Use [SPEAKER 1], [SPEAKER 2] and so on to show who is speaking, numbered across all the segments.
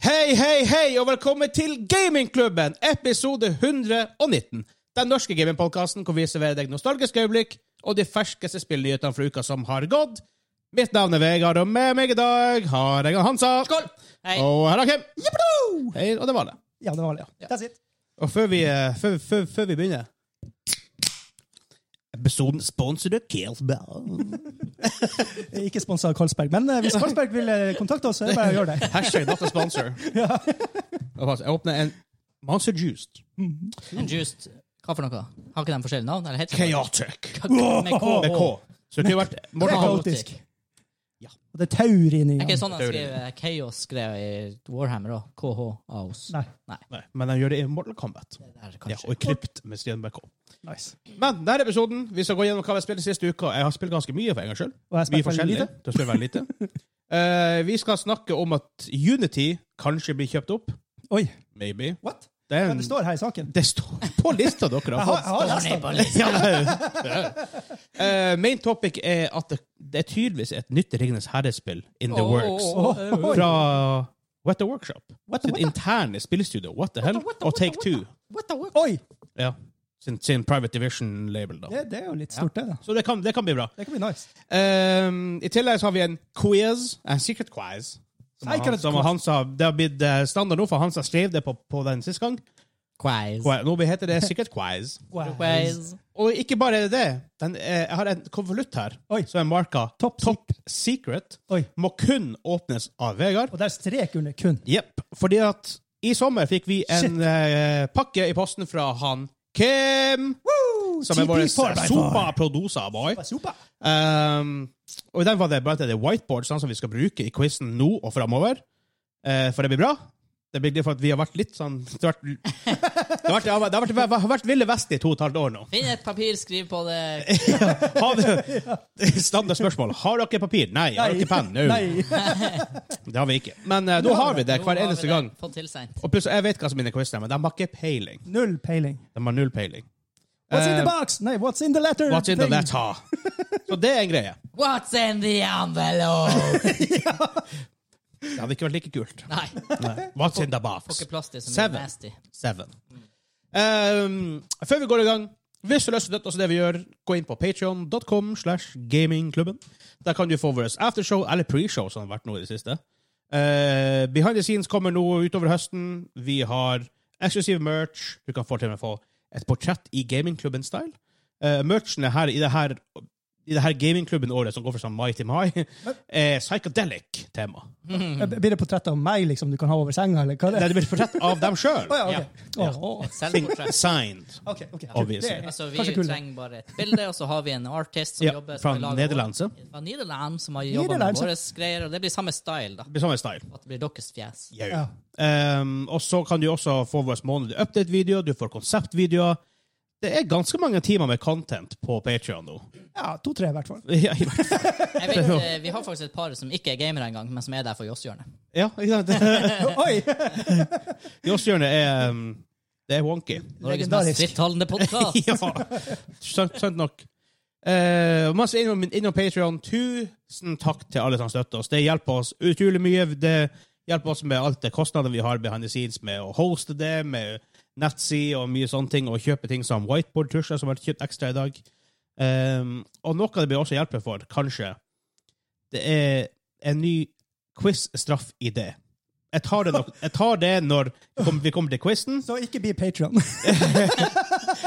[SPEAKER 1] Hei, hei, hei, og velkommen til Gamingklubben, episode 119. Den norske gamingpodkasten hvor vi serverer deg nostalgiske øyeblikk og de ferskeste spillnyhetene fra uka som har gått. Mitt navn er Vegard, og med meg i dag har jeg Hansa. Skål!
[SPEAKER 2] Hei.
[SPEAKER 1] Og her er Kim. Hei, og det var det.
[SPEAKER 3] Ja, det var det. Ja. That's it.
[SPEAKER 1] Og før vi, eh, før, før, før vi begynner Episoden sponset av Kelsberg.
[SPEAKER 3] Ikke sponsa av Karlsberg, men eh, hvis Karlsberg vil eh, kontakte oss, så er det bare å gjøre det.
[SPEAKER 1] Hashtag not a sponsor. Og pass, Jeg åpner en Monster Juiced
[SPEAKER 2] En juiced Hva for noe? Har ikke de forskjellige navn? Eller heter de
[SPEAKER 1] Chaotic
[SPEAKER 2] K- med K?
[SPEAKER 1] med K. Så det kunne vært
[SPEAKER 3] Det er
[SPEAKER 1] Morten Hall.
[SPEAKER 3] kaotisk.
[SPEAKER 1] Ja.
[SPEAKER 3] Og det er taurin i
[SPEAKER 2] Er ikke
[SPEAKER 3] den.
[SPEAKER 2] sånn de skriver Chaos skrev i Warhammer òg? KHAOS.
[SPEAKER 3] Nei.
[SPEAKER 1] Nei, men de gjør det i Mortal Kombat.
[SPEAKER 2] Det der,
[SPEAKER 1] Ja,
[SPEAKER 2] kanskje.
[SPEAKER 1] og i Krypt med Stian BK.
[SPEAKER 3] Nice.
[SPEAKER 1] Men denne episoden, vi skal gå gjennom hva vi har spilt siste uka. Jeg har spilt ganske mye for en gangs skyld.
[SPEAKER 3] Og jeg
[SPEAKER 1] Mye
[SPEAKER 3] spiller veldig
[SPEAKER 1] forskjellig.
[SPEAKER 3] lite.
[SPEAKER 1] Du har spilt veldig lite. Eh, vi skal snakke om at Unity kanskje blir kjøpt opp.
[SPEAKER 3] Oi.
[SPEAKER 1] Maybe.
[SPEAKER 3] What?
[SPEAKER 1] Det, er en,
[SPEAKER 3] Men det står her i saken.
[SPEAKER 1] det står på lista dere
[SPEAKER 3] Jeg
[SPEAKER 1] har
[SPEAKER 3] har,
[SPEAKER 1] fått.
[SPEAKER 3] jeg har lest den.
[SPEAKER 2] Barney,
[SPEAKER 1] Ja, det er- Eh, main topic er at det, det er tydeligvis et nytt Ringenes herrespill in the
[SPEAKER 2] Åh,
[SPEAKER 1] works.
[SPEAKER 2] åh, åh,
[SPEAKER 3] Åh,
[SPEAKER 2] åh.
[SPEAKER 1] Fra What the Workshop.
[SPEAKER 3] What the-
[SPEAKER 1] Sitt interne spillstudio. What the hell?
[SPEAKER 2] what the-
[SPEAKER 1] Og
[SPEAKER 2] what the-
[SPEAKER 1] Take
[SPEAKER 2] what
[SPEAKER 1] Two.
[SPEAKER 2] What the work?
[SPEAKER 3] Oi!
[SPEAKER 1] Ja. Sin, sin private division-label, da.
[SPEAKER 3] Det, det er jo litt stort, det. da.
[SPEAKER 1] Så det kan, det kan bli bra.
[SPEAKER 3] Det kan bli nice.
[SPEAKER 1] Ehm, I tillegg så har vi en quiz, en secret quiz. Som, han,
[SPEAKER 3] Secret
[SPEAKER 1] som
[SPEAKER 3] quiz.
[SPEAKER 1] Hansa, det har blitt eh, standard nå, for Hansa skrev det på, på den siste gang.
[SPEAKER 2] Quiz.
[SPEAKER 1] Qui- Nå heter det secret quiz.
[SPEAKER 2] Quiz.
[SPEAKER 1] Og ikke bare er det det. Den, eh, jeg har en konvolutt her
[SPEAKER 3] Oi.
[SPEAKER 1] som er marka
[SPEAKER 3] Top
[SPEAKER 1] Secret.
[SPEAKER 3] Oi.
[SPEAKER 1] Må kun åpnes av Vegard.
[SPEAKER 3] Og der er strek under kun.
[SPEAKER 1] Jepp. Fordi at i sommer fikk vi en eh, pakke i posten fra han Kim, som er vår sopa-producer, boy.
[SPEAKER 3] Super.
[SPEAKER 1] Um, og i den var det bare at det er whiteboard sånn som vi skal bruke i quizen nå og framover. Eh, for det blir bra. Det blir det for at vi har vært litt sånn Det har vært, det har vært, det har vært, det har vært, vært Ville Vest i to og et halvt år nå.
[SPEAKER 2] Finn et papir, skriv på det.
[SPEAKER 1] Har du, standard spørsmål. Har dere papir? Nei. Har dere penn? No.
[SPEAKER 3] Nei.
[SPEAKER 1] Det har vi ikke. Men eh, nå har vi det
[SPEAKER 2] Nå har
[SPEAKER 1] hver
[SPEAKER 2] vi
[SPEAKER 1] eneste
[SPEAKER 2] det
[SPEAKER 1] gang.
[SPEAKER 2] Fått tilsendt.
[SPEAKER 1] Og plutselig, jeg vet hva som er inne i quizen, men de har ikke peiling.
[SPEAKER 3] Null peiling.
[SPEAKER 1] De har null peiling.
[SPEAKER 3] What's
[SPEAKER 1] Eh,
[SPEAKER 3] in the box? Nei, what's in the letter?
[SPEAKER 1] What's in the
[SPEAKER 3] Thing.
[SPEAKER 1] letter? Så det er en greie.
[SPEAKER 2] What's in the envelope?
[SPEAKER 1] Det hadde ikke vært like kult.
[SPEAKER 2] Nei.
[SPEAKER 1] What's in the
[SPEAKER 2] Får
[SPEAKER 1] box?
[SPEAKER 2] ikke plass til så mye
[SPEAKER 1] Seven.
[SPEAKER 2] nasty.
[SPEAKER 1] Seven. Um, før vi går i gang, hvis du har lyst til å støtte oss i det vi gjør, gå inn på patreon.com slash gamingklubben. Der kan du få vårt aftershow eller preshow, som har vært nå i det siste. Eh, behind the scenes kommer nå utover høsten. Vi har eksklusiv merch. Du kan få til og med få et portrett i gamingklubben-style. Eh, merchen er her i det her i det her gamingklubben-året som går fra sånn mai til mai, eh, er psychedelic-tema.
[SPEAKER 3] Eh, Blir det portrett av meg liksom, du kan ha over senga, eller hva
[SPEAKER 1] Det
[SPEAKER 3] er det?
[SPEAKER 1] er et portrett av dem sjøl.
[SPEAKER 3] Å ja, ok. Å, å.
[SPEAKER 2] Et selvportrett.
[SPEAKER 1] Signed.
[SPEAKER 3] Ok, ok.
[SPEAKER 1] Obviously.
[SPEAKER 3] Det er
[SPEAKER 2] Altså, vi
[SPEAKER 3] kanskje kult.
[SPEAKER 2] trenger bare et bilde, og så har vi en artist som
[SPEAKER 1] Ja,
[SPEAKER 2] jobber som
[SPEAKER 1] fra
[SPEAKER 2] lager vår-
[SPEAKER 1] Nederlandse.
[SPEAKER 2] Fra Nederland, som har jobba med
[SPEAKER 3] Nederland, så-
[SPEAKER 2] våre greier. Og det blir samme style, da.
[SPEAKER 1] Det blir samme style.
[SPEAKER 2] At det blir deres fjes.
[SPEAKER 1] Yeah.
[SPEAKER 3] Ja.
[SPEAKER 1] Ehm, og så kan du også få vår månedlige update-video, du får konseptvideoer. Det er ganske mange timer med content på Patreon nå.
[SPEAKER 3] Ja, to-tre i hvert fall.
[SPEAKER 1] Ja, i hvert fall.
[SPEAKER 2] Jeg vet, eh, vi har faktisk et par som ikke er gamere engang, men som er der for josshjørnet.
[SPEAKER 1] ja, ikke sant?
[SPEAKER 3] Oi!
[SPEAKER 1] Jåsshjørnet er ehm, Det er wonky.
[SPEAKER 2] Norges mest
[SPEAKER 3] Legendarisk.
[SPEAKER 2] frittalende podkast.
[SPEAKER 1] ja, sant, sant nok. Uh, masse innom, innom Patreon. Tusen takk til alle som støtter oss. Det hjelper oss utrolig mye. Det hjelper oss med alt det kostnader vi har behind the scenes med å hoste det, med nettside og mye sånne ting, og kjøpe ting som whiteboard-tusjer, som har vært kjøpt ekstra i dag. Um, og noe det blir også hjelpe for, kanskje, det er en ny quiz-straff i det. Jeg tar det, nok, jeg tar det når vi kommer- vi kommer til quizen,
[SPEAKER 3] Så ikke bli Patron.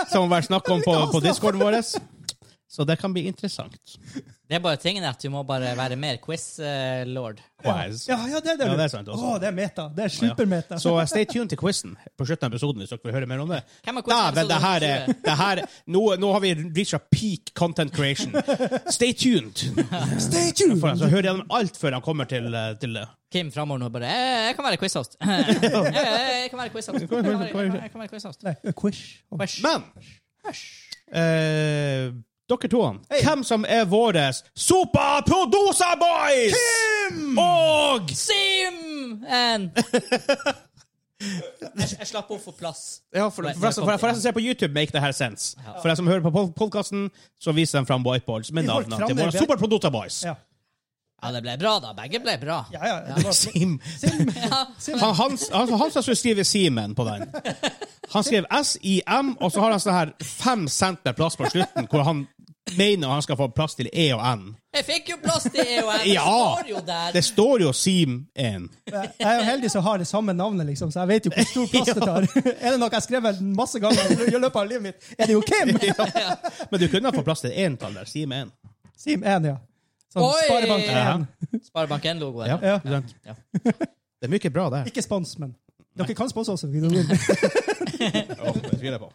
[SPEAKER 1] som har vært snakk om på, på discorden vår. Så det kan bli interessant.
[SPEAKER 2] Det er bare tingen at du må bare være mer quiz-lord.
[SPEAKER 1] Quiz.
[SPEAKER 3] Ja, ja, det er det.
[SPEAKER 1] Ja, det er sant også.
[SPEAKER 3] Å, det er meta. Det er supermeta.
[SPEAKER 1] Så eh, stay tuned til quizen på slutten av episoden. hvis dere vil høre mer om det.
[SPEAKER 2] Hvem er quizen?
[SPEAKER 1] Dæven, det her er det her, nå, nå har vi reacha peak content creation. Stay tuned!
[SPEAKER 3] Stay tuned!
[SPEAKER 1] For, så hører gjennom alt før han kommer til, eh, til det.
[SPEAKER 2] Kim framover nå bare eh, 'Jeg kan være quiz-host'. Eh, eh, Jeg kan være quiz-host. Jeg kan være- jeg kan være- jeg kan være quiz-host.
[SPEAKER 3] Nei, a quish.
[SPEAKER 2] Quiz.
[SPEAKER 1] Men eh, dere to, hvem som er våre superproducer-boys? Kim! Og
[SPEAKER 2] Sim! En. Jeg, jeg slapp henne for plass.
[SPEAKER 1] Ja, for, for, for, for, for jeg som ser på YouTube, make det her sense. For jeg som hører på podkasten, så viser de fram whiteboards med
[SPEAKER 3] Vi får
[SPEAKER 1] navnene
[SPEAKER 3] fram
[SPEAKER 1] til
[SPEAKER 3] det
[SPEAKER 1] våre
[SPEAKER 3] ved-
[SPEAKER 1] superproducer boys.
[SPEAKER 3] Ja.
[SPEAKER 2] Ja, det ble bra, da. Begge ble bra.
[SPEAKER 3] Ja, ja. Det var
[SPEAKER 1] Sim.
[SPEAKER 3] Sim.
[SPEAKER 1] Han, han, han, han som skulle skrive Simen på den. Han skrev S-I-M, og så har han sånn her fem center plass på slutten, hvor han mener han skal få plass til E og N.
[SPEAKER 2] Jeg fikk jo plass til E EOM!
[SPEAKER 1] Ja.
[SPEAKER 2] Står jo der.
[SPEAKER 1] Det står jo Sim1.
[SPEAKER 3] Jeg er jo heldig som har det samme navnet, liksom, så jeg vet jo hvor stor plass det tar. Er det noe jeg har skrevet masse ganger i løpet av livet mitt, er det jo Kim!
[SPEAKER 1] Men du kunne ha fått plass til entall der. Sim1.
[SPEAKER 3] Sim 1, ja. Sånn
[SPEAKER 2] Oi!
[SPEAKER 3] Sparebank 1.
[SPEAKER 2] Sparebank1-logoen.
[SPEAKER 1] Ja,
[SPEAKER 3] Ja.
[SPEAKER 1] ikke sant? Det er mye bra der.
[SPEAKER 3] Ikke spons, men dere kan sponse oss. hvis dere vil.
[SPEAKER 1] Åh, det tviler jeg på.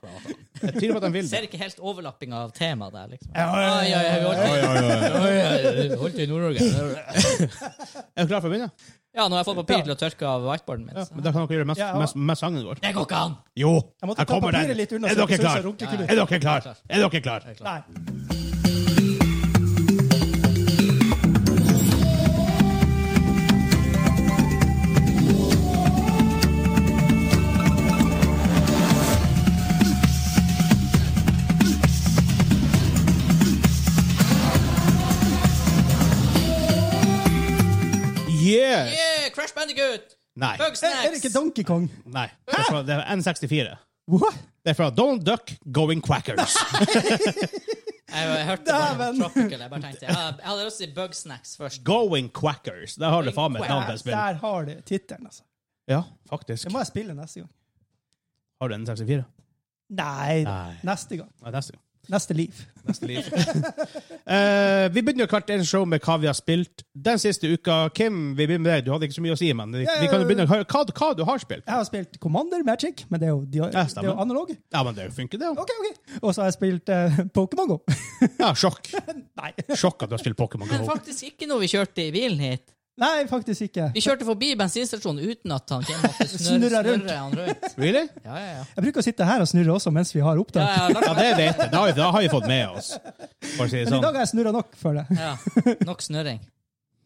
[SPEAKER 1] Jeg tviler på at de vil det.
[SPEAKER 2] Ser ikke helt overlappinga av temaet der, liksom.
[SPEAKER 3] Ja, ja, ja, ja.
[SPEAKER 2] vi holdt-
[SPEAKER 1] Oi, oi, oi.
[SPEAKER 2] Oi, oi, oi, holdt i Nord-Norge.
[SPEAKER 1] Er du klar for å begynne?
[SPEAKER 2] Ja, nå har jeg fått papir til å tørke av whiteboarden min. Så.
[SPEAKER 1] Men da kan dere gjøre det mens,
[SPEAKER 3] Ja, ja.
[SPEAKER 1] mens, mens sangen går.
[SPEAKER 2] Det går ikke an!
[SPEAKER 1] Jo,
[SPEAKER 3] Jeg måtte
[SPEAKER 1] her
[SPEAKER 3] ta
[SPEAKER 1] kommer
[SPEAKER 3] papiret
[SPEAKER 1] den.
[SPEAKER 3] litt unna,
[SPEAKER 1] Er
[SPEAKER 3] så
[SPEAKER 1] dere
[SPEAKER 3] ikke
[SPEAKER 1] klar?
[SPEAKER 3] så runke kunne.
[SPEAKER 1] Er dere klar? Er dere klar?
[SPEAKER 3] Nei.
[SPEAKER 1] Yeah!
[SPEAKER 2] Yeah, Crash Bandicoot!
[SPEAKER 1] Nei.
[SPEAKER 3] Er, er det ikke
[SPEAKER 2] Bugsnacks!
[SPEAKER 3] Donkey Kong?
[SPEAKER 1] Nei. Det er fra det er N64.
[SPEAKER 3] What?
[SPEAKER 1] Det er fra Don't Duck Going Quackers.
[SPEAKER 2] Jeg, jeg hørte bare
[SPEAKER 3] Dæven.
[SPEAKER 2] Tropical. Jeg bare tenkte Jeg jeg hadde lyst til Bugsnacks først.
[SPEAKER 1] Going Quackers. Der har du faen meg et navn
[SPEAKER 3] Der,
[SPEAKER 1] til et spill.
[SPEAKER 3] der har du tittelen, altså.
[SPEAKER 1] Ja, faktisk.
[SPEAKER 3] Det må jeg spille neste gang.
[SPEAKER 1] Har du N64?
[SPEAKER 3] Nei,
[SPEAKER 1] Nei.
[SPEAKER 3] neste gang.
[SPEAKER 1] Nei, neste gang.
[SPEAKER 3] Neste liv.
[SPEAKER 1] Neste liv. Eh, vi begynner jo hvert eneste show med hva vi har spilt den siste uka. Kim, vi begynner med deg. Du hadde ikke så mye å si, men vi, vi kan jo begynne å høre hva, hva du har spilt.
[SPEAKER 3] Jeg har spilt Commander Magic, men det er jo, de,
[SPEAKER 1] Ja,
[SPEAKER 3] det er
[SPEAKER 1] stemmer.
[SPEAKER 3] jo analog.
[SPEAKER 1] Ja, men det funker, det. jo.
[SPEAKER 3] Ok, ok. Og så har jeg spilt eh, Pokémon Go.
[SPEAKER 1] Ja, sjokk.
[SPEAKER 3] Nei.
[SPEAKER 1] Sjokk at du har spilt Pokémon
[SPEAKER 2] Men
[SPEAKER 1] Go.
[SPEAKER 2] faktisk ikke når vi kjørte i bilen hit.
[SPEAKER 3] Nei, faktisk ikke.
[SPEAKER 2] Vi kjørte forbi bensinstasjonen uten at han Kim måtte snørre,
[SPEAKER 3] Snurra rundt.
[SPEAKER 2] snørre han rundt.
[SPEAKER 1] Really?
[SPEAKER 2] Ja, ja, ja.
[SPEAKER 3] Jeg bruker å sitte her og snurre også mens vi har
[SPEAKER 2] ja,
[SPEAKER 3] opptak.
[SPEAKER 2] ja,
[SPEAKER 1] Ja,
[SPEAKER 2] nok,
[SPEAKER 1] det vet jeg. Det har vi, det har vi fått med oss. For å si det
[SPEAKER 3] Men i dag
[SPEAKER 1] sånn.
[SPEAKER 3] har jeg snurra nok, føler jeg.
[SPEAKER 2] ja. nok snørring.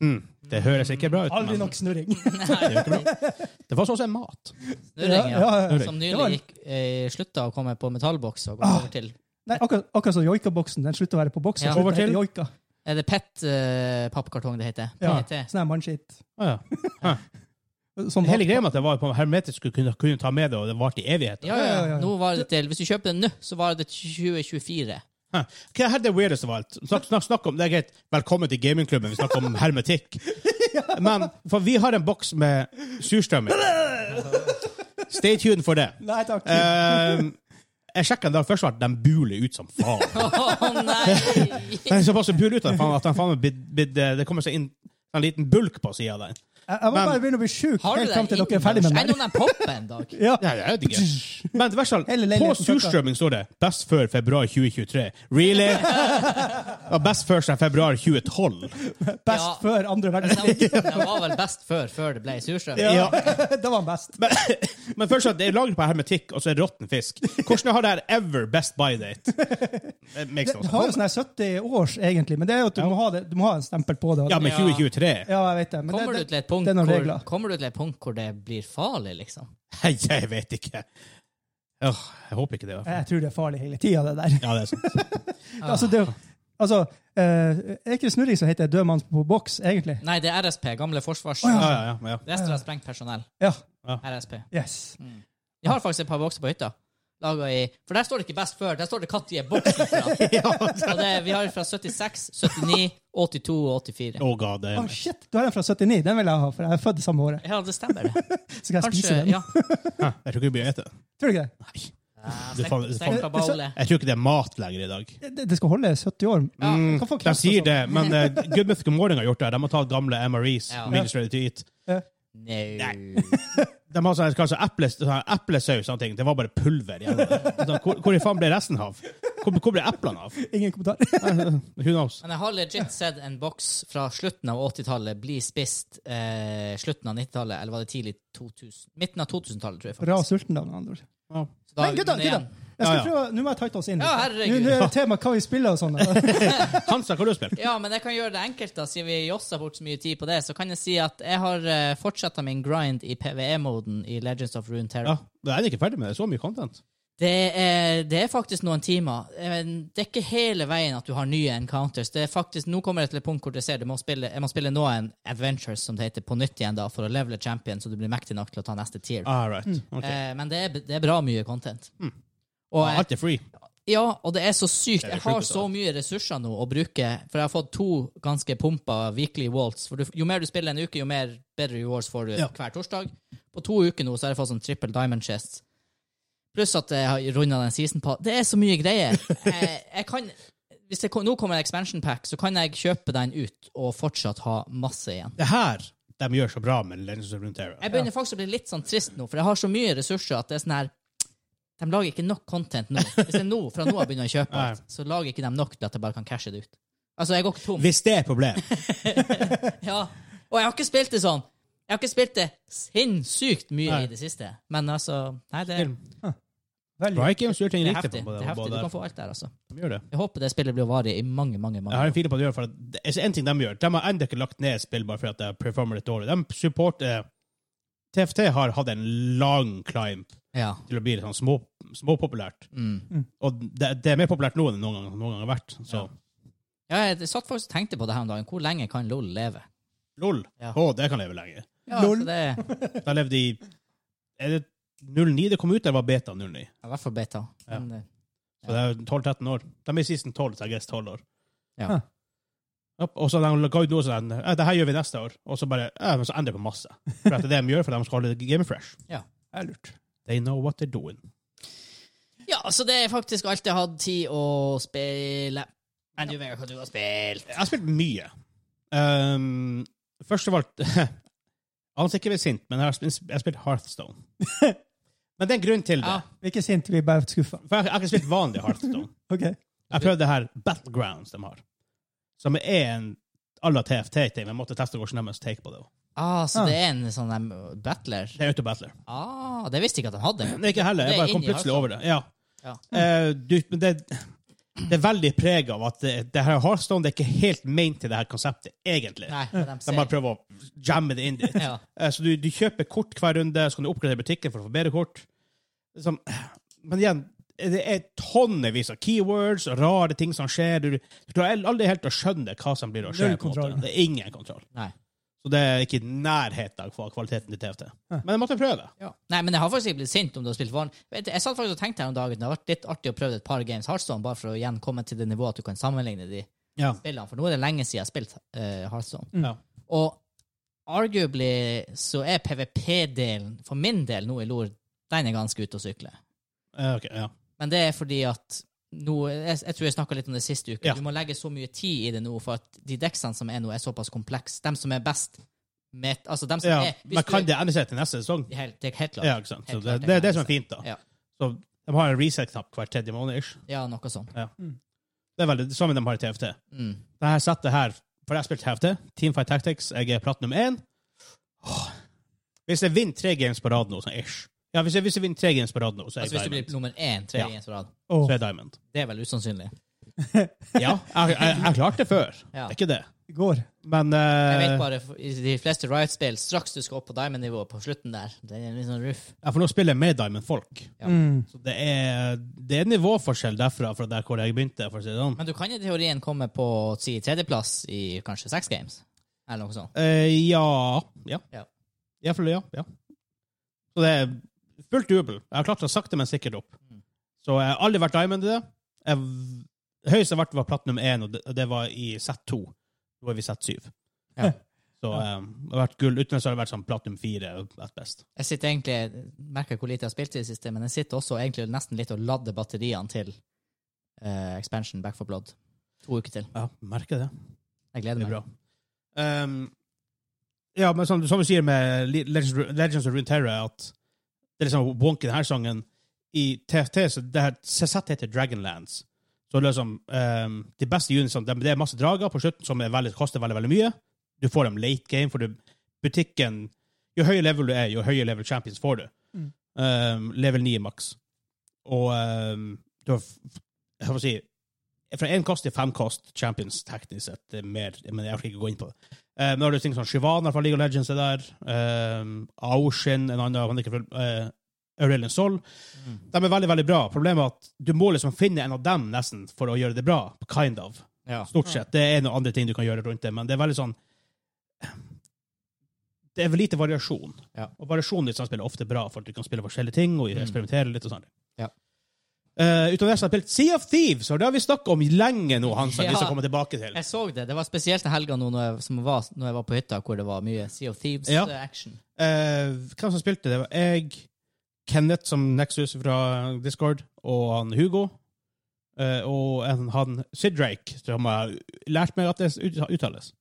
[SPEAKER 1] Mm, det høres ikke bra ut.
[SPEAKER 3] Aldri
[SPEAKER 1] Men
[SPEAKER 3] nok snurring.
[SPEAKER 1] det, er jo ikke bra. det var sånn som en mat.
[SPEAKER 2] Snurring,
[SPEAKER 3] Ja, ja,
[SPEAKER 2] ja.
[SPEAKER 3] ja.
[SPEAKER 2] Som
[SPEAKER 3] Det var- Ah.
[SPEAKER 2] nylig gikk, eh, slutta å komme på metallboks og gå over til
[SPEAKER 3] Nei, akkurat, akkurat som joikaboksen. Den slutter å være på boks.
[SPEAKER 2] Ja.
[SPEAKER 3] og
[SPEAKER 1] Over
[SPEAKER 3] slutter å hete
[SPEAKER 1] til-
[SPEAKER 3] joika.
[SPEAKER 2] Er det PET-pappkartong det heter?
[SPEAKER 3] Ja.
[SPEAKER 2] PET.
[SPEAKER 3] Sånn her mannskitt. Sånn
[SPEAKER 1] Ah, ja.
[SPEAKER 3] Som
[SPEAKER 1] Hele greia med at det var på hermetisk skulle kunne, kunne ta med det, og det varte i evigheter.
[SPEAKER 2] Ja,
[SPEAKER 3] Ja,
[SPEAKER 2] ja,
[SPEAKER 3] ja, ja.
[SPEAKER 2] Nå var det til, hvis du kjøper den nå, så var det til 2024.
[SPEAKER 1] Hæ. Hva er det weirdeste av alt? Snakk, snakk, snakk om, det er greit, velkommen til gamingklubben, vi snakker om hermetikk. Men, for vi har en boks med surstrømming. Stay tuned for det.
[SPEAKER 3] Nei takk.
[SPEAKER 1] Ehm, jeg sjekket en dag først, at den buler ut som faen.
[SPEAKER 2] Å nei!
[SPEAKER 1] Den er såpass buler ut at den faen- at den faen er bidd- bidd- det kommer seg inn en liten bulk på siden av den.
[SPEAKER 3] jeg, jeg må
[SPEAKER 1] men-
[SPEAKER 3] bare begynne å bli sjuk
[SPEAKER 2] Har du
[SPEAKER 3] helt
[SPEAKER 2] den
[SPEAKER 3] fram til dere er
[SPEAKER 2] inni
[SPEAKER 3] ferdig
[SPEAKER 2] deg?
[SPEAKER 3] med
[SPEAKER 2] Jeg
[SPEAKER 3] meg.
[SPEAKER 2] noen den popper en dag.
[SPEAKER 3] Ja.
[SPEAKER 1] Nei, jeg vet ikke. Men i hvert fall,
[SPEAKER 3] Hele
[SPEAKER 1] på
[SPEAKER 3] leiligheten
[SPEAKER 1] surstrømming står det 'best før februar 2023'. Really? Ja, best før siden februar 2012.
[SPEAKER 3] Best
[SPEAKER 2] Ja.
[SPEAKER 3] før andre verdenskrig.
[SPEAKER 2] Den var vel best før, før det ble surstrøm.
[SPEAKER 1] Ja.
[SPEAKER 3] da var han best.
[SPEAKER 1] Men, men først at det er lagret på hermetikk, og så er det råtten fisk. Hvordan har det her ever best by date? Det makes no
[SPEAKER 3] Du har jo
[SPEAKER 1] sense.
[SPEAKER 3] sånn her 70 års, egentlig, men det er jo at du, må ha det, du må ha en stempel på det.
[SPEAKER 1] Ja, men
[SPEAKER 2] Ja.
[SPEAKER 1] 2023?
[SPEAKER 3] Ja, jeg vet det. Men
[SPEAKER 2] Kommer
[SPEAKER 3] det,
[SPEAKER 2] du til
[SPEAKER 3] det,
[SPEAKER 2] et punkt
[SPEAKER 3] det er noen
[SPEAKER 2] hvor,
[SPEAKER 3] regler.
[SPEAKER 2] kommer du til et punkt hvor det blir farlig, liksom?
[SPEAKER 1] Nei, jeg vet ikke. Åh, jeg håper ikke det. i hvert fall.
[SPEAKER 3] Jeg tror det er farlig hele tida, det der.
[SPEAKER 1] Ja, det er sant.
[SPEAKER 2] Ah.
[SPEAKER 3] Altså, det, er jo- altså eh, er ikke det snurring som heter død mann på boks, egentlig?
[SPEAKER 2] Nei, det er RSP, gamle forsvars...
[SPEAKER 1] Ja, ja, ja, ja.
[SPEAKER 2] Resten av sprengt personell.
[SPEAKER 3] Ja.
[SPEAKER 2] RSP.
[SPEAKER 3] Yes.
[SPEAKER 2] Mm. Jeg har faktisk et par bokser på hytta. Laget i, for der står det ikke best før, der står det når er boksen fra. Og det, vi har fra 76, 79, 82 og 84.
[SPEAKER 1] Oh god, det
[SPEAKER 3] Å, Ah, shit, du har en fra 79. Den vil jeg ha, for jeg er født det samme året.
[SPEAKER 2] Ja, det stemmer, det.
[SPEAKER 3] Så kan jeg spise
[SPEAKER 2] Kanskje,
[SPEAKER 3] den.
[SPEAKER 2] ja.
[SPEAKER 1] Hæ, Jeg tror ikke vi blir etter.
[SPEAKER 3] Tror du ikke det?
[SPEAKER 1] Nei. Det faen- det faen-
[SPEAKER 2] Stekk Eh, på bålet.
[SPEAKER 1] Jeg tror ikke det er mat lenger i dag.
[SPEAKER 3] det? Det skal holde 70 år. Hva
[SPEAKER 2] Ja.
[SPEAKER 3] faen
[SPEAKER 1] Mm. De
[SPEAKER 3] knapt
[SPEAKER 1] sier
[SPEAKER 3] og sånn?
[SPEAKER 1] det, men uh, Goodmouth Morning har gjort det. De har tatt gamle MREs.
[SPEAKER 2] Ja.
[SPEAKER 1] Minutes Ready to Eat.
[SPEAKER 2] Nei.
[SPEAKER 1] De har sånn, kanskje eple, sånn, eplesaus og sånne ting. Det var bare pulver. igjen. Sånn, Hvor, hvor i faen ble resten av? Hvor, hvor ble eplene av?
[SPEAKER 3] Ingen kommentar.
[SPEAKER 1] Who knows?
[SPEAKER 2] Men jeg har legit sett en boks fra slutten av 80-tallet bli spist eh, slutten av 90-tallet, eller var det tidlig 2000? Midten av 2000-tallet, tror jeg.
[SPEAKER 3] Bra
[SPEAKER 2] faktisk.
[SPEAKER 3] sulten, da. med andre ord.
[SPEAKER 1] Ja.
[SPEAKER 2] Så da-
[SPEAKER 3] Men gutta,
[SPEAKER 2] men
[SPEAKER 3] gutta!
[SPEAKER 2] igjen,
[SPEAKER 3] Jeg skal
[SPEAKER 1] Ja, ja.
[SPEAKER 3] prøve, Nå må jeg tighte oss inn.
[SPEAKER 2] Ja, herregud.
[SPEAKER 3] Nå, nå er det tema hva vi spiller og sånn. da.
[SPEAKER 1] Hansa, hva har du spilt?
[SPEAKER 2] Ja, men jeg kan gjøre det enkelt, da, siden vi jossa bort så mye tid på det. Så kan jeg si at jeg har uh, fortsatt min grind i PVE-moden i Legends of Rune
[SPEAKER 1] Ja,
[SPEAKER 2] Terror.
[SPEAKER 1] det er jeg ikke ferdig med. Det er så mye content.
[SPEAKER 2] Det er, det er faktisk noen timer. Eh, Det er ikke hele veien at du har nye encounters. Det er faktisk, Nå kommer jeg til et punkt hvor du ser du må spille, jeg må spille noen adventures som det heter, på nytt igjen da, for å levele champion, så du blir mektig nok til å ta neste tier.
[SPEAKER 1] Ah, right. Ok.
[SPEAKER 2] Eh, men det er, det er bra mye content. Og, eh,
[SPEAKER 1] Ah,
[SPEAKER 2] jeg-
[SPEAKER 1] Alt er free.
[SPEAKER 2] ja, og det er så sykt.
[SPEAKER 1] Det er
[SPEAKER 2] Jeg
[SPEAKER 1] det
[SPEAKER 2] har
[SPEAKER 1] sjukeste
[SPEAKER 2] så
[SPEAKER 1] av alt.
[SPEAKER 2] mye ressurser nå å bruke, for jeg har fått to ganske pumpa weekly walls. For du, jo mer du spiller en uke, jo mer bedre rewards får du
[SPEAKER 1] Ja.
[SPEAKER 2] hver torsdag. På to uker nå så har jeg fått sånn triple diamond chests. Pluss at jeg har runda den season pa Det er så mye greier. Jeg, jeg kan Hvis det kom, nå kommer en expansion pack, så kan jeg kjøpe den ut og fortsatt ha masse igjen.
[SPEAKER 1] Det her de gjør så bra med Legends of Runeterra.
[SPEAKER 2] Jeg begynner faktisk å bli litt sånn trist nå, for jeg har så mye ressurser at det er sånn her De lager ikke nok content nå. Hvis jeg nå fra nå av begynner å kjøpe alt, så lager ikke de nok til at jeg bare kan cashe det ut. Altså, jeg går ikke tom.
[SPEAKER 1] Hvis det er et problem.
[SPEAKER 2] Ja. Og jeg har ikke spilt det sånn. Jeg har ikke spilt det sinnssykt mye
[SPEAKER 1] Nei.
[SPEAKER 2] i det siste. Men altså Nei, det,
[SPEAKER 3] Veldig.
[SPEAKER 1] Riot Games gjør ting
[SPEAKER 2] det er
[SPEAKER 1] riktig
[SPEAKER 2] heftig.
[SPEAKER 1] på
[SPEAKER 2] Det
[SPEAKER 1] det.
[SPEAKER 2] er heftig. Du
[SPEAKER 1] både-
[SPEAKER 2] kan få alt der, altså.
[SPEAKER 1] De gjør det.
[SPEAKER 2] Jeg håper det spillet blir å vare i mange, mange
[SPEAKER 1] Jeg
[SPEAKER 2] mange
[SPEAKER 1] har en fil på at de gjør for at det er en ting de gjør. De har ennå ikke lagt ned spill bare fordi at det performer litt dårlig. De supporter TFT har hatt en lang climb
[SPEAKER 2] Ja.
[SPEAKER 1] til å bli litt sånn små- småpopulært.
[SPEAKER 2] Mm.
[SPEAKER 1] og det, det er mer populært nå enn det noen gang, noen gang har vært. Så
[SPEAKER 2] ja. Jeg satt faktisk og tenkte på det her om dagen. Hvor lenge kan LOL leve?
[SPEAKER 1] LOL,
[SPEAKER 2] Ja.
[SPEAKER 1] å, det kan leve lenge.
[SPEAKER 2] Ja,
[SPEAKER 3] LOL.
[SPEAKER 2] altså, det er
[SPEAKER 1] Det har levd i Er det 09 det kom ut, eller var beta 09?
[SPEAKER 2] i hvert fall beta.
[SPEAKER 1] Ja.
[SPEAKER 2] Men, eh,
[SPEAKER 1] Så det er 12-13 år. De er i season 12, så jeg guess 12 år.
[SPEAKER 2] Ja.
[SPEAKER 3] Huh.
[SPEAKER 1] Ja, Og så de ga ut noe sånn eh, Det her gjør vi neste år. Og så bare ja, men så endrer de på masse. For at det er det de gjør, for de skal holde gamet fresh.
[SPEAKER 3] Det er lurt.
[SPEAKER 1] They know what they're doing.
[SPEAKER 2] Ja, så det er faktisk alt jeg hadde tid å spille. Men du vet hva du har spilt.
[SPEAKER 1] Jeg har spilt mye. Um, først av alt Han ser ikke bli sint, men jeg har spilt, jeg har spilt Hearthstone. men det er en grunn til det.
[SPEAKER 2] Ja.
[SPEAKER 3] Vi er ikke sinte, vi er bare skuffa.
[SPEAKER 1] For jeg, jeg har ikke spilt vanlig Hearthstone.
[SPEAKER 3] Ok.
[SPEAKER 1] Jeg prøvde det her Battlegrounds de har. Som er en à la TFT-team. Jeg måtte teste hvordan deres take på det var.
[SPEAKER 2] Ah, så
[SPEAKER 3] Ah.
[SPEAKER 2] det er en sånn um, battler?
[SPEAKER 1] Det er ute og battler.
[SPEAKER 2] Ah, det visste jeg ikke at de hadde.
[SPEAKER 1] Men ikke heller.
[SPEAKER 2] Det
[SPEAKER 1] Jeg
[SPEAKER 2] er
[SPEAKER 1] bare kom
[SPEAKER 2] inni altså.
[SPEAKER 1] plutselig over det. Ja.
[SPEAKER 2] Ja.
[SPEAKER 1] Eh, du, men det, det er veldig preg av at det, det her Hearthstone det er ikke helt ment til det her konseptet, egentlig.
[SPEAKER 2] Nei, det de
[SPEAKER 1] De bare
[SPEAKER 2] ser.
[SPEAKER 1] prøver å jamme det inn dit.
[SPEAKER 2] Ja.
[SPEAKER 1] Eh, Så du, du kjøper kort hver runde, så kan du oppgradere butikken for å få bedre kort. Liksom, men igjen, det er tonnevis av keywords og rare ting som skjer. Du, du klarer aldri helt å skjønne hva som blir å skje.
[SPEAKER 3] Null
[SPEAKER 1] på en måte.
[SPEAKER 3] kontroll.
[SPEAKER 1] Det er ingen kontroll.
[SPEAKER 2] Nei.
[SPEAKER 1] Så det er ikke i nærheten av kvaliteten til TFT. Men jeg måtte prøve.
[SPEAKER 2] Ja. Nei, men jeg har faktisk ikke blitt sint om du har spilt vanlig. Vet du, Jeg satt faktisk og tenkte her om dagen, det har vært litt artig å prøve et par games Hearthstone, bare for å igjen komme til det nivået at du kan sammenligne de
[SPEAKER 1] Ja.
[SPEAKER 2] spillene, for nå er det lenge siden jeg har spilt eh, Hearthstone.
[SPEAKER 3] Mm.
[SPEAKER 1] Ja.
[SPEAKER 2] Og arguably så er PVP-delen, for min del nå i LoR, den er ganske ute å sykle.
[SPEAKER 1] Eh, ok, ja.
[SPEAKER 2] Men det er fordi at nå, jeg, jeg tror jeg snakka litt om det sist uke.
[SPEAKER 1] Ja.
[SPEAKER 2] Du må legge så mye tid i det nå, for at de deksene som er nå, er såpass komplekse. De som er best med, Altså, de som
[SPEAKER 1] ja.
[SPEAKER 2] er hvis
[SPEAKER 1] Men
[SPEAKER 2] du
[SPEAKER 1] kan
[SPEAKER 2] er-
[SPEAKER 1] det endre seg til neste sesong?
[SPEAKER 2] helt, Det er helt klart.
[SPEAKER 1] Ja, ikke sant? Så
[SPEAKER 2] Helt
[SPEAKER 1] det,
[SPEAKER 2] klart,
[SPEAKER 1] det er det
[SPEAKER 2] helt
[SPEAKER 1] som er fint, da.
[SPEAKER 2] Ja.
[SPEAKER 1] Så de har en reset-knapp hver tredje måned. ish.
[SPEAKER 2] Ja, noe sånt.
[SPEAKER 1] Det er veldig det samme de har i TFT.
[SPEAKER 2] Mm.
[SPEAKER 1] Det her settet her For jeg har spilt TFT, Teamfight Tactics, jeg er platinum 1. Åh. Hvis jeg vinner tre games på rad nå, sånn ish Ja, hvis jeg, hvis jeg vinner tre games på rad nå, så er
[SPEAKER 2] Altså,
[SPEAKER 1] jeg
[SPEAKER 2] hvis du blir
[SPEAKER 1] diamond.
[SPEAKER 2] nummer én tre
[SPEAKER 1] Ja.
[SPEAKER 2] ganger på rad,
[SPEAKER 1] Så
[SPEAKER 3] Åh,
[SPEAKER 1] er jeg diamond.
[SPEAKER 2] det er vel usannsynlig.
[SPEAKER 1] Ja, jeg, jeg, jeg klarte det før.
[SPEAKER 2] Ja.
[SPEAKER 1] Det er ikke det.
[SPEAKER 3] det går.
[SPEAKER 1] Men eh,
[SPEAKER 2] Jeg vet
[SPEAKER 1] jeg,
[SPEAKER 2] bare, for- i de fleste Riot-spill, straks du skal opp på diamond-nivå på slutten der, det er litt sånn ruff.
[SPEAKER 1] får nå spille med diamond-folk.
[SPEAKER 2] Ja.
[SPEAKER 3] Mm.
[SPEAKER 1] Så det er, det er nivåforskjell derfra fra der hvor jeg begynte. for å si det sånn.
[SPEAKER 2] Men du kan i teorien komme på si, tredjeplass i kanskje seks games, eller noe sånt.
[SPEAKER 1] Eh, ja. Ja.
[SPEAKER 2] Ja.
[SPEAKER 1] Iallfall ja. ja. Så det er fullt jubel. Jeg har klart det sakte, men sikkert opp.
[SPEAKER 2] Mm.
[SPEAKER 1] Så jeg har aldri vært diamond i det. Jeg, høyest jeg har vært, var platinum 1, og det, og det var i Z2. Nå er vi Z7.
[SPEAKER 2] Ja.
[SPEAKER 1] Så eh, jeg har vært gull. Utenlands har det vært sånn platinum 4 at best.
[SPEAKER 2] Jeg sitter egentlig, jeg merker hvor lite jeg har spilt i det siste, men jeg sitter også egentlig nesten litt og lader batteriene til eh, expansion Back for Blood. To uker til.
[SPEAKER 1] Ja, merker det.
[SPEAKER 2] Jeg gleder
[SPEAKER 1] Det
[SPEAKER 2] meg.
[SPEAKER 1] er bra. Ehm, ja, men som, som du sier med Le- Legends, Legends of Runeterra, at det er liksom wonky denne sangen. I TFT så det her sett heter Dragonlands. Så det er liksom ehm, De beste unisene de, Det er masse drager på slutten som er veldig, koster veldig veldig mye. Du får dem late game, for du, butikken Jo høyere level du er, jo høyere level champions får du.
[SPEAKER 3] Mm.
[SPEAKER 1] Ehm, level 9 maks. Og ehm, du har f- f- Jeg får si fra én kost til fem kost champions teknisk sett. Det er mer, men jeg orker ikke gå inn på det. Eh, men da har du ting som Shivana fra League of Legends er der. Um, Aushin, en annen han er ikke fra, eh, Aurelian Sol. De er veldig veldig bra. Problemet er at du må liksom finne en av dem nesten for å gjøre det bra. Kind of.
[SPEAKER 2] Ja.
[SPEAKER 1] Stort sett. Det er noen andre ting du kan gjøre rundt det, men det er veldig sånn Det er vel lite variasjon.
[SPEAKER 2] Ja. Mm.
[SPEAKER 1] Og variasjon i et samspill er ofte bra, for at du kan spille forskjellige ting og eksperimentere litt. og sånn.
[SPEAKER 2] Ja.
[SPEAKER 1] Eh, utover det så har jeg spilt Sea of Thieves, og det har vi snakket om lenge nå, Hansa. Vi
[SPEAKER 2] Ja.
[SPEAKER 1] skal komme tilbake til.
[SPEAKER 2] Jeg så det. Det var spesielt den helga nå når jeg, som var, når jeg var på hytta, hvor det var mye Sea of
[SPEAKER 1] Ja.
[SPEAKER 2] Thieves-action.
[SPEAKER 1] Eh, hvem som spilte det? Det var jeg, Kenneth som Nexus fra Discord, og han Hugo. eh, og en, han Sidrake, som har lært meg at det ut- uttales.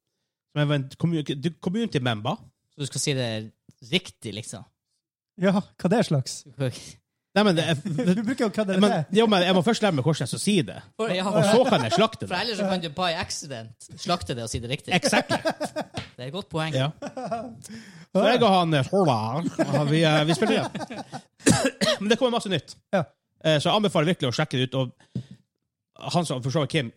[SPEAKER 1] Som er en commu- community member.
[SPEAKER 2] Så du skal si det riktig, liksom.
[SPEAKER 3] Ja, hva det er slags?
[SPEAKER 1] Nei, men, det er,
[SPEAKER 3] Du bruker jo hva det er.
[SPEAKER 1] men, jo, men jeg må først lære meg hvordan jeg skal si det.
[SPEAKER 2] For, ja,
[SPEAKER 1] Og
[SPEAKER 2] for,
[SPEAKER 1] så kan jeg slakte
[SPEAKER 2] for
[SPEAKER 1] det.
[SPEAKER 2] ellers så kan du by accident slakte det og si det riktig.
[SPEAKER 1] Exactly.
[SPEAKER 2] Det er et godt poeng.
[SPEAKER 1] Ja. Så jeg og han eh, Hola, har vi, eh, vi spilte det. Men det kommer masse nytt.
[SPEAKER 3] Ja.
[SPEAKER 1] Eh, Så jeg anbefaler virkelig å sjekke det ut. Og han som for så vidt Kim,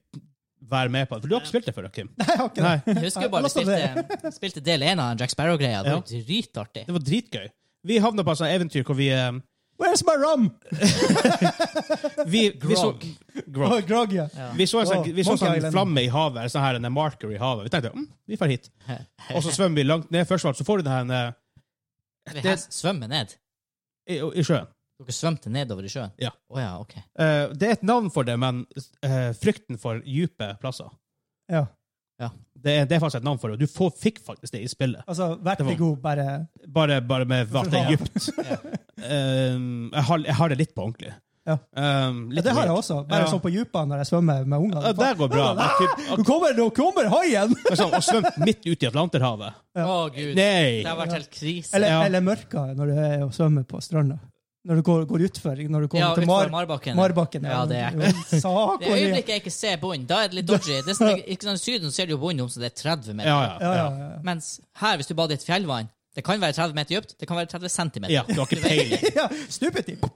[SPEAKER 1] vær med på det. For du har ikke spilt det før, Kim?
[SPEAKER 3] Nei, jeg har ikke det.
[SPEAKER 1] Nei.
[SPEAKER 2] Jeg husker jo bare vi
[SPEAKER 3] Jeg lastet
[SPEAKER 2] spilte, spilte del én av den Jack Sparrow-greia. Det
[SPEAKER 1] altså Ja.
[SPEAKER 2] var dritartig.
[SPEAKER 1] Det var dritgøy. Vi havna på et sånt eventyr hvor vi eh,
[SPEAKER 3] Where's my rum?
[SPEAKER 1] Vi, vi så
[SPEAKER 2] Grog.
[SPEAKER 1] Grog.
[SPEAKER 3] Åh, Grog, ja.
[SPEAKER 1] Vi så en sånn, vi så
[SPEAKER 3] Monkey
[SPEAKER 1] sånn
[SPEAKER 3] Island.
[SPEAKER 1] flamme i havet, eller sånn her, en marker i havet. Vi tenkte mm, vi drar hit. Og så svømmer vi langt ned. Først av alt så får du den her eh,
[SPEAKER 2] Vi
[SPEAKER 1] det-
[SPEAKER 2] hest- svømmer ned.
[SPEAKER 1] eh, i, i sjøen.
[SPEAKER 2] Dere svømte nedover i sjøen?
[SPEAKER 1] Ja.
[SPEAKER 2] Å ja, ok.
[SPEAKER 1] Eh, det er et navn for det, men eh, frykten for dype plasser.
[SPEAKER 3] ja.
[SPEAKER 1] Det er, det er faktisk et navn for det. og Du får, fikk faktisk det i spillet,
[SPEAKER 3] Altså, vertigo, bare
[SPEAKER 1] bare, bare med at det er dypt. Um, jeg, har, jeg har det litt på ordentlig.
[SPEAKER 3] Ja.
[SPEAKER 1] Um,
[SPEAKER 3] ja,
[SPEAKER 1] litt
[SPEAKER 3] Det har jeg
[SPEAKER 1] weird.
[SPEAKER 3] også. Bare
[SPEAKER 1] Ja.
[SPEAKER 3] sånn på dypene når jeg svømmer med ungene.
[SPEAKER 1] Ja, det går bra. Men typ,
[SPEAKER 3] Nå kommer, nå kommer haien!
[SPEAKER 1] at- liksom, å svømme midt ute i Atlanterhavet
[SPEAKER 2] Å, gud.
[SPEAKER 1] Nei!
[SPEAKER 2] Det har vært helt krise.
[SPEAKER 3] Eller,
[SPEAKER 1] Ja.
[SPEAKER 3] eller mørka når du er og svømmer på stranda. Når du går, går utfor. Når du kommer
[SPEAKER 2] Ja,
[SPEAKER 3] til
[SPEAKER 2] utenfor
[SPEAKER 3] Mar
[SPEAKER 2] Marbakken.
[SPEAKER 3] Marbakken.
[SPEAKER 2] Ja, det er Det
[SPEAKER 3] Sakori.
[SPEAKER 2] øyeblikket jeg ikke ser bunnen, da er det litt dodgy. Det er sånn, ikke sånn, I Syden ser du jo bunnen om så det er 30 meter.
[SPEAKER 1] Ja,
[SPEAKER 3] Ja,
[SPEAKER 1] ja.
[SPEAKER 3] ja,
[SPEAKER 1] ja.
[SPEAKER 3] ja.
[SPEAKER 2] Mens her, hvis du bader i et fjellvann, det kan være 30 meter dypt, det kan være 30 cm.
[SPEAKER 1] ja du har ikke peiling.
[SPEAKER 3] ja. Stupid tip.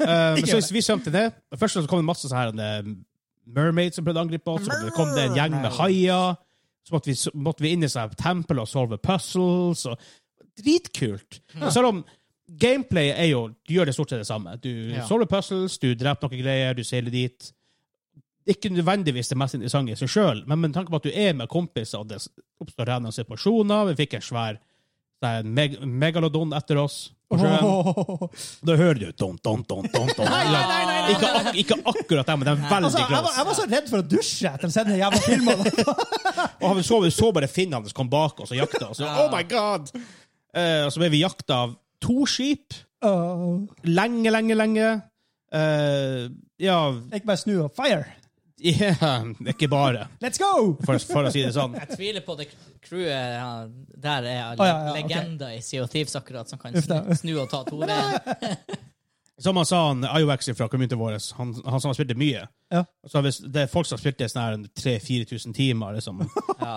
[SPEAKER 1] Uh, men så vi svømte ned. Først så kom det masse sånne her, eh, mermaids som prøvde å angripe oss. Så kom det en gjeng med haier. Så måtte vi, så måtte vi inn i sånne tempel og solve puzzles. Og dritkult. Selv om gameplay er jo, du gjør det stort sett det samme. Du
[SPEAKER 2] Ja.
[SPEAKER 1] solver puzzles, du dreper noen greier, du seiler dit. Ikke nødvendigvis det mest interessante i seg sjøl, men med tanke på at du er med kompiser, og det oppstår rene situasjoner Vi fikk en svær det er en meg megalodon etter oss på sjøen. Da hører du don, don, don, don, don.
[SPEAKER 2] nei, nei, nei, nei.
[SPEAKER 1] Ikke, ak ikke akkurat det, men det er
[SPEAKER 3] Altså,
[SPEAKER 1] veldig
[SPEAKER 3] jeg, var,
[SPEAKER 1] close.
[SPEAKER 3] jeg var så redd for å dusje etter å se den jævla filmen.
[SPEAKER 1] Og han så, så bare finnen hans kom bak oss og jakta oss. Og, oh my god! Eh, og så ble vi jakta av to skip.
[SPEAKER 3] Åh.
[SPEAKER 1] Lenge, lenge, lenge. Eh, ja
[SPEAKER 3] Ikke bare snu og fire.
[SPEAKER 1] yeah, Ikke bare,
[SPEAKER 3] Let's go!
[SPEAKER 1] for, for å si det sånn.
[SPEAKER 2] Jeg tviler på det crewet ja, der er le
[SPEAKER 3] Å, ja, ja, ok.
[SPEAKER 2] legender i CO Thieves akkurat, som kan
[SPEAKER 3] Uff da.
[SPEAKER 2] snu, snu og ta to ved.
[SPEAKER 1] Som han sa, han IOX fra communityen vår, han, han som har spilt det mye
[SPEAKER 3] Ja.
[SPEAKER 1] så hvis Det er folk som har spilt det sånn 3000-4000 timer, liksom.
[SPEAKER 2] Ja.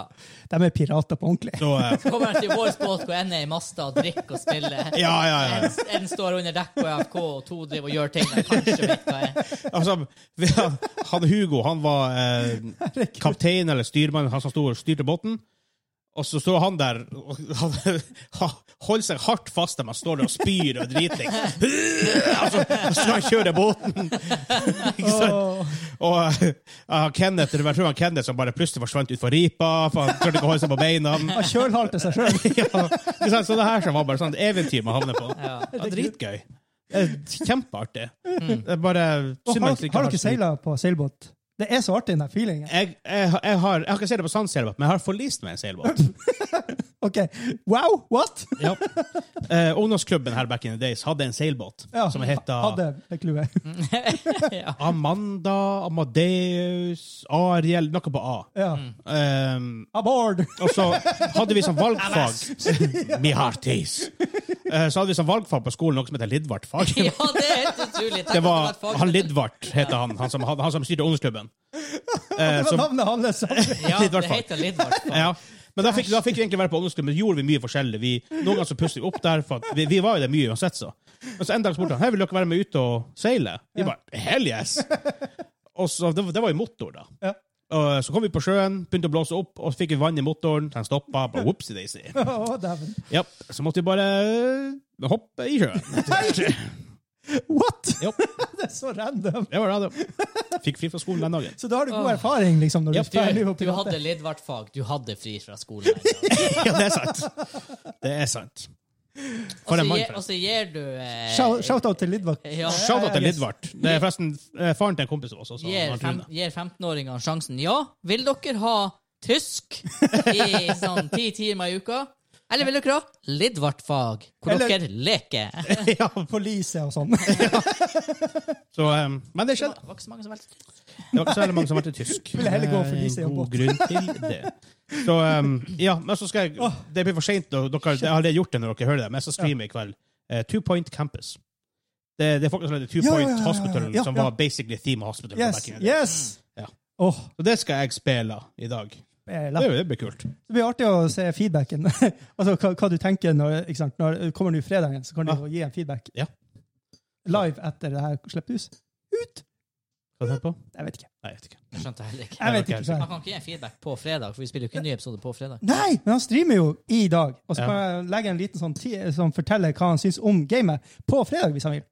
[SPEAKER 3] De er pirater på ordentlig.
[SPEAKER 1] Så eh,
[SPEAKER 2] Kommer han til vår båt hvor en er i masta og drikker og spiller.
[SPEAKER 1] Ja, ja, ja.
[SPEAKER 2] En, en står under dekk på AFK, og to driver og gjør ting de kanskje vet hva er.
[SPEAKER 1] Altså, vi, han Hugo han var eh, kaptein eller styrmann, han som sto og styrte båten. Og så står han der og han, han holder seg hardt fast der man står der og spyr og driter. Altså, så skal han kjøre båten! Ikke sant?
[SPEAKER 3] Åh.
[SPEAKER 1] Og eh, han Kenneth, det var- jeg tror det var Kenneth som bare plutselig forsvant utfor ripa, for han klarte ikke å holde seg på beina.
[SPEAKER 3] Han kjølhalte seg sjøl.
[SPEAKER 1] Ja, ikke sant? så det her som var bare sånn eventyr man havner på.
[SPEAKER 2] Ja.
[SPEAKER 1] Det er dritgøy. Det er Kjempeartig. Det er bare
[SPEAKER 3] Mm. Har,
[SPEAKER 1] synd man ikke
[SPEAKER 3] har dere
[SPEAKER 1] så mye-
[SPEAKER 3] seila på seilbåt? Det er så artig, den der feelingen.
[SPEAKER 1] jeg, jeg, har- jeg, har, jeg har ikke sett det på sann seilbåt, men jeg har forlist meg en seilbåt.
[SPEAKER 3] Ok, Wow, what?
[SPEAKER 1] ja. eh, ungdomsklubben her back in the days hadde en seilbåt
[SPEAKER 3] Ja,
[SPEAKER 1] som Mm, het da
[SPEAKER 3] Hadde det clouet.
[SPEAKER 2] Ja.
[SPEAKER 1] Amanda, Amadeus, Ariel Noe på A.
[SPEAKER 3] Ja.
[SPEAKER 1] Um,
[SPEAKER 3] Aboard!
[SPEAKER 1] og så hadde vi som valgfag Mi hearties. Eh, så hadde vi som valgfag på skolen noe som heter Lidvart-fag.
[SPEAKER 2] ja, det er helt utrolig. Tenk
[SPEAKER 1] Det
[SPEAKER 2] at
[SPEAKER 1] var
[SPEAKER 2] et fag-
[SPEAKER 1] han Lidvart, heter han, han som, hadde- han som styrte ungdomsklubben.
[SPEAKER 3] Det
[SPEAKER 1] Eh,
[SPEAKER 3] var
[SPEAKER 1] som-
[SPEAKER 3] navnet hans.
[SPEAKER 2] Ja,
[SPEAKER 1] Lidvard
[SPEAKER 2] det
[SPEAKER 1] fag.
[SPEAKER 2] heter Lidvard.
[SPEAKER 1] Ja. Men da fikk, da fikk vi egentlig være på ungdomsklubben. men gjorde vi mye forskjellig. Vi, noen ganger så pusset vi opp der, for at vi, vi var jo der mye uansett, så. Men så en dag spurte han hei, vil dere være med ut og seile. Vi bare hell yes! Og så, det, var- det var jo motor, da.
[SPEAKER 3] Ja.
[SPEAKER 1] Og så kom vi på sjøen, begynte å blåse opp, og så fikk vi vann i motoren. Den stoppa. Bare whoopsie daisy.
[SPEAKER 3] Å, dæven.
[SPEAKER 1] Ja, så måtte vi bare øh, hoppe i sjøen.
[SPEAKER 3] What?!
[SPEAKER 1] Jo.
[SPEAKER 3] det er så random.
[SPEAKER 1] Det var radio. Fikk fri fra skolen den dagen.
[SPEAKER 3] Så da har du god
[SPEAKER 2] Åh.
[SPEAKER 3] erfaring, liksom, når du
[SPEAKER 1] Ja,
[SPEAKER 3] er ferdig med
[SPEAKER 2] Du, du hadde
[SPEAKER 3] pilotet.
[SPEAKER 2] Lidvard-fag. Du hadde fri fra skolen. altså. en dag.
[SPEAKER 1] Ja, det er sant. Det er sant. For
[SPEAKER 2] Og så
[SPEAKER 1] en mann,
[SPEAKER 2] gir-
[SPEAKER 1] forresten.
[SPEAKER 2] Og så gir du eh,
[SPEAKER 3] Shout- Shout-out til Lidvak.
[SPEAKER 2] ja,
[SPEAKER 1] Shout-out til Lidvard. Det er forresten eh, faren til en kompis av oss. Også,
[SPEAKER 2] gir,
[SPEAKER 1] han
[SPEAKER 2] fem,
[SPEAKER 1] Rune.
[SPEAKER 2] gir 15-åringene sjansen. Ja, vil dere ha tysk i sånn ti timer i uka? Eller vil dere ha Lidvard-fag, hvor
[SPEAKER 3] Eller-
[SPEAKER 2] dere leker? Det
[SPEAKER 1] ja,
[SPEAKER 3] Police og sånn.
[SPEAKER 1] så, eh, men det skjedde.
[SPEAKER 2] var ikke så mange som valgte.
[SPEAKER 1] Det var ikke så veldig mange som var til tysk.
[SPEAKER 3] Ville heller gå for
[SPEAKER 1] Det er
[SPEAKER 3] Lise i
[SPEAKER 1] en
[SPEAKER 3] en
[SPEAKER 1] god grunn til det. Så, eh, ja, men så skal jeg, det blir for seint. Dere jeg har allerede gjort det når dere hører det, men jeg skal streame i kveld. Eh, Two Point Campus. Det, det er folk som heter Two
[SPEAKER 3] Ja, ja,
[SPEAKER 1] Point
[SPEAKER 3] ja, ja, ja.
[SPEAKER 1] Hospital,
[SPEAKER 3] Ja,
[SPEAKER 1] som
[SPEAKER 3] ja.
[SPEAKER 1] var basically theme hospital.
[SPEAKER 3] Yes.
[SPEAKER 1] back in the day.
[SPEAKER 3] yes.
[SPEAKER 1] Mm, Ja.
[SPEAKER 3] Åh,
[SPEAKER 1] Så det skal jeg spille i dag.
[SPEAKER 3] eh,
[SPEAKER 1] Det,
[SPEAKER 3] la-
[SPEAKER 1] det blir kult.
[SPEAKER 3] Det blir artig å se feedbacken. altså hva, hva du tenker når, ikke sant? når Kommer nå fredagen, så kan du
[SPEAKER 1] Ja.
[SPEAKER 3] jo gi en feedback.
[SPEAKER 1] Ja.
[SPEAKER 3] Live etter det her slippes ut. Ut!
[SPEAKER 1] Hva tenker du på?
[SPEAKER 3] Jeg vet ikke.
[SPEAKER 1] Nei, jeg vet ikke.
[SPEAKER 2] Jeg skjønte heller ikke.
[SPEAKER 3] Jeg vet
[SPEAKER 1] Ja,
[SPEAKER 3] ikke
[SPEAKER 1] ok.
[SPEAKER 3] selv.
[SPEAKER 2] Man kan ikke gi en feedback på fredag, for vi spiller jo ikke en ny episode på fredag.
[SPEAKER 3] Nei, men han streamer jo i dag. Og så
[SPEAKER 1] Ja.
[SPEAKER 3] kan jeg legge en liten sånn ti som forteller hva han syns om gamet, på fredag, hvis han vil.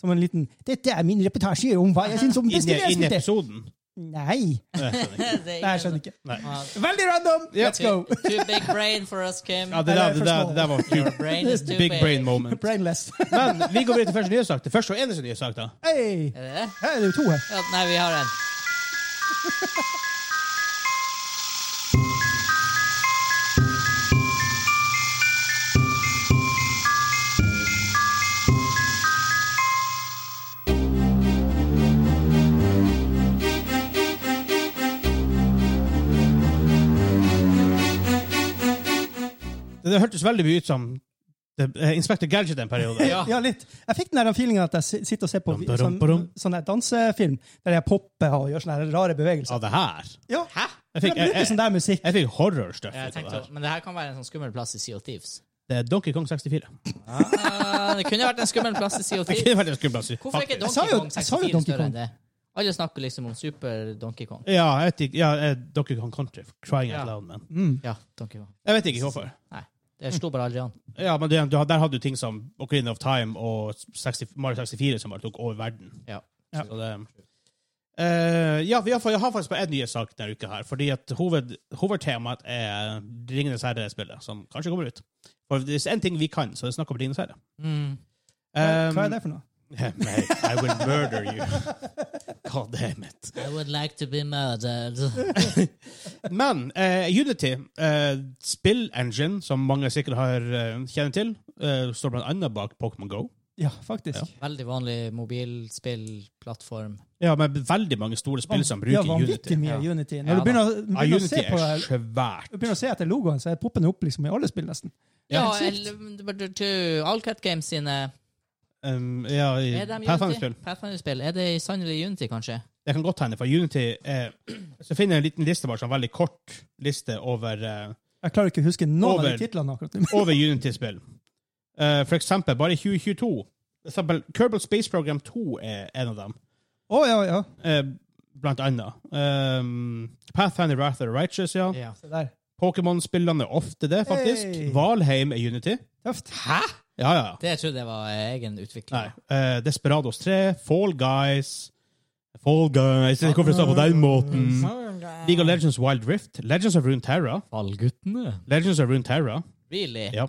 [SPEAKER 3] Som en liten 'Dette er min reportasje om hva jeg syns om det
[SPEAKER 1] Inn i- inn i
[SPEAKER 3] spillet'.
[SPEAKER 1] episoden?
[SPEAKER 3] Nei.
[SPEAKER 1] Nei, jeg skjønner ikke.
[SPEAKER 2] Nei,
[SPEAKER 3] Nei, jeg skjønner ikke.
[SPEAKER 1] Nei.
[SPEAKER 3] Veldig random!
[SPEAKER 1] Ja.
[SPEAKER 3] Let's go!
[SPEAKER 2] Too, too big brain for us, Kim.
[SPEAKER 1] Ja, det der, det der, det der var
[SPEAKER 2] Your
[SPEAKER 1] kult.
[SPEAKER 2] brain is too
[SPEAKER 1] Big brain moment.
[SPEAKER 3] Brainless.
[SPEAKER 1] Men vi går videre til første nye sak. Det første og eneste nye sak, da.
[SPEAKER 3] Hei!
[SPEAKER 2] Er det det?
[SPEAKER 3] Her er det jo to her.
[SPEAKER 2] Ja, nei, vi har en.
[SPEAKER 1] Det, det hørtes veldig mye ut som det, eh, Inspector Gadget en periode.
[SPEAKER 2] Ja.
[SPEAKER 3] Ja, litt. Jeg fikk den der feelingen at jeg si- sitter og ser på
[SPEAKER 1] Dum,
[SPEAKER 3] vi-
[SPEAKER 1] dum,
[SPEAKER 3] sånn,
[SPEAKER 1] dum.
[SPEAKER 3] sånn der dansefilm, der jeg popper og gjør sånne her rare bevegelser.
[SPEAKER 1] Av det her.
[SPEAKER 3] Ja,
[SPEAKER 2] Hæ?
[SPEAKER 1] Jeg
[SPEAKER 3] jeg
[SPEAKER 1] fikk, jeg,
[SPEAKER 3] bruker
[SPEAKER 1] jeg,
[SPEAKER 3] sånn der musikk.
[SPEAKER 1] jeg fikk horrorstuff
[SPEAKER 2] liksom Jeg
[SPEAKER 1] ut av det
[SPEAKER 2] tenkte,
[SPEAKER 1] her.
[SPEAKER 2] men det her kan være en sånn skummel plass i Sea of Thieves.
[SPEAKER 1] Det er Donkey Kong 64.
[SPEAKER 2] Ah, det kunne vært en skummel plass i Sea of
[SPEAKER 1] Det
[SPEAKER 2] Thieves.
[SPEAKER 1] kunne vært en skummel plass.
[SPEAKER 2] Hvorfor er ikke
[SPEAKER 3] Jeg sa
[SPEAKER 2] Donkey
[SPEAKER 3] jo-
[SPEAKER 2] Kong
[SPEAKER 3] jeg sa jo
[SPEAKER 2] 64
[SPEAKER 3] Donkey
[SPEAKER 2] større
[SPEAKER 3] Kong.
[SPEAKER 2] enn det? Alle snakker liksom om super Donkey Kong.
[SPEAKER 1] Ja, jeg vet ikke. Ja, eh, Donkey Kong Country. Crying
[SPEAKER 2] Ja.
[SPEAKER 1] out loud, man.
[SPEAKER 3] Mm.
[SPEAKER 2] Ja, Donkey Kong.
[SPEAKER 1] Jeg vet ikke hvorfor.
[SPEAKER 2] Nei, det slo bare aldri an.
[SPEAKER 1] Ja, men det, du, har- Der hadde du ting som Ocarina of Time og 60, Mario 64 som bare tok over verden.
[SPEAKER 2] Ja.
[SPEAKER 1] Ja. Så det, Eh, ja, vi har, fa- jeg har faktisk bare én ny sak denne uka, her, fordi at hoved, hovedtemaet er Ringenes herre-spillet, som kanskje kommer ut. For hvis det er én ting vi kan, så er det snakk om Ringenes herre.
[SPEAKER 2] Mm.
[SPEAKER 3] Hva hva er det for noe?
[SPEAKER 1] Nei, I will murder you. God damn it.
[SPEAKER 2] I would like to be murdered.
[SPEAKER 1] Men eh, Unity, eh, spill-engine, som mange sikkert har eh, kjenner til, eh, står blant annet bak Pokémon Go.
[SPEAKER 3] Ja, faktisk.
[SPEAKER 2] Veldig vanlig mobilspillplattform.
[SPEAKER 1] Ja, men veldig mange store spill som
[SPEAKER 3] ja,
[SPEAKER 1] bruker liksom Unity.
[SPEAKER 3] vanvittig mye
[SPEAKER 2] Ja.
[SPEAKER 3] Unity.
[SPEAKER 2] Ja,
[SPEAKER 3] Når du begynner, å-
[SPEAKER 1] Ja,
[SPEAKER 3] begynner, å,
[SPEAKER 1] Unity
[SPEAKER 3] se på,
[SPEAKER 1] er svært.
[SPEAKER 3] du begynner å se etter logoen, så er poppende opp liksom i alle spill, nesten.
[SPEAKER 2] Ja,
[SPEAKER 3] Helt sykt.
[SPEAKER 2] eller to Allcat Games sine
[SPEAKER 1] Um, ja, i
[SPEAKER 2] Er de Unity?
[SPEAKER 1] Pathfinder-spill.
[SPEAKER 2] Pathfinder-spill. Er det sannelig Unity, kanskje?
[SPEAKER 1] Det kan godt hende, for Unity eh, Så finner jeg en liten liste, bare sånn veldig kort liste over, eh,
[SPEAKER 3] Jeg klarer ikke å huske noen av
[SPEAKER 1] Over.
[SPEAKER 3] de titlene akkurat nå.
[SPEAKER 1] over Unity-spill. Eh, for eksempel, bare i 2022 for eksempel, Kerbal Space Program 2 er en av dem,
[SPEAKER 3] Å, ja, ja.
[SPEAKER 1] eh, blant annet. Um, Pathfinder Wrath of the Righteous, ja.
[SPEAKER 2] Ja.
[SPEAKER 3] Se der.
[SPEAKER 1] Pokémon-spillene er ofte det, faktisk.
[SPEAKER 3] Hey!
[SPEAKER 1] Valheim er Unity.
[SPEAKER 3] Tøft.
[SPEAKER 1] Ja, ja.
[SPEAKER 2] Det jeg trodde jeg var eh, egen
[SPEAKER 1] Nei.
[SPEAKER 2] utvikler.
[SPEAKER 1] Eh, Desperados 3, Fall Guys Fall Guys Jeg vet ikke hvorfor det står på den måten.
[SPEAKER 2] Mm.
[SPEAKER 1] League of Legends Wild Rift, Legends of Runeterra
[SPEAKER 2] Fallguttene.
[SPEAKER 1] Legends of Runeterra.
[SPEAKER 2] Really?
[SPEAKER 1] Ja.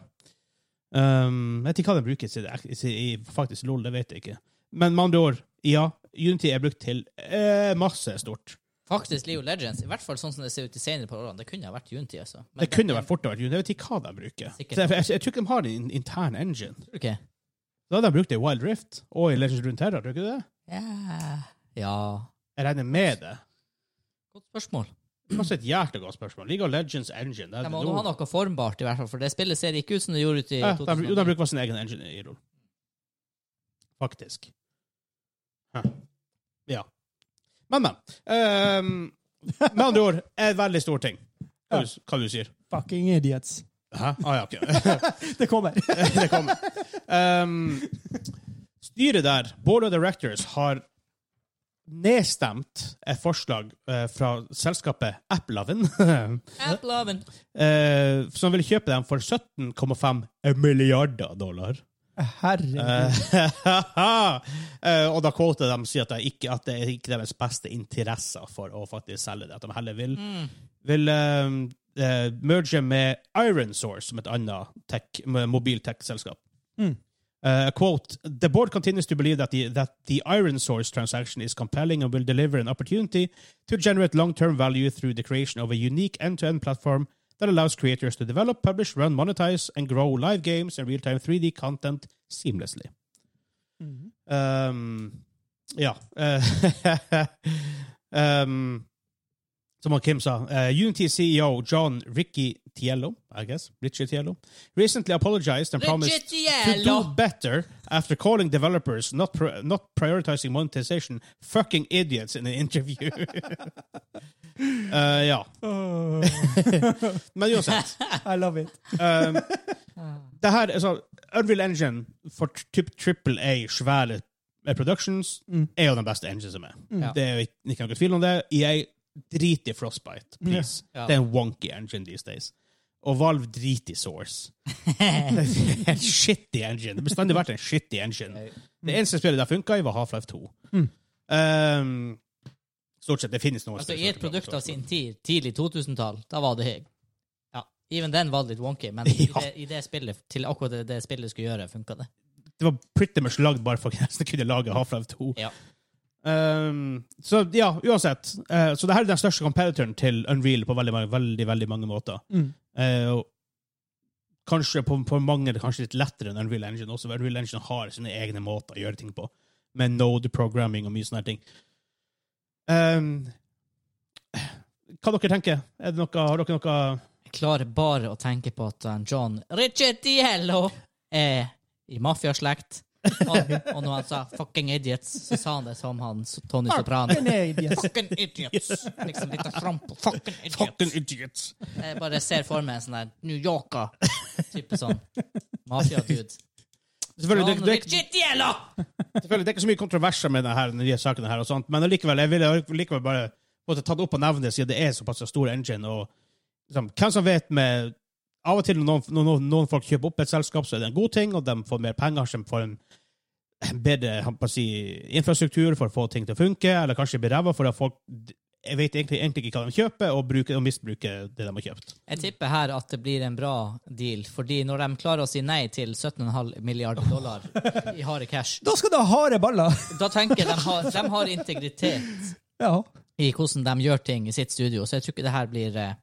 [SPEAKER 1] Um, jeg vet ikke hva den brukes i, det- i i- faktisk LOL, det vet jeg ikke. Men med andre ord, ja, Unity er brukt til eh, masse stort.
[SPEAKER 2] Faktisk Leo Legends. I hvert fall sånn som det ser ut i senere på årene. Det kunne ha vært Unity, altså. Men
[SPEAKER 1] det kunne vært fort vært Unity. Jeg vet ikke hva de bruker.
[SPEAKER 2] Sikkert.
[SPEAKER 1] Så jeg, jeg, jeg tror ikke de har en intern engine.
[SPEAKER 2] Tror du ikke?
[SPEAKER 1] Da hadde de brukt det i Wild Rift og i Legends of Runeterra, tror du ikke det?
[SPEAKER 2] Ja. ja.
[SPEAKER 1] Jeg regner med det.
[SPEAKER 2] Godt spørsmål.
[SPEAKER 1] Kanskje et hjertelig godt spørsmål. League of Legends engine. Det er
[SPEAKER 2] De
[SPEAKER 1] det
[SPEAKER 2] må
[SPEAKER 1] nå.
[SPEAKER 2] nå ha noe formbart, i hvert fall, for det spillet ser ikke ut som det gjorde ut i
[SPEAKER 1] Ja, Eh, de, jo, de
[SPEAKER 2] 2000.
[SPEAKER 1] bruker sin egen engine i LOL. Faktisk. Hæ. Ja. Men, men. Ehm, med andre ord, er et veldig stor ting. Hva, du, hva du sier.
[SPEAKER 3] Fucking idiots.
[SPEAKER 1] Hæ? Ah, ja, ok.
[SPEAKER 3] Det kommer.
[SPEAKER 1] Det kommer. Ehm, styret der, Board of Directors, har nedstemt et forslag eh, fra selskapet Apploven,
[SPEAKER 2] Apploven.
[SPEAKER 1] eh, som vil kjøpe dem for 17,5 milliarder dollar.
[SPEAKER 3] Herregud.
[SPEAKER 1] Eh, og da quoter de sier at, det ikke, at det er ikke deres beste interesser for å faktisk selge det. At de heller vil, vil eh, eh, merge med Iron Source, som et annet tech, mobil tech-selskap.
[SPEAKER 3] Mm.
[SPEAKER 1] Eh, quote, The board continues to believe that the, that the Iron Source transaction is compelling and will deliver an opportunity to generate long-term value through the creation of a unique end-to-end platform that allows creators to develop, publish, run, monetize, and grow live games and real-time 3D content seamlessly.
[SPEAKER 3] Mhm.
[SPEAKER 1] Um, ja. eh, um, som han Kim sa, eh, Unity CEO John Ricky Tiello, I guess, Richie Tiello, recently apologized and promised
[SPEAKER 2] Legit
[SPEAKER 1] to do
[SPEAKER 2] jævla!
[SPEAKER 1] better after calling developers not pri- not prioritizing monetization fucking idiots in an interview. Eh, ja.
[SPEAKER 3] Åh,
[SPEAKER 1] Men uansett.
[SPEAKER 3] I love it.
[SPEAKER 1] Um, det her, altså, Unreal Engine for typ triple A svære eh, productions
[SPEAKER 3] Mm.
[SPEAKER 1] er jo den beste engine som er.
[SPEAKER 2] Ja.
[SPEAKER 1] Det er jo ikke, ikke noen tvil om det. EA driter i Frostbite, please.
[SPEAKER 2] Ja.
[SPEAKER 1] Det er en wonky engine these days. Og Valve driter i Source. en shitty engine. Det har bestandig vært en shitty engine. Det eneste spillet der funka i, var Half-Life 2.
[SPEAKER 3] Mm.
[SPEAKER 1] Um, stort sett. Det finnes noen
[SPEAKER 2] Altså,
[SPEAKER 1] spill som
[SPEAKER 2] I
[SPEAKER 1] funker
[SPEAKER 2] et
[SPEAKER 1] bra på
[SPEAKER 2] produkt av
[SPEAKER 1] Source,
[SPEAKER 2] sin
[SPEAKER 1] men-
[SPEAKER 2] tid, tidlig 2000-tall, da var det Ja, Even den var det litt wonky, men i,
[SPEAKER 1] Ja.
[SPEAKER 2] det, i det spillet, til akkurat det, det spillet skulle gjøre, funka det.
[SPEAKER 1] det var pretty much lagd bare for at jeg kunne lage Half-Life 2.
[SPEAKER 2] Ja.
[SPEAKER 1] Um, så ja, uansett. Eh, så det her er den største competitoren til Unreal på veldig, mange- veldig, veldig mange måter.
[SPEAKER 3] Mm.
[SPEAKER 1] Eh, og kanskje på, på mange er det kanskje litt lettere enn Unreal Engine også, for Unreal Engine har sine egne måter å gjøre ting på, med node programming og mye sånne her ting. Um, hva dere tenker? Er det noe, har dere noe
[SPEAKER 2] Jeg klarer bare å tenke på at han John Ricciello er i mafiaslekt. Og, og når han sa 'fucking idiots', så sa han det som han s- Tony Soprano.
[SPEAKER 3] Nei, yes.
[SPEAKER 2] Fucking idiots! Liksom litt av tramp. Fucking
[SPEAKER 1] Fucking
[SPEAKER 2] idiots.
[SPEAKER 1] idiots!
[SPEAKER 2] Jeg bare ser for meg en sånn der New Yorker. Type sånn mafia-dude.
[SPEAKER 1] Selvfølgelig, det,
[SPEAKER 2] John
[SPEAKER 1] det, er ikke-
[SPEAKER 2] Ricciello!
[SPEAKER 1] Selvfølgelig, Det er ikke så mye kontroverser med denne, denne saken, her og sånt, men allikevel, jeg ville likevel bare måtte ta det opp og nevne det, siden det er såpass en stor engine. og liksom, Hvem som vet med Av og til når noen, når noen, noen folk kjøper opp et selskap, så er det en god ting, og de får mer penger, så de får en bedre jeg holdt på å si, infrastruktur for å få ting til å funke, eller kanskje blir ræva for at folk jeg vet egentlig, egentlig ikke hva de kjøper, og, bruker, og misbruker det de har kjøpt.
[SPEAKER 2] Jeg tipper her at det blir en bra deal, fordi når de klarer å si nei til 17,5 milliarder dollar i harde cash,
[SPEAKER 3] Da skal du ha harde baller!
[SPEAKER 2] da tenker jeg de har, de har integritet
[SPEAKER 3] Ja.
[SPEAKER 2] i hvordan de gjør ting i sitt studio, så jeg tror ikke det her blir eh,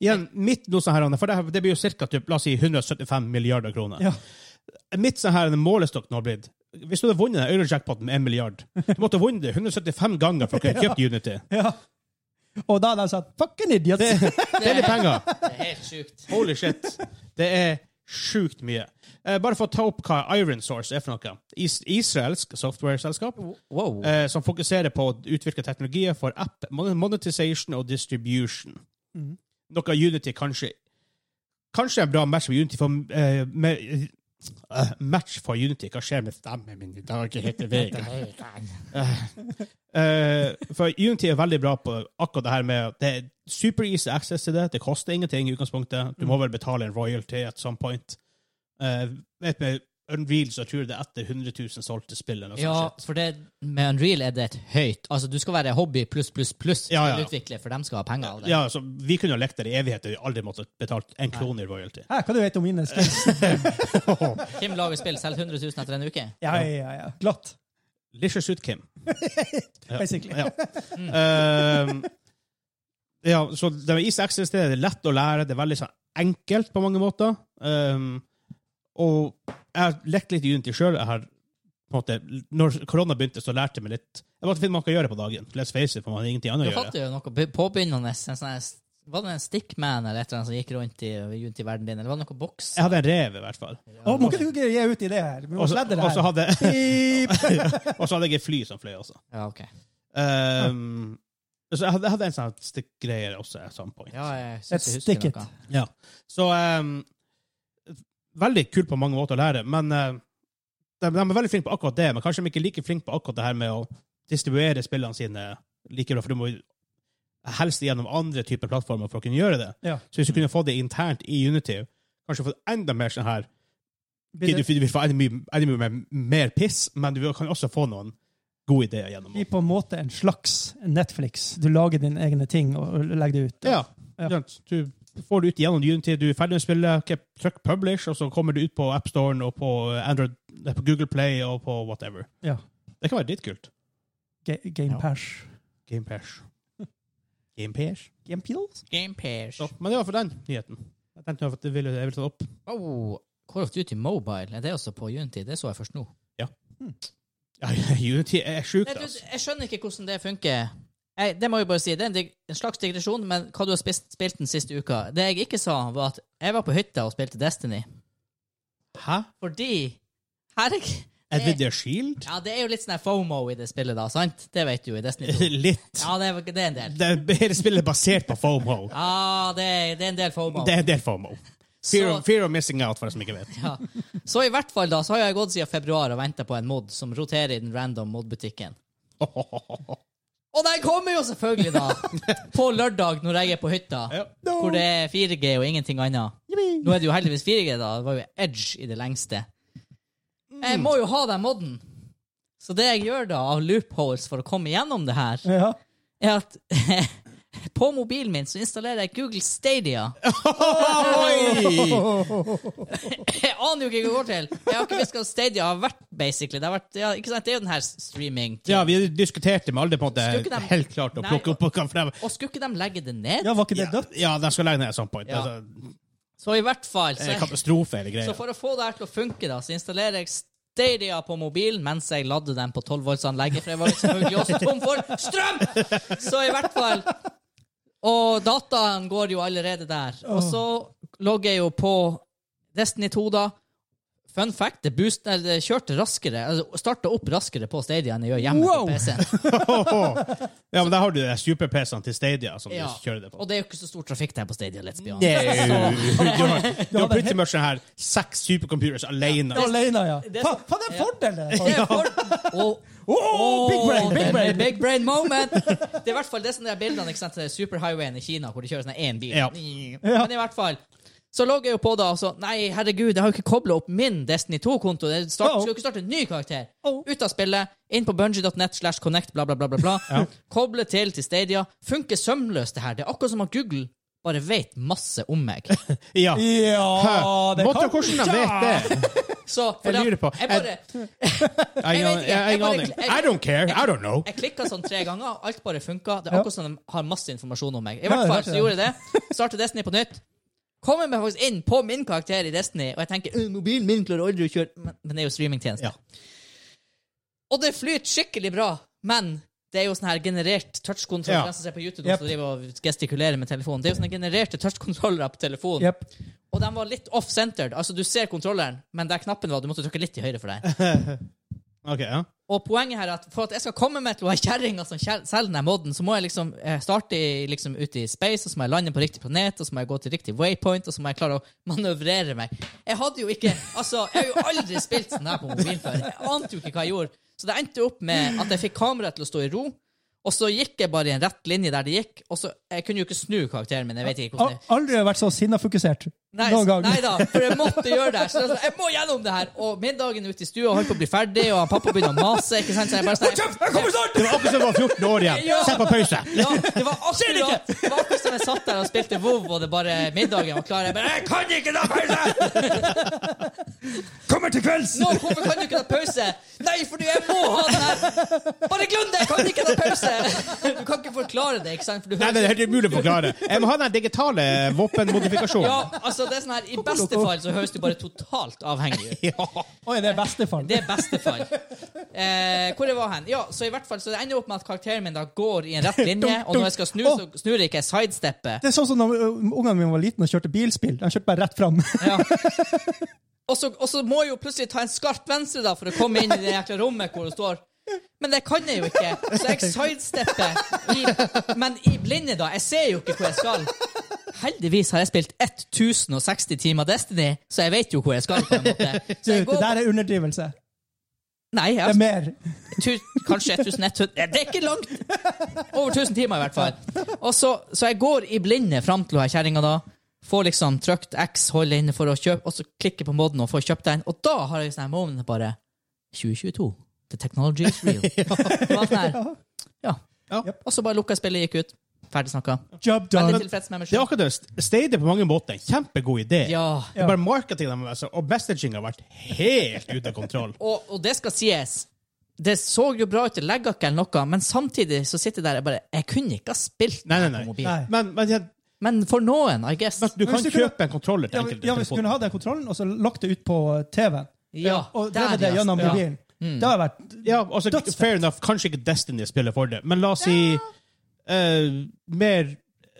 [SPEAKER 1] Igjen, mitt noe sånn her, Anne, for det, her- det blir jo cirka, typ, la oss si, 175 milliarder kroner.
[SPEAKER 3] Ja.
[SPEAKER 1] Mitt sånn her målestokk nå har blitt Hvis du hadde vunnet den Euro-jackpoten med 1 milliard, du måtte ha vunnet det 175 ganger for å kunne kjøpt Unity.
[SPEAKER 3] ja. Og da har de sagt 'fucking idiots'.
[SPEAKER 1] Det er litt penger.
[SPEAKER 2] Det er helt sjukt.
[SPEAKER 1] Holy shit. Det er sjukt mye. Eh, bare for å ta opp hva Iron Source er for noe. Is israelsk software-selskap
[SPEAKER 2] Wow.
[SPEAKER 1] eh, som fokuserer på å utvikle teknologier for app, mon- monetization og distribution.
[SPEAKER 3] Mhm.
[SPEAKER 1] Noe Unity kanskje Kanskje en bra match for Unity for eh, med, eh, Match for Unity. Hva skjer med stemmen min i dag? Jeg heter Vegard. Eh, for Unity er veldig bra på akkurat det her med at det er super easy access til det. Det koster ingenting i utgangspunktet. Du må vel betale en royalty at some point. Eh, vet med Unreal så tror jeg det er etter 100 000 solgte spill. eller noe sånt
[SPEAKER 2] Ja,
[SPEAKER 1] shit.
[SPEAKER 2] for det, med Unreal er det et høyt Altså, du skal være hobby pluss, pluss, pluss
[SPEAKER 1] Ja, ja.
[SPEAKER 2] til utvikler, for de skal ha penger av det.
[SPEAKER 1] Ja, så Vi kunne jo lekt der i evigheter. Vi aldri måtte betalt en krone i royalty.
[SPEAKER 3] Hæ, hva du vet om mine skills?
[SPEAKER 2] Kim lager spill, selger 100 000 etter en uke.
[SPEAKER 3] Ja, ja, ja, ja. Glatt.
[SPEAKER 1] Licious ut, Kim. Ja.
[SPEAKER 3] Basically.
[SPEAKER 1] Ja. Ehm, ja, så det er easy access, det er lett å lære, det er veldig sånn enkelt på mange måter. Ehm, og jeg har lekt litt i Unity sjøl. Når korona begynte, så lærte jeg meg litt Jeg måtte finne noe man kan gjøre på dagen. Let's face it, for man har ingenting annet
[SPEAKER 2] Du
[SPEAKER 1] å gjøre.
[SPEAKER 2] fatter jo noe be- påbegynnende. En sånn her- var det en stickman eller et eller annet som gikk rundt i, rundt i verden din, eller var det noe boks?
[SPEAKER 1] Jeg hadde en rev, i hvert fall.
[SPEAKER 3] Å, må ikke du ikke gi ut i det her? Vi må
[SPEAKER 1] Og så
[SPEAKER 3] sledde det
[SPEAKER 1] og så
[SPEAKER 3] her.
[SPEAKER 1] hadde,
[SPEAKER 3] Pip!
[SPEAKER 1] og så hadde jeg et fly som fløy også.
[SPEAKER 2] Ja, ok.
[SPEAKER 1] Ehm, Så jeg hadde, jeg hadde en sånn stikkgreie også. at some point.
[SPEAKER 2] Ja, jeg
[SPEAKER 3] Et
[SPEAKER 2] synes jeg
[SPEAKER 3] stick
[SPEAKER 2] husker
[SPEAKER 3] it.
[SPEAKER 2] noe.
[SPEAKER 1] Ja. Så ehm, Veldig kult på mange måter å lære, men eh, de, de er veldig flinke på akkurat det. Men kanskje de ikke er like flinke på akkurat det her med å distribuere spillene sine like bra, for du må jo helst gjennom andre typer plattformer for å kunne gjøre det.
[SPEAKER 3] Ja.
[SPEAKER 1] Så hvis du kunne få det internt i Unity, kanskje få enda mer sånn her Du, du vil få enda mye, enda mye mer, mer piss, men du vil- kan også få noen gode ideer gjennom
[SPEAKER 3] blir
[SPEAKER 1] det.
[SPEAKER 3] på en måte en slags Netflix. Du lager dine egne ting og og legger det ut. da.
[SPEAKER 1] Ja.
[SPEAKER 3] Ja.
[SPEAKER 1] sant. Du får det ut gjennom Unity, du er ferdig med spillet, ok, trykk publish, og så kommer det ut på AppStoren og på, Android, nei, på Google Play og på whatever.
[SPEAKER 3] Ja.
[SPEAKER 1] Det kan være dritkult.
[SPEAKER 3] Ga- Game
[SPEAKER 2] Ja.
[SPEAKER 3] Pash.
[SPEAKER 1] Gamepash. Gamepash?
[SPEAKER 3] Game Pills?
[SPEAKER 2] Game pairs.
[SPEAKER 1] Så, men det var for den nyheten. Jeg tenkte at jeg ville, jeg ville ta det opp.
[SPEAKER 2] Oh, Call of Duty Mobile, er det også på Unity? Det så jeg først nå.
[SPEAKER 1] Ja, Unity er sjukt,
[SPEAKER 2] Nei, du,
[SPEAKER 1] altså.
[SPEAKER 2] jeg skjønner ikke hvordan det funker. Jeg, det må jeg bare si, det er en, dig en slags digresjon, men hva du har spist, spilt den siste uka Det jeg ikke sa, var at jeg var på hytta og spilte Destiny.
[SPEAKER 1] Hæ?
[SPEAKER 2] Fordi Herregud.
[SPEAKER 1] Nvidia Shield?
[SPEAKER 2] Ja, det er jo litt sånn her FOMO i det spillet, da, sant? Det vet du jo i Destiny 2.
[SPEAKER 1] Litt.
[SPEAKER 2] Ja, det er, det er en del.
[SPEAKER 1] Det er hele spillet er basert på FOMO.
[SPEAKER 2] Ja, det er, det er en del FOMO.
[SPEAKER 1] Det er en del FOMO. Fear,
[SPEAKER 2] Så-
[SPEAKER 1] of, fear of missing out, for de som ikke vet.
[SPEAKER 2] Ja. Så i hvert fall da, så har jeg gått siden februar og venta på en mod som roterer i den random mod-butikken. Og den kommer jo selvfølgelig, da! På lørdag, når jeg er på hytta.
[SPEAKER 1] Ja.
[SPEAKER 2] Hvor det er 4G og ingenting annet. Nå er det jo heldigvis 4G, da. Det var jo Edge i det lengste. Jeg må jo ha den moden. Så det jeg gjør da, av loopholes for å komme gjennom det her,
[SPEAKER 3] Ja.
[SPEAKER 2] er at på mobilen min så installerer jeg Google Stadia.
[SPEAKER 1] Oi!
[SPEAKER 2] Jeg aner jo ikke hva det går til. Jeg har ikke visst hva Stadia har vært, basically. Det, har vært, ja, ikke sant? det er jo den her streaming.
[SPEAKER 1] Ja, vi diskuterte med alle på at det
[SPEAKER 2] Skulle ikke
[SPEAKER 1] er
[SPEAKER 2] de-
[SPEAKER 1] helt klart å
[SPEAKER 2] Nei.
[SPEAKER 1] plukke opp og kan frem.
[SPEAKER 2] Og skulle ikke de legge det ned?
[SPEAKER 3] ja, var ikke det
[SPEAKER 1] Ja,
[SPEAKER 3] dødt?
[SPEAKER 1] ja, de skal legge ned et sånt point.
[SPEAKER 2] Ja.
[SPEAKER 1] Altså,
[SPEAKER 2] Så i hvert fall
[SPEAKER 1] det er
[SPEAKER 2] så,
[SPEAKER 1] en katastrofe, hele
[SPEAKER 2] så
[SPEAKER 1] greia.
[SPEAKER 2] for å få det her til å funke, da, så installerer jeg Stadia på mobilen mens jeg ladde den på 12-voltsanlegget, for jeg var selvfølgelig også tom for strøm! Så i hvert fall Og dataen går jo allerede der. Og så logger jeg jo på Destiny 2, da. Fun fact, det, boost, eller det kjørte raskere, altså starta opp raskere på Stadia enn jeg gjør hjemme
[SPEAKER 3] Wow!
[SPEAKER 2] på PC-en.
[SPEAKER 1] Ja, men der har du de super-PC-ene til Stadia som
[SPEAKER 2] Ja.
[SPEAKER 1] du kjører det på.
[SPEAKER 2] Og det er jo ikke så stor trafikk der på Stadia, let's be honest.
[SPEAKER 1] Nei. Du har, du har
[SPEAKER 3] det er
[SPEAKER 1] pretty much den her seks supercomputers alene.
[SPEAKER 3] Ja, alene, ja.
[SPEAKER 2] det-
[SPEAKER 3] Faen, faen, det er en fordel! det
[SPEAKER 2] Det
[SPEAKER 3] der.
[SPEAKER 2] er for... Åh,
[SPEAKER 3] Åh, big brain,
[SPEAKER 2] det
[SPEAKER 3] big
[SPEAKER 2] er
[SPEAKER 3] brain.
[SPEAKER 2] big brain moment! Det er i hvert fall det som er bildene ikke sant? til superhighwayen i Kina, hvor de kjører sånn én bil.
[SPEAKER 1] Ja.
[SPEAKER 2] Men i hvert fall så logger jeg jo på da, og så Nei, herregud, jeg har jo ikke kobla opp min Destiny 2-konto. Jeg start,
[SPEAKER 3] Oh.
[SPEAKER 2] skal jo ikke starte en ny karakter.
[SPEAKER 3] Oh.
[SPEAKER 2] Ut av spillet, inn på bungee.net slash connect, bla, bla, bla. bla, bla. Koble til til Stadia. Funker sømløst, det her. Det er akkurat som at Google bare vet masse om meg.
[SPEAKER 1] Ja. Hæ?
[SPEAKER 3] Ja, det
[SPEAKER 1] Måtte
[SPEAKER 3] kan
[SPEAKER 1] hvordan de vet det?
[SPEAKER 2] Så for
[SPEAKER 1] Jeg lurer
[SPEAKER 2] da-
[SPEAKER 1] på,
[SPEAKER 2] Jeg
[SPEAKER 1] er-
[SPEAKER 2] bare
[SPEAKER 1] Jeg,
[SPEAKER 2] Jeg vet ikke, jeg bare-
[SPEAKER 1] aner. I don't care. I don't know.
[SPEAKER 2] Jeg klikka sånn tre ganger, alt bare funka. Det er akkurat som de har masse informasjon om meg. I
[SPEAKER 3] Ja,
[SPEAKER 2] hvert
[SPEAKER 3] jeg
[SPEAKER 2] fall
[SPEAKER 3] hørte
[SPEAKER 2] så
[SPEAKER 3] det.
[SPEAKER 2] gjorde jeg det. Startet Destiny på nytt. Kommer meg faktisk inn på min karakter i Destiny, og jeg tenker «Øh, mobilen min klarer aldri å kjøre Men, men det er jo streamingtjeneste.
[SPEAKER 1] Ja.
[SPEAKER 2] Og det flyter skikkelig bra, men det er jo sånn her generert touchkontroll.
[SPEAKER 1] Ja.
[SPEAKER 2] Den som ser på YouTube,
[SPEAKER 3] Jep.
[SPEAKER 2] som driver og gestikulerer med telefonen. Det er jo sånne genererte touchkontroller på telefonen.
[SPEAKER 3] Jep.
[SPEAKER 2] Og den var litt off-centered. Altså, du ser kontrolleren, men der knappen var, du måtte trykke litt til høyre for deg.
[SPEAKER 1] Ok, ja.
[SPEAKER 2] Og poenget her er at for at jeg skal komme meg til å være kjerringa som kjel- selger den moden, så må jeg liksom eh, starte i, liksom, ute i space, og så må jeg lande på riktig planet, og så må jeg gå til riktig waypoint, og så må jeg klare å manøvrere meg. Jeg hadde jo ikke Altså, jeg har jo aldri spilt sånn her på mobilen før. Jeg ante jo ikke hva jeg gjorde. Så det endte jo opp med at jeg fikk kameraet til å stå i ro, og så gikk jeg bare i en rett linje der det gikk, og så Jeg kunne jo ikke snu karakteren min, jeg vet ikke hvordan
[SPEAKER 3] Al-
[SPEAKER 2] det
[SPEAKER 3] Aldri har vært så sinnafokusert.
[SPEAKER 2] Nei,
[SPEAKER 3] Ah, Noen gang.
[SPEAKER 2] nei da, for jeg måtte gjøre det. her. Så jeg sa, jeg må gjennom det her. Og middagen ute i stua holdt på å bli ferdig, og han pappa begynner å mase. ikke sant? Så jeg bare sånn,
[SPEAKER 1] Det var akkurat som jeg var 14 år igjen.
[SPEAKER 2] Ja.
[SPEAKER 1] Sett på pause.
[SPEAKER 2] Ja, det var akkurat Det var akkurat som jeg satt der og spilte WoW, og det bare middagen var klar. Jeg bare, «Jeg kan ikke ta pause!
[SPEAKER 3] Kommer til kvelds!
[SPEAKER 2] Nå, hvorfor kan du ikke ta pause? Nei, fordi jeg må ha den her! Bare glem det! Jeg kan ikke ta pause! Du kan ikke forklare det, ikke sant? For du
[SPEAKER 1] Nei, det er helt umulig å forklare. Jeg må ha den digitale
[SPEAKER 2] Ja,
[SPEAKER 1] våpenmodifikasjonen.
[SPEAKER 2] altså, det er sånn her, I beste fall så høres du bare totalt avhengig ut.
[SPEAKER 1] Ja.
[SPEAKER 3] Oi, det er beste fall.
[SPEAKER 2] Det er beste fall. Eh, hvor jeg var hen? Ja, så i hvert fall, så det ender opp med at karakteren min da går i en rett linje, og når jeg skal snu, så snur jeg ikke, jeg sidestepper.
[SPEAKER 3] Det er sånn som da ø, ungene mine var liten og kjørte bilspill. De kjørte bare rett fram.
[SPEAKER 2] Ja. Og så, og så må jeg jo plutselig ta en skarp venstre da for å komme inn i det jækla rommet hvor hun står. Men det kan jeg jo ikke, så jeg sidestepper. i- Men i blinde, da. Jeg ser jo ikke hvor jeg skal. Heldigvis har jeg spilt 1060 timer Destiny, så jeg vet jo hvor jeg skal. på en måte.
[SPEAKER 3] Du,
[SPEAKER 2] Så jeg
[SPEAKER 3] det
[SPEAKER 2] går... Altså,
[SPEAKER 3] der er underdrivelse.
[SPEAKER 2] Nei, jeg
[SPEAKER 3] Det
[SPEAKER 2] har
[SPEAKER 3] er mer.
[SPEAKER 2] tu, kanskje 1100 Nei, Det er ikke langt! Over 1000 timer, i hvert fall. Og så, så jeg går i blinde fram til hun her kjerringa da. Får liksom trykt X, holder inne for å kjøpe, og så klikker på moden og får kjøpt den. Og da har jeg sånn her moment bare 2022. The technology is real. Det var sånn her, ja.
[SPEAKER 1] Ja.
[SPEAKER 2] Og så bare lukka jeg spillet, gikk ut. Ferdig snakka.
[SPEAKER 3] Job
[SPEAKER 2] Veldig
[SPEAKER 3] done.
[SPEAKER 2] tilfreds med meg
[SPEAKER 1] Det er
[SPEAKER 2] sjøl.
[SPEAKER 1] akkurat det. Stadia på mange måter. Kjempegod idé.
[SPEAKER 2] Ja.
[SPEAKER 1] Det er Bare marketinga med seg, og messaging har vært helt ute av kontroll.
[SPEAKER 2] Og, og det skal sies. Det så jo bra ut, det legger ikke eller noe, men samtidig så sitter jeg der og bare Jeg kunne ikke ha spilt
[SPEAKER 1] Nei, nei,
[SPEAKER 2] det
[SPEAKER 1] nei.
[SPEAKER 2] på mobil.
[SPEAKER 3] Nei.
[SPEAKER 1] Men, men ja,
[SPEAKER 2] Men for noen, I guess.
[SPEAKER 1] du kan
[SPEAKER 3] hvis du kunne-
[SPEAKER 1] kjøpe en kontroller til
[SPEAKER 3] Ja, men-
[SPEAKER 1] enkelte
[SPEAKER 3] ja, hvis du kunne
[SPEAKER 1] telefoner.
[SPEAKER 3] hatt den kontrollen, og så lagt det ut på eh, TV-en,
[SPEAKER 2] Ja,
[SPEAKER 3] og
[SPEAKER 2] der,
[SPEAKER 3] drevet det
[SPEAKER 2] ja.
[SPEAKER 3] gjennom
[SPEAKER 2] Ja. Mm.
[SPEAKER 3] mobilen, det har vært
[SPEAKER 1] Ja, altså,
[SPEAKER 3] Dødsfett.
[SPEAKER 1] fair enough, kanskje ikke Destiny spiller for det, men la oss si eh, mer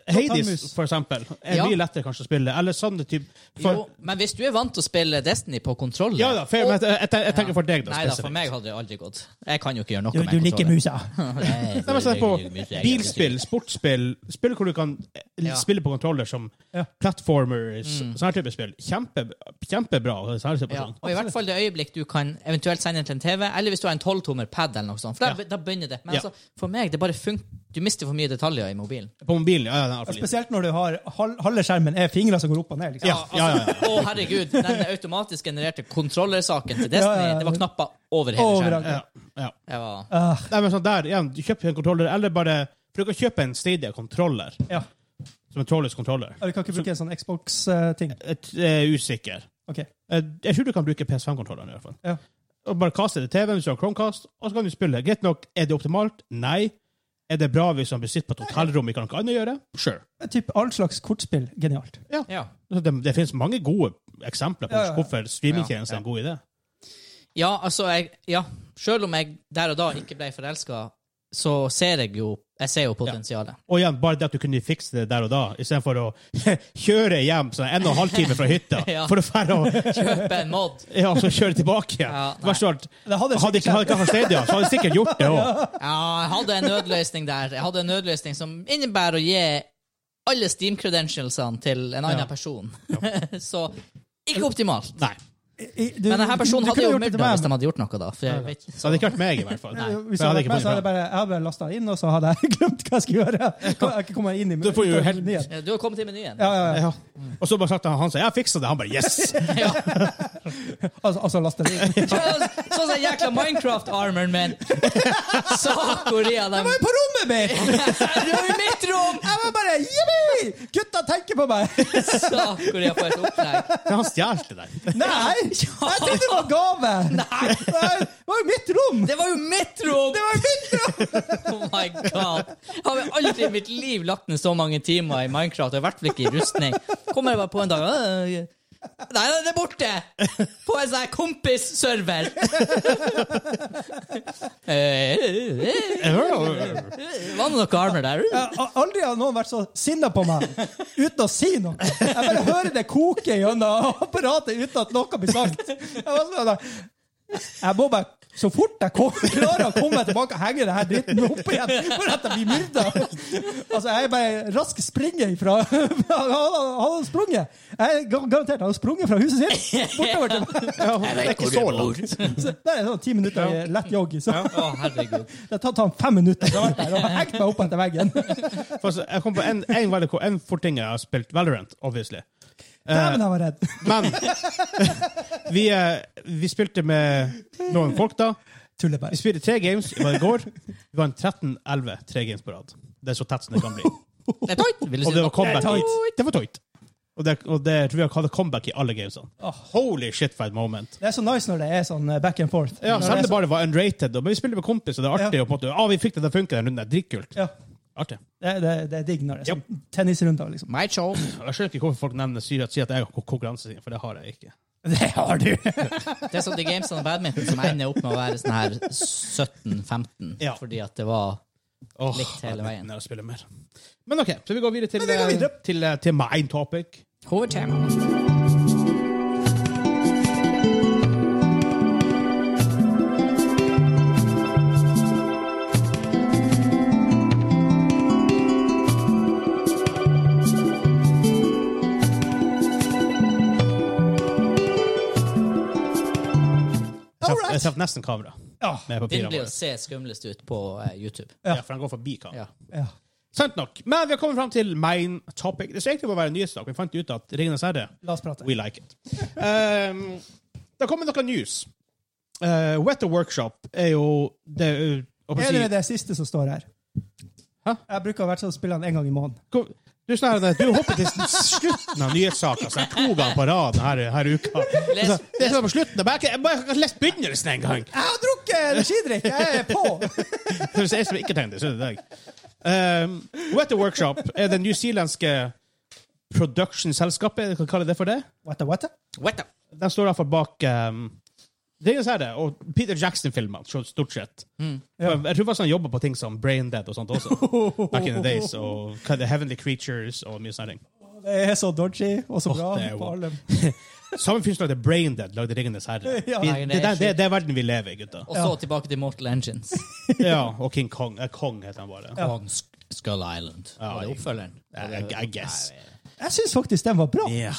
[SPEAKER 1] Hades,
[SPEAKER 3] Tanmus.
[SPEAKER 1] for eksempel, er
[SPEAKER 2] Ja.
[SPEAKER 1] mye lettere kanskje å spille. Eller sånne type
[SPEAKER 2] Jo,
[SPEAKER 1] for,
[SPEAKER 2] men hvis du er vant til å spille Destiny på kontroller
[SPEAKER 1] Ja da, fair, men jeg, jeg, jeg tenker for deg, da.
[SPEAKER 2] Nei da, for
[SPEAKER 1] spesifikt.
[SPEAKER 2] meg hadde det aldri gått. Jeg kan jo ikke gjøre noe
[SPEAKER 3] Du,
[SPEAKER 2] med
[SPEAKER 3] du liker
[SPEAKER 2] kontroller.
[SPEAKER 3] musa.
[SPEAKER 2] Nei,
[SPEAKER 1] Nei, men se på
[SPEAKER 2] jeg- jeg- jeg-
[SPEAKER 1] bilspill, sportsspill, spill hvor du kan eh,
[SPEAKER 2] Ja. Mm.
[SPEAKER 1] spille på kontroller som
[SPEAKER 3] Ja.
[SPEAKER 1] platformers, sånne type spill. Kjempe, kjempebra. Sånne type
[SPEAKER 2] Ja,
[SPEAKER 1] ting.
[SPEAKER 2] og i hvert fall det øyeblikk du kan eventuelt sende den til en TV, eller hvis du har en 12-tommer pad eller noe sånt. For da, da begynner det. Men
[SPEAKER 1] Ja.
[SPEAKER 2] altså, for meg, det bare funker. Du mister for mye detaljer i mobilen.
[SPEAKER 1] På mobilen, ja, ja, den er for liten.
[SPEAKER 3] Spesielt når du har hal- halve skjermen er fingre som går opp og ned. Liksom.
[SPEAKER 1] Ja, ja, ja, ja.
[SPEAKER 2] Altså, Å, herregud, den automatisk genererte kontrollersaken til Destiny,
[SPEAKER 3] Ja, ja, ja.
[SPEAKER 2] det var knapper over hele
[SPEAKER 3] Overalt.
[SPEAKER 2] skjermen.
[SPEAKER 1] ja, ja.
[SPEAKER 2] Det var-
[SPEAKER 3] Ah,
[SPEAKER 1] Nei, men sånn der, igjen, du kjøper en kontroller, eller bare For du kan kjøpe en Stadia-kontroller,
[SPEAKER 3] ja.
[SPEAKER 1] som en trådløs kontroller.
[SPEAKER 3] Ja, Du kan ikke bruke en sånn Xbox-ting.
[SPEAKER 1] Et- Jeg er usikker.
[SPEAKER 3] Ok.
[SPEAKER 1] Eh, Jeg tror du kan bruke PS5-kontrolleren, i hvert fall.
[SPEAKER 3] Ja.
[SPEAKER 1] Og bare kaste det til TV-en hvis du har Chromecast, og så kan du spille. Greit nok, er det optimalt? Nei. Er det bra hvis man besitter på et hotellrom ikke har noe annet å gjøre? Sure.
[SPEAKER 3] Typ all slags kortspill. Genialt.
[SPEAKER 2] Ja.
[SPEAKER 1] Altså, Det, det finnes mange gode eksempler på
[SPEAKER 3] Ja, ja, ja.
[SPEAKER 1] hvorfor streamingtjenester er en god idé.
[SPEAKER 2] Ja, altså, jeg, ja. Selv om jeg der og da ikke ble forelska, så ser jeg jo Jeg ser jo potensialet.
[SPEAKER 1] Og igjen, bare det at du kunne fikse det der og da, istedenfor å kjøre hjem sånn en og en halv time fra hytta
[SPEAKER 2] Ja.
[SPEAKER 1] for å fære og
[SPEAKER 2] Kjøpe en mod.
[SPEAKER 1] ja, så kjøre tilbake igjen.
[SPEAKER 2] Ja, nei.
[SPEAKER 1] Verst av alt,
[SPEAKER 3] Det hadde
[SPEAKER 1] hadde ikke hadde ikke hatt Stadia, så hadde jeg sikkert gjort det òg.
[SPEAKER 2] Ja, jeg hadde en nødløsning der. Jeg hadde en nødløsning som innebærer å gi alle Steam-credentialsene til en annen
[SPEAKER 1] Ja.
[SPEAKER 2] person. så ikke optimalt.
[SPEAKER 1] Nei.
[SPEAKER 2] Men
[SPEAKER 3] Mm.
[SPEAKER 2] denne personen hadde jo myrda hvis
[SPEAKER 3] meg.
[SPEAKER 2] de hadde gjort noe, da. For jeg vet
[SPEAKER 1] Så hadde det ikke vært meg, i hvert fall.
[SPEAKER 3] Nei,
[SPEAKER 1] For jeg
[SPEAKER 3] Hvis jeg
[SPEAKER 1] hadde
[SPEAKER 3] hadde vært
[SPEAKER 1] ikke
[SPEAKER 3] med, så hadde jeg
[SPEAKER 1] funnet
[SPEAKER 3] bare, jeg hadde bare lasta inn, og så hadde jeg glemt hva jeg skulle gjøre. Jeg kom- jeg kom inn i
[SPEAKER 1] Du får jo helt-
[SPEAKER 3] menyen.
[SPEAKER 2] Du har kommet i menyen.
[SPEAKER 3] ja, ja, ja.
[SPEAKER 1] ja. Og så bare sagt han, han sa 'jeg fiksa det', han bare 'yes'.
[SPEAKER 3] Altså, altså laste det inn.
[SPEAKER 2] Sånn som den jækla Minecraft-armoren min. Sakoria, de
[SPEAKER 3] Jeg er på rommet mitt!
[SPEAKER 2] Du er i mitt rom!
[SPEAKER 3] Jeg var bare Jippi! Gutta tenker på meg!
[SPEAKER 2] Sakoria på et opplegg.
[SPEAKER 1] Men han stjal det der.
[SPEAKER 3] Nei! Jeg trodde det var gave! Nei! Det var jo mitt rom!
[SPEAKER 2] Det var jo mitt rom!
[SPEAKER 3] Det var jo mitt rom!
[SPEAKER 2] Oh my god. Jeg har aldri i mitt liv lagt ned så mange timer i Minecraft, og i hvert fall ikke i rustning. Kommer jeg bare på en dag «Øh, Nei, nei, det er borte! På en sånn kompis-server. Eh, Var det noe armer der?
[SPEAKER 3] Jeg har Aldri har noen vært så sinna på meg uten å si noe. Jeg bare hører det koke gjennom apparatet uten at noe blir sagt. Jeg, var sånn der, jeg må bare så fort jeg kom, klarer å komme meg tilbake og henge det her dritten opp igjen for at jeg blir myrda. Altså, jeg er bare rask springer ifra Han han hadde sprunget. Jeg er gar- garantert han hadde sprunget fra huset sitt bortover til meg.
[SPEAKER 1] Det er ikke så langt.
[SPEAKER 3] Så Det er sånn ti minutter i lett jogg. Så
[SPEAKER 2] Å, herregud.
[SPEAKER 3] det har tatt han fem minutter. Så har jeg vært der og hengt meg opp etter veggen.
[SPEAKER 1] For altså, jeg kom på en, en, veldig, en fort ting jeg har spilt, Valorant, obviously.
[SPEAKER 3] Dæven, jeg var redd.
[SPEAKER 1] Men vi, eh, vi spilte med noen folk, da. Vi
[SPEAKER 3] Tulleberg.
[SPEAKER 1] spilte tre games det var i går. Vi vant 13-11 tre games på rad. Det er så tett som det kan bli.
[SPEAKER 2] Det er tight, vil du
[SPEAKER 1] Og
[SPEAKER 2] si.
[SPEAKER 1] det var comeback.
[SPEAKER 3] Det er
[SPEAKER 1] i- Det var tight. Og det, og det tror jeg hadde comeback i alle gamesene.
[SPEAKER 3] Åh.
[SPEAKER 1] Holy shit for et moment.
[SPEAKER 3] Det er så nice når det er sånn eh, back and forth.
[SPEAKER 1] Ja, Selv om
[SPEAKER 3] Når det
[SPEAKER 1] det
[SPEAKER 3] er sånn-
[SPEAKER 1] bare var unrated. og- Men vi spilte med kompiser, det er artig. Og på en måte, ah, vi fikk det til å funke den runden. Det er dritkult.
[SPEAKER 3] ja,
[SPEAKER 1] Artig.
[SPEAKER 3] det, det, det er digg når det er sånn tennisrunder, liksom.
[SPEAKER 2] My show.
[SPEAKER 1] Jeg skjønner ikke hvorfor folk nevner sier at, sier at jeg har konkurransesyn, for det har jeg ikke.
[SPEAKER 3] Det har du!
[SPEAKER 2] Det er sånn de games og badminton som ender opp med å være sånn her 17-15,
[SPEAKER 1] Ja.
[SPEAKER 2] fordi at det var
[SPEAKER 1] Åh,
[SPEAKER 2] Likt hele
[SPEAKER 1] jeg
[SPEAKER 2] veien.
[SPEAKER 1] begynner å spille mer. Men OK, så vi går videre til,
[SPEAKER 3] vi går
[SPEAKER 1] eh,
[SPEAKER 3] videre.
[SPEAKER 1] til, eh, til main topic.
[SPEAKER 2] hovedtema.
[SPEAKER 1] Jeg traff-
[SPEAKER 3] Alright.
[SPEAKER 1] Jeg traff nesten kamera
[SPEAKER 3] Ja.
[SPEAKER 1] med papirene
[SPEAKER 2] Begynner å
[SPEAKER 1] våre.
[SPEAKER 2] se skumlest ut på eh, YouTube.
[SPEAKER 1] Ja, for han går forbi kamera.
[SPEAKER 2] Ja.
[SPEAKER 3] ja.
[SPEAKER 1] Sant nok. Men vi har kommet fram til main topic. Det skulle egentlig bare være en nyhetsdag. Vi fant ut at Ringenes herre
[SPEAKER 3] La oss prate.
[SPEAKER 1] We like it. Um, det kommer noe news. Uh, Wetter Workshop er jo det, uh, hva
[SPEAKER 3] Er
[SPEAKER 1] skal jeg
[SPEAKER 3] det
[SPEAKER 1] si-
[SPEAKER 3] det siste som står her?
[SPEAKER 1] Hæ?
[SPEAKER 3] Jeg bruker hvert fall å spille den en gang i måneden.
[SPEAKER 1] Kom- Du, er sånn her, du hopper til slutten av nyhetssaker sånn her to ganger på rad denne her uka.
[SPEAKER 2] Les-
[SPEAKER 1] Altså, det er sånn på slutten. Jeg bare jeg bare har ikke lest begynnelsen en gang.
[SPEAKER 3] Jeg har drukket energidrikk! Jeg er på!
[SPEAKER 1] Hvis jeg som ikke tenkte, så er det deg. Um, Wetter Workshop er det newzealandske production-selskapet. Jeg kan kalle det for det.
[SPEAKER 3] Wata, wata.
[SPEAKER 2] What the?
[SPEAKER 1] De står derfor bak um, Ringenes herre og Peter Jackson-filmer, så- stort sett. Jeg tror faktisk han jobber på ting som Braindead og sånt også. Back in the days. Og hva er det, Heavenly Creatures og mye sånne ting.
[SPEAKER 3] Det er så dodgy og så bra.
[SPEAKER 1] det er jo-
[SPEAKER 3] på alle.
[SPEAKER 1] Samme fyr som lagde Braindead, lagde Ringenes herre.
[SPEAKER 3] Ja.
[SPEAKER 1] Vi,
[SPEAKER 2] Nei,
[SPEAKER 1] det,
[SPEAKER 2] det er
[SPEAKER 1] det, det,
[SPEAKER 2] sjukt.
[SPEAKER 1] det er verden vi lever i, gutta.
[SPEAKER 2] Og så tilbake til Mortal Engines.
[SPEAKER 1] Ja, og King Kong. Eh, Kong heter han bare.
[SPEAKER 2] Og Sk- Skull Island.
[SPEAKER 1] Ja,
[SPEAKER 2] Var det
[SPEAKER 1] jeg-
[SPEAKER 2] oppfølgeren?
[SPEAKER 1] I, I guess.
[SPEAKER 3] Jeg syns faktisk den var bra.
[SPEAKER 1] Ja.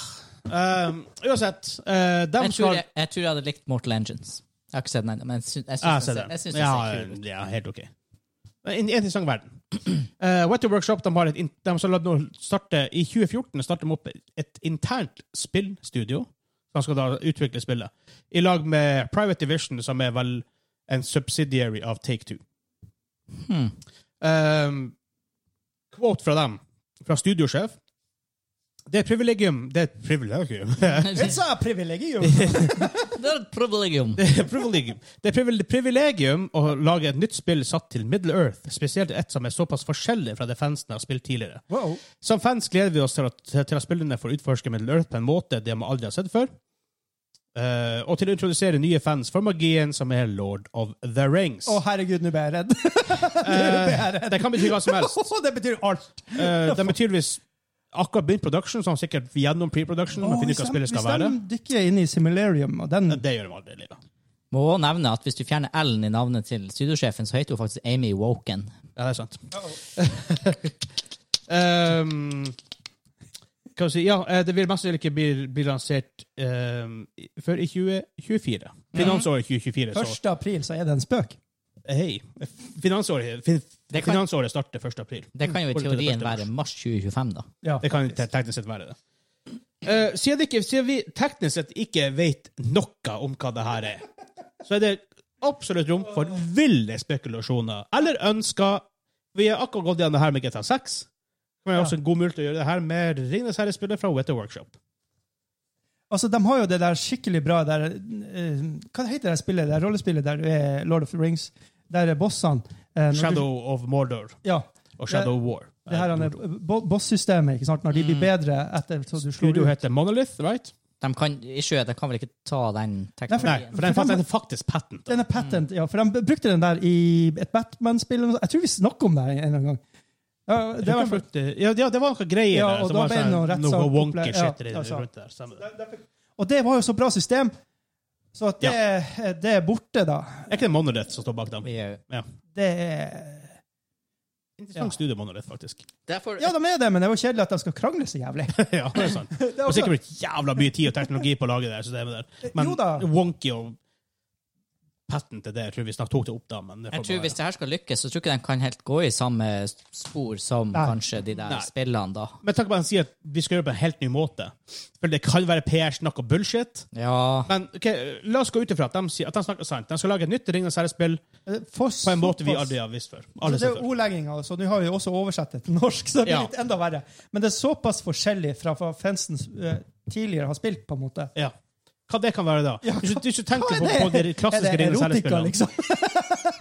[SPEAKER 1] Um, uansett, eh, de
[SPEAKER 2] Jeg tror
[SPEAKER 1] skal
[SPEAKER 2] jeg, jeg tror jeg hadde likt Mortal Engines. Jeg har ikke sett den ennå, men jeg syns, jeg
[SPEAKER 1] Ah, Ja,
[SPEAKER 2] syns den ser, jeg syns den ser kul ut.
[SPEAKER 1] ja, helt ok. En, en interessant verden. Uh, Wetter Workshop de har et, in- de skal nå starte, I 2014 starter de opp et internt spillstudio som skal da utvikle spillet, i lag med Private Division, som er vel en subsidiary av Take Two.
[SPEAKER 2] Hmm.
[SPEAKER 1] Um, quote fra dem, fra studiosjef. Det er et privilegium Det er et privilegium.
[SPEAKER 3] It's a privilegium.
[SPEAKER 2] sånn- Det er et privilegium.
[SPEAKER 1] Det er privilegium. Det er privil- privilegium å lage et nytt spill satt til Middle Earth, spesielt et som er såpass forskjellig fra det fansen har spilt tidligere.
[SPEAKER 3] Wow.
[SPEAKER 1] Som fans gleder vi oss til at, til at spillerne får utforske Middle Earth på en måte de aldri har sett før, Eh, og til å introdusere nye fans for magien som er Lord of the Rings.
[SPEAKER 3] Å, herregud, nå ble jeg redd.
[SPEAKER 1] Eh, det kan bety hva som helst.
[SPEAKER 3] det betyr alt.
[SPEAKER 1] Eh, de har tydeligvis akkurat begynt production, så de er sikkert gjennom pre-production. men finner ut hva spillet skal
[SPEAKER 3] hvis de
[SPEAKER 1] være.
[SPEAKER 3] dykker inn i Simularium og den
[SPEAKER 1] Det gjør de aldri i livet.
[SPEAKER 2] Må også nevne at hvis du fjerner L-en i navnet til studiosjefen, så heter hun faktisk Amy Woken.
[SPEAKER 1] Ja, det er sant. um, kan vi si, ja, eh, det vil mest sannsynlig ikke bli, bli lansert ehm, i- før i 2024.
[SPEAKER 2] Mhm.
[SPEAKER 1] Finansåret 2024. Så Eh,
[SPEAKER 3] 1. april så er det en spøk.
[SPEAKER 1] hei, finansåret, fin,
[SPEAKER 2] Det kan-
[SPEAKER 1] finansåret starter 1. april.
[SPEAKER 2] Det kan jo i
[SPEAKER 1] Hvor er det
[SPEAKER 2] teorien
[SPEAKER 1] første
[SPEAKER 2] være mars 2025, da.
[SPEAKER 3] Ja.
[SPEAKER 1] Det kan te- teknisk sett være det. Eh, siden, det ikke, siden vi teknisk sett ikke vet noe om hva det her er, så er det absolutt rom for ville spekulasjoner eller ønsker. Vi har akkurat gått gjennom det her med GTA 6. Det er også en god mulighet til å gjøre det her med Ringnes herre-spillet fra Wetter Workshop.
[SPEAKER 3] Altså, De har jo det der skikkelig bra der eh, Hva heter det spillet, det rollespillet der du er Lord of the Rings? Der er bossene eh, når du-
[SPEAKER 1] Shadow of Mordor
[SPEAKER 3] Ja.
[SPEAKER 1] og Shadow War. Eh,
[SPEAKER 3] Det her er bo boss-systemet, ikke sant? når de blir bedre etter så du
[SPEAKER 1] Mm.
[SPEAKER 3] slår
[SPEAKER 1] Studio
[SPEAKER 3] ut.
[SPEAKER 1] heter Monolith, right?
[SPEAKER 2] De kan, ikke, de kan vel ikke ta den
[SPEAKER 1] Nei,
[SPEAKER 2] teknologien?
[SPEAKER 1] for den fant- den er faktisk patent.
[SPEAKER 3] Den er patent,
[SPEAKER 1] Mm.
[SPEAKER 3] ja, for de brukte den der i et Batman-spill. eller noe sånt. Jeg tror vi snakker om det en eller annen gang. Ja, det
[SPEAKER 1] Det
[SPEAKER 3] var
[SPEAKER 1] var, ja, ja, det var noe greier
[SPEAKER 3] Ja,
[SPEAKER 1] der
[SPEAKER 3] og
[SPEAKER 1] som
[SPEAKER 3] da
[SPEAKER 1] var
[SPEAKER 3] ble det
[SPEAKER 1] sånn,
[SPEAKER 3] noe rettssak-
[SPEAKER 1] noe wonky
[SPEAKER 3] opple- ja,
[SPEAKER 1] shit
[SPEAKER 3] altså.
[SPEAKER 1] rundt der. Stemmer det.
[SPEAKER 3] Og det var jo så bra system, så at det, det er borte, da.
[SPEAKER 1] Er ikke det Monolith som står bak dem?
[SPEAKER 2] Vi er-
[SPEAKER 1] Ja.
[SPEAKER 3] Det er
[SPEAKER 1] Interessant studio Monolith, faktisk.
[SPEAKER 2] Derfor,
[SPEAKER 3] Ja, de er det, men det var kjedelig at de skal krangle så jævlig.
[SPEAKER 1] ja, det er sant. Det
[SPEAKER 3] Det er
[SPEAKER 1] har
[SPEAKER 3] også- Eh,
[SPEAKER 1] sikkert brukt jævla mye tid og teknologi på å lage det her systemet der. Men
[SPEAKER 3] Jo da.
[SPEAKER 1] wonky og patent til det, jeg tror vi snart tok det opp da. Men det får
[SPEAKER 2] jeg tror
[SPEAKER 1] bare-
[SPEAKER 2] Hvis det her skal lykkes, så tror jeg ikke de kan helt gå i samme spor som
[SPEAKER 3] Nei.
[SPEAKER 2] kanskje de der
[SPEAKER 1] Nei.
[SPEAKER 2] spillene, da.
[SPEAKER 1] Men takk for at han sier at vi skal gjøre det på en helt ny måte. For det kan være PR-snakk og bullshit.
[SPEAKER 2] Ja,
[SPEAKER 1] Men ok, la oss gå ut ifra at de, sier, at de snakker sant. De skal lage et nytt Ringenes herre-spill på en måte vi aldri har visst før. Aldri
[SPEAKER 3] Så det
[SPEAKER 1] sett
[SPEAKER 3] er
[SPEAKER 1] før.
[SPEAKER 3] ordlegginga, så nå har vi også oversatt det til norsk. så det blir
[SPEAKER 1] Ja.
[SPEAKER 3] litt enda verre. Men det er såpass forskjellig fra hva fansen eh, tidligere har spilt, på en måte.
[SPEAKER 1] Ja. Hva det kan være da?
[SPEAKER 3] Ja,
[SPEAKER 1] Hvis du- hvis du tenker
[SPEAKER 3] Hva
[SPEAKER 1] på, på de klassiske
[SPEAKER 3] er det
[SPEAKER 1] Ringenes
[SPEAKER 3] erotika,
[SPEAKER 1] herre-spillene
[SPEAKER 3] liksom?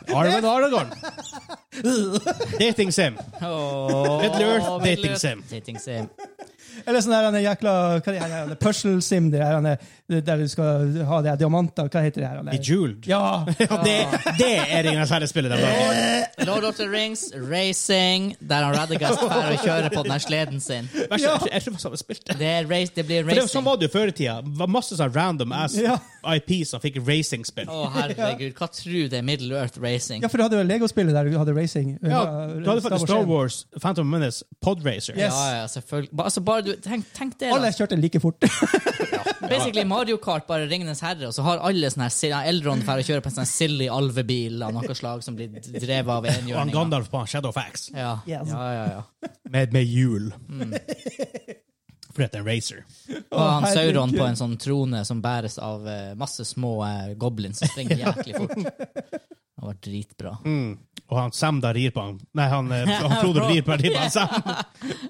[SPEAKER 1] Arwen og Aragorn. Dating sim.
[SPEAKER 2] Åh,
[SPEAKER 1] Middle Earth
[SPEAKER 2] Middle
[SPEAKER 1] dating
[SPEAKER 2] Earth
[SPEAKER 1] sim.
[SPEAKER 2] dating sim.
[SPEAKER 3] Eller sånn der han er jækla hva er det her, han er Puzzle Sim, det her, han er, der du skal ha de her diamanter Hva heter det her? han
[SPEAKER 1] I
[SPEAKER 3] er?
[SPEAKER 1] Jeweled.
[SPEAKER 3] Ja!
[SPEAKER 1] Ja, det, det er Ringenes herre-spillet de lager.
[SPEAKER 2] Lord of the Rings, racing, der han Radagast er og kjører på den her sleden sin.
[SPEAKER 1] Verst,
[SPEAKER 3] Ja.
[SPEAKER 1] jeg tror- Jeg tror faktisk han har spilt det.
[SPEAKER 2] Det, er race, det blir
[SPEAKER 1] For det, var- sånn
[SPEAKER 2] racing.
[SPEAKER 1] var det jo før i tida. Det var Masse sånn random ass
[SPEAKER 3] ja.
[SPEAKER 1] IP som fikk racingspill.
[SPEAKER 2] Å, herregud, hva tror det er Middle Earth Racing?
[SPEAKER 3] Ja, for du hadde jo Lego-spillet der du hadde racing.
[SPEAKER 1] Ja,
[SPEAKER 3] Uh,
[SPEAKER 1] du hadde faktisk Star
[SPEAKER 3] Wars.
[SPEAKER 1] Wars, Phantom Menace, Podracer.
[SPEAKER 3] Yes.
[SPEAKER 2] Ja, ja, selvfølgelig. Ba- Altså, bare du, tenk, tenk det,
[SPEAKER 3] Alle
[SPEAKER 2] da.
[SPEAKER 3] kjørte like fort.
[SPEAKER 2] Basically Mario Kart, bare Ringenes herre, og så har alle sånne her si- ja, Elrond for å kjøre på en sånn silly alvebil av noe slag som blir drevet av
[SPEAKER 1] Og han
[SPEAKER 2] enhjørninger.
[SPEAKER 1] Gandalf på han, Shadow Facts.
[SPEAKER 2] Ja. ja, altså.
[SPEAKER 3] Yes.
[SPEAKER 2] ja, ja.
[SPEAKER 1] Med, med hjul. Mm. Fordi at det er en racer.
[SPEAKER 2] Og han
[SPEAKER 3] herregud.
[SPEAKER 2] Sauron på en sånn trone som bæres av eh, masse små eh, goblins som springer jæklig fort. Det var dritbra.
[SPEAKER 1] Mm. Og han Sam da rir på han. Nei, han, eh, han Frode rir på, rir på han Sam.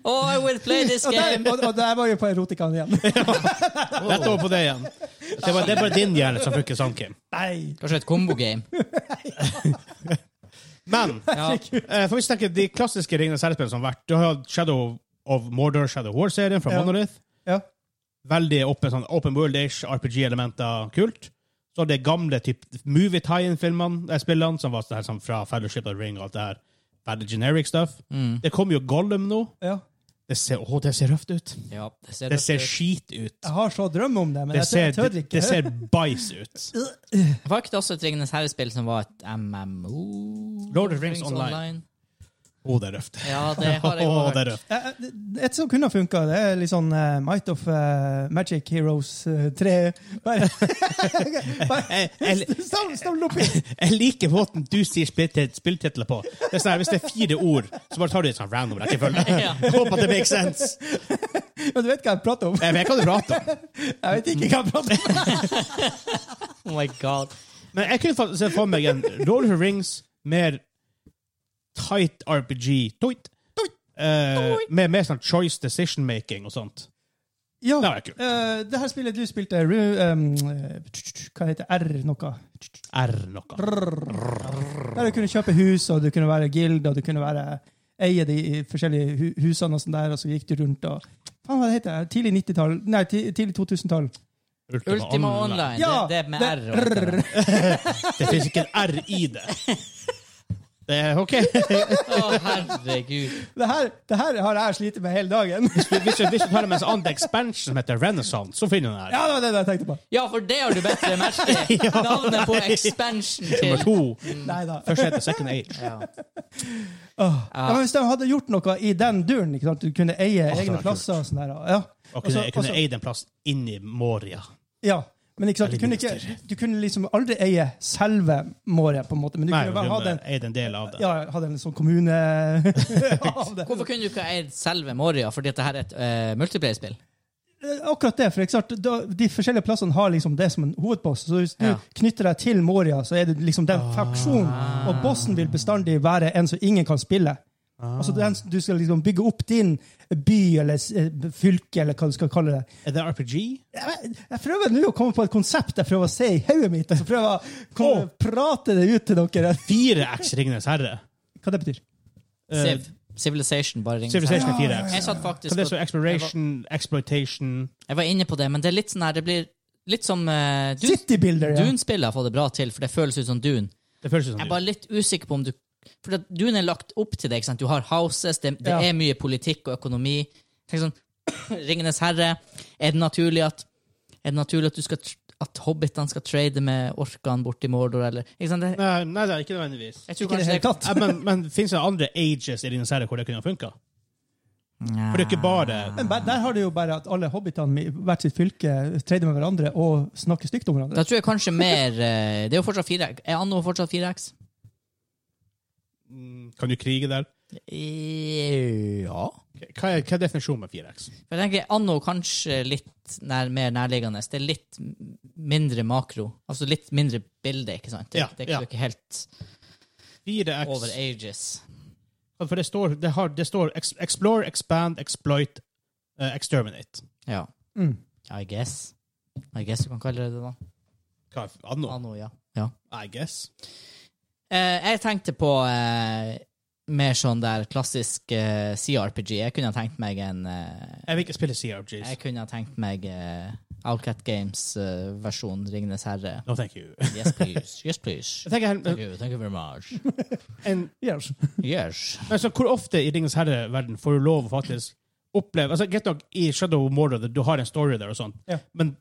[SPEAKER 2] Oh, I will play this
[SPEAKER 3] Og der,
[SPEAKER 2] game!
[SPEAKER 3] og, og der var vi på erotikaen igjen.
[SPEAKER 1] Rett over på det igjen. Det er bare, det er bare din hjerne som funker sånn, Kim.
[SPEAKER 3] Nei!
[SPEAKER 2] Kanskje et kombogame.
[SPEAKER 1] Men
[SPEAKER 2] Ja.
[SPEAKER 1] eh, for hvis vi tenker de klassiske Ringenes herre-spillene som har vært Du har hatt Shadow of Mordor, Shadow War-serien fra
[SPEAKER 3] Ja.
[SPEAKER 1] Monolith.
[SPEAKER 3] Ja.
[SPEAKER 1] Veldig open, sånn open world-ish, RPG-elementer, kult. Så har det gamle typ, movie tie-in-filmene, eh, spillene, som var sånn her, sånn, fra Fellowship of the Ring og alt det her. Veldig generic stuff.
[SPEAKER 3] Mm.
[SPEAKER 1] Det kommer jo Gollum nå.
[SPEAKER 3] ja.
[SPEAKER 1] Det ser, å, det ser røft ut.
[SPEAKER 2] Ja, det ser,
[SPEAKER 1] Det ser
[SPEAKER 2] ut.
[SPEAKER 1] skit ut.
[SPEAKER 3] Jeg har så drøm om det, men
[SPEAKER 1] Det
[SPEAKER 3] jeg,
[SPEAKER 1] ser,
[SPEAKER 3] jeg tør ikke.
[SPEAKER 1] det ser bæsj ut.
[SPEAKER 2] Var ikke det også et Ringenes herre-spill som var et MMO?
[SPEAKER 1] Lord of the Rings Online. Å, det er røft.
[SPEAKER 2] Ja, det har jeg
[SPEAKER 1] Å,
[SPEAKER 2] også
[SPEAKER 1] det
[SPEAKER 2] hørt.
[SPEAKER 1] er røft.
[SPEAKER 3] Eh, eh, Et som kunne ha funka, det er litt sånn eh, Might of eh, Magic Heroes eh, 3. Bare, bare
[SPEAKER 1] Jeg, jeg,
[SPEAKER 3] Stam- stamle opp i-
[SPEAKER 1] Jeg liker måten du sier spilltit- spilltitler på. Det er sånn her, Hvis det er fire ord, så bare tar du et sånn random rekkefølge.
[SPEAKER 2] Ja.
[SPEAKER 1] Jeg Håper at det makes sense.
[SPEAKER 3] Men du vet hva jeg prater om?
[SPEAKER 1] Jeg vet hva du prater om.
[SPEAKER 3] Jeg vet ikke hva jeg prater om.
[SPEAKER 2] Oh my god.
[SPEAKER 1] Men jeg kunne fa- se for meg en Lord of the Rings mer tight RPG toit, eh, med mer sånn choice decision making og sånt.
[SPEAKER 3] Ja,
[SPEAKER 1] Det var kult.
[SPEAKER 3] eh, det her spillet du spilte, Ru- em, eh, hva heter det? R noe?
[SPEAKER 1] R noe.
[SPEAKER 3] Der du kunne kjøpe hus, og du kunne være gild, og du kunne være eie de forskjellige hu husene og sånn der, og så gikk du rundt og Faen, hva det heter det? Tidlig 90-tall? Nei, ti- tidlig 2000-tall.
[SPEAKER 2] Ultima Online.
[SPEAKER 3] Ja,
[SPEAKER 2] det, det er med
[SPEAKER 3] det-
[SPEAKER 2] R. og etter det.
[SPEAKER 1] Det fins ikke en R i det. Det er OK.
[SPEAKER 2] Å, herregud.
[SPEAKER 3] Det her, det her har jeg slitt med hele dagen.
[SPEAKER 1] Hvis du, hvis du tar med en sånn annen expansion som heter Renaissance, så finner du den her.
[SPEAKER 3] Ja, det var det jeg tenkte på.
[SPEAKER 2] Ja, for det har du bedre merke. Navnet på expansion til
[SPEAKER 1] Nummer to.
[SPEAKER 3] Nei da.
[SPEAKER 1] Først heter Second Age.
[SPEAKER 2] ja.
[SPEAKER 3] Ja, men hvis de hadde gjort noe i den duren, ikke sant? du kunne eie
[SPEAKER 1] det
[SPEAKER 3] egne
[SPEAKER 1] var
[SPEAKER 3] plasser og sånn der. Ja.
[SPEAKER 1] Og kunne,
[SPEAKER 3] Også-
[SPEAKER 1] jeg kunne
[SPEAKER 3] også-
[SPEAKER 1] eid en plass inn i Moria.
[SPEAKER 3] ja. Men ikke sant? Du,
[SPEAKER 1] Jeg liker
[SPEAKER 3] kunne ikke, du kunne liksom aldri eie selve Måret, på en måte, men du
[SPEAKER 1] Nei, men
[SPEAKER 3] kunne bare
[SPEAKER 1] du
[SPEAKER 3] ha den
[SPEAKER 1] kunne eid en del av det.
[SPEAKER 3] ja, ha den sånn kommune av det.
[SPEAKER 2] Hvorfor kunne du ikke ha eid selve Moria, fordi at det her er et uh, multiplayer-spill?
[SPEAKER 3] Eh, Akkurat det. for eksempel, da, De forskjellige plassene har liksom det som en hovedboss. Så hvis du
[SPEAKER 2] Ja.
[SPEAKER 3] knytter deg til Moria, så er det liksom
[SPEAKER 1] Ah.
[SPEAKER 3] den faksjonen. Og bossen vil bestandig være en som ingen kan spille.
[SPEAKER 1] Ah.
[SPEAKER 3] Altså den, Du skal liksom bygge opp din by eller s- eh, fylke, eller hva du skal kalle det.
[SPEAKER 1] Er det RPG?
[SPEAKER 3] Jeg, jeg prøver nå å komme på et konsept jeg prøver å se i hodet mitt. og Så prøver jeg å komme, prate det ut til dere.
[SPEAKER 1] Fire X Ringenes herre.
[SPEAKER 3] Hva det betyr
[SPEAKER 1] Eh,
[SPEAKER 2] Civ. Civilization, bare ring.
[SPEAKER 1] Civilization er fire
[SPEAKER 2] Jeg
[SPEAKER 1] X.
[SPEAKER 2] satt faktisk
[SPEAKER 1] Så det er så
[SPEAKER 2] og,
[SPEAKER 1] exploration, exploitation
[SPEAKER 2] Jeg var inne på det, men det er litt sånn her Det blir litt som eh, Dune-
[SPEAKER 3] City Builder, ja.
[SPEAKER 2] Dune-spillet har fått det bra til, for det føles ut som Dune.
[SPEAKER 1] Det føles jo
[SPEAKER 2] Jeg
[SPEAKER 1] sånn.
[SPEAKER 2] er bare litt usikker på om du For at Dune er lagt opp til det. ikke sant? Du har houses, det, det
[SPEAKER 3] Ja.
[SPEAKER 2] er mye politikk og økonomi. Tenk sånn, Ringenes herre. Er det naturlig at er det naturlig at, du skal, tr- at hobbitene skal trade med orkene borti Mordor, eller ikke sant? Det,
[SPEAKER 1] Nei, nei, det er ikke nødvendigvis.
[SPEAKER 2] jeg tror
[SPEAKER 3] Ikke i det
[SPEAKER 2] kanskje
[SPEAKER 3] hele tatt.
[SPEAKER 1] Eh, Men, men fins det andre ages i Ringenes herre hvor det kunne funka? For det er
[SPEAKER 2] Ah.
[SPEAKER 1] ikke bare
[SPEAKER 3] Men ba- der har det jo bare at alle hobbitene i hvert sitt fylke treider med hverandre og snakker stygt om hverandre.
[SPEAKER 2] Da tror jeg kanskje mer eh, Det er jo fortsatt 4X. Er Anno fortsatt 4X?
[SPEAKER 1] Mm, Kan du krige der?
[SPEAKER 2] Ja.
[SPEAKER 1] Hva er, hva er definisjonen med 4X?
[SPEAKER 2] For jeg tenker Anno kanskje litt nær, mer nærliggende. Det er litt m- mindre makro. Altså litt mindre bilde, ikke sant? Det,
[SPEAKER 1] Ja,
[SPEAKER 2] det er
[SPEAKER 1] ja.
[SPEAKER 2] ikke helt
[SPEAKER 1] 4X
[SPEAKER 2] over ages.
[SPEAKER 1] For det står, det har, det står ex- explore, expand, exploit, eh, exterminate.
[SPEAKER 2] Ja.
[SPEAKER 3] Mm.
[SPEAKER 2] I guess. I guess du kan kalle det det, da.
[SPEAKER 1] Hva er anno?
[SPEAKER 2] Anno, ja. ja.
[SPEAKER 1] I guess.
[SPEAKER 2] Eh, jeg tenkte på eh, mer sånn der klassisk eh, CRPG. Jeg kunne ha tenkt meg en eh,
[SPEAKER 1] Jeg vil ikke spille CRGs.
[SPEAKER 2] Jeg kunne ha tenkt meg eh, Outcat Games-versjon Ringenes herre.
[SPEAKER 1] No, thank you.
[SPEAKER 2] Yes, please. Yes, please.
[SPEAKER 1] Jeg tenker,
[SPEAKER 2] Thank
[SPEAKER 1] her,
[SPEAKER 2] you, thank you very much.
[SPEAKER 1] en,
[SPEAKER 3] Yes.
[SPEAKER 2] Yes.
[SPEAKER 1] men så hvor ofte i Ringens herre-verden får du lov å faktisk oppleve altså Greit nok i Shadow of Mordor, du har en story der og sånn,
[SPEAKER 3] Ja.
[SPEAKER 1] men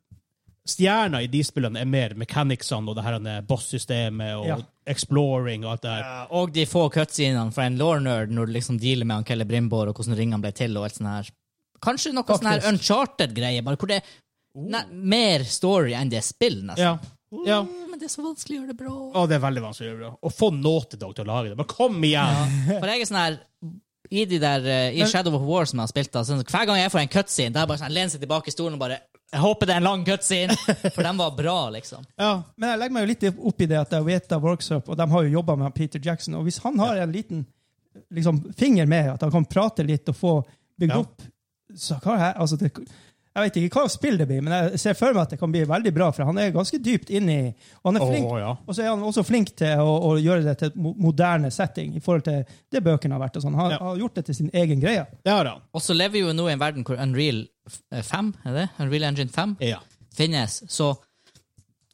[SPEAKER 1] stjerna i de spillene er mer mechanicsene og det her med boss-systemet og
[SPEAKER 3] Ja.
[SPEAKER 1] exploring og alt det her.
[SPEAKER 2] Og de få cutscenene fra en law-nerd når du liksom dealer med han Kelle Brimbor og hvordan ringene ble til. og alt sånt her. Kanskje noe sånn her
[SPEAKER 3] Faktisk.
[SPEAKER 2] uncharted-greie, bare hvor det er ne- mer story enn det er spill, nesten.
[SPEAKER 1] Ja. ja.
[SPEAKER 2] Mm, Men det er så vanskelig å gjøre det bra.
[SPEAKER 1] Å, det er veldig vanskelig å gjøre bra. Å få Naughty Dog til å lage det. Bare kom igjen!
[SPEAKER 2] For jeg er sånn her I de der eh, I Shadow of War som jeg har spilt, da, sånn, at hver gang jeg får en cutscene, da er jeg bare sånn, lener seg tilbake i stolen og bare Jeg håper det er en lang cutscene, for den var bra, liksom.
[SPEAKER 1] Ja.
[SPEAKER 3] Men jeg legger meg jo litt opp i det at jeg vet at Workshop, og de har jo jobba med Peter Jackson, og hvis han har en liten liksom, finger med, at han kan prate litt og få bygd
[SPEAKER 1] Ja.
[SPEAKER 3] opp så hva er, altså, det, Jeg vet ikke hva spill det blir, men jeg ser for meg at det kan bli veldig bra, for han er ganske dypt inni Og han er
[SPEAKER 1] Åh,
[SPEAKER 3] flink,
[SPEAKER 1] ja.
[SPEAKER 3] og så er han også flink til å, å gjøre det til et mo- moderne setting i forhold til det bøkene har vært. og sånn. Han
[SPEAKER 1] Ja.
[SPEAKER 3] har gjort det til sin egen greie.
[SPEAKER 1] Det har han.
[SPEAKER 2] Og så lever vi jo nå i en verden hvor Unreal f- eh, 5, er det? Unreal Engine 5
[SPEAKER 1] Ja.
[SPEAKER 2] finnes. Så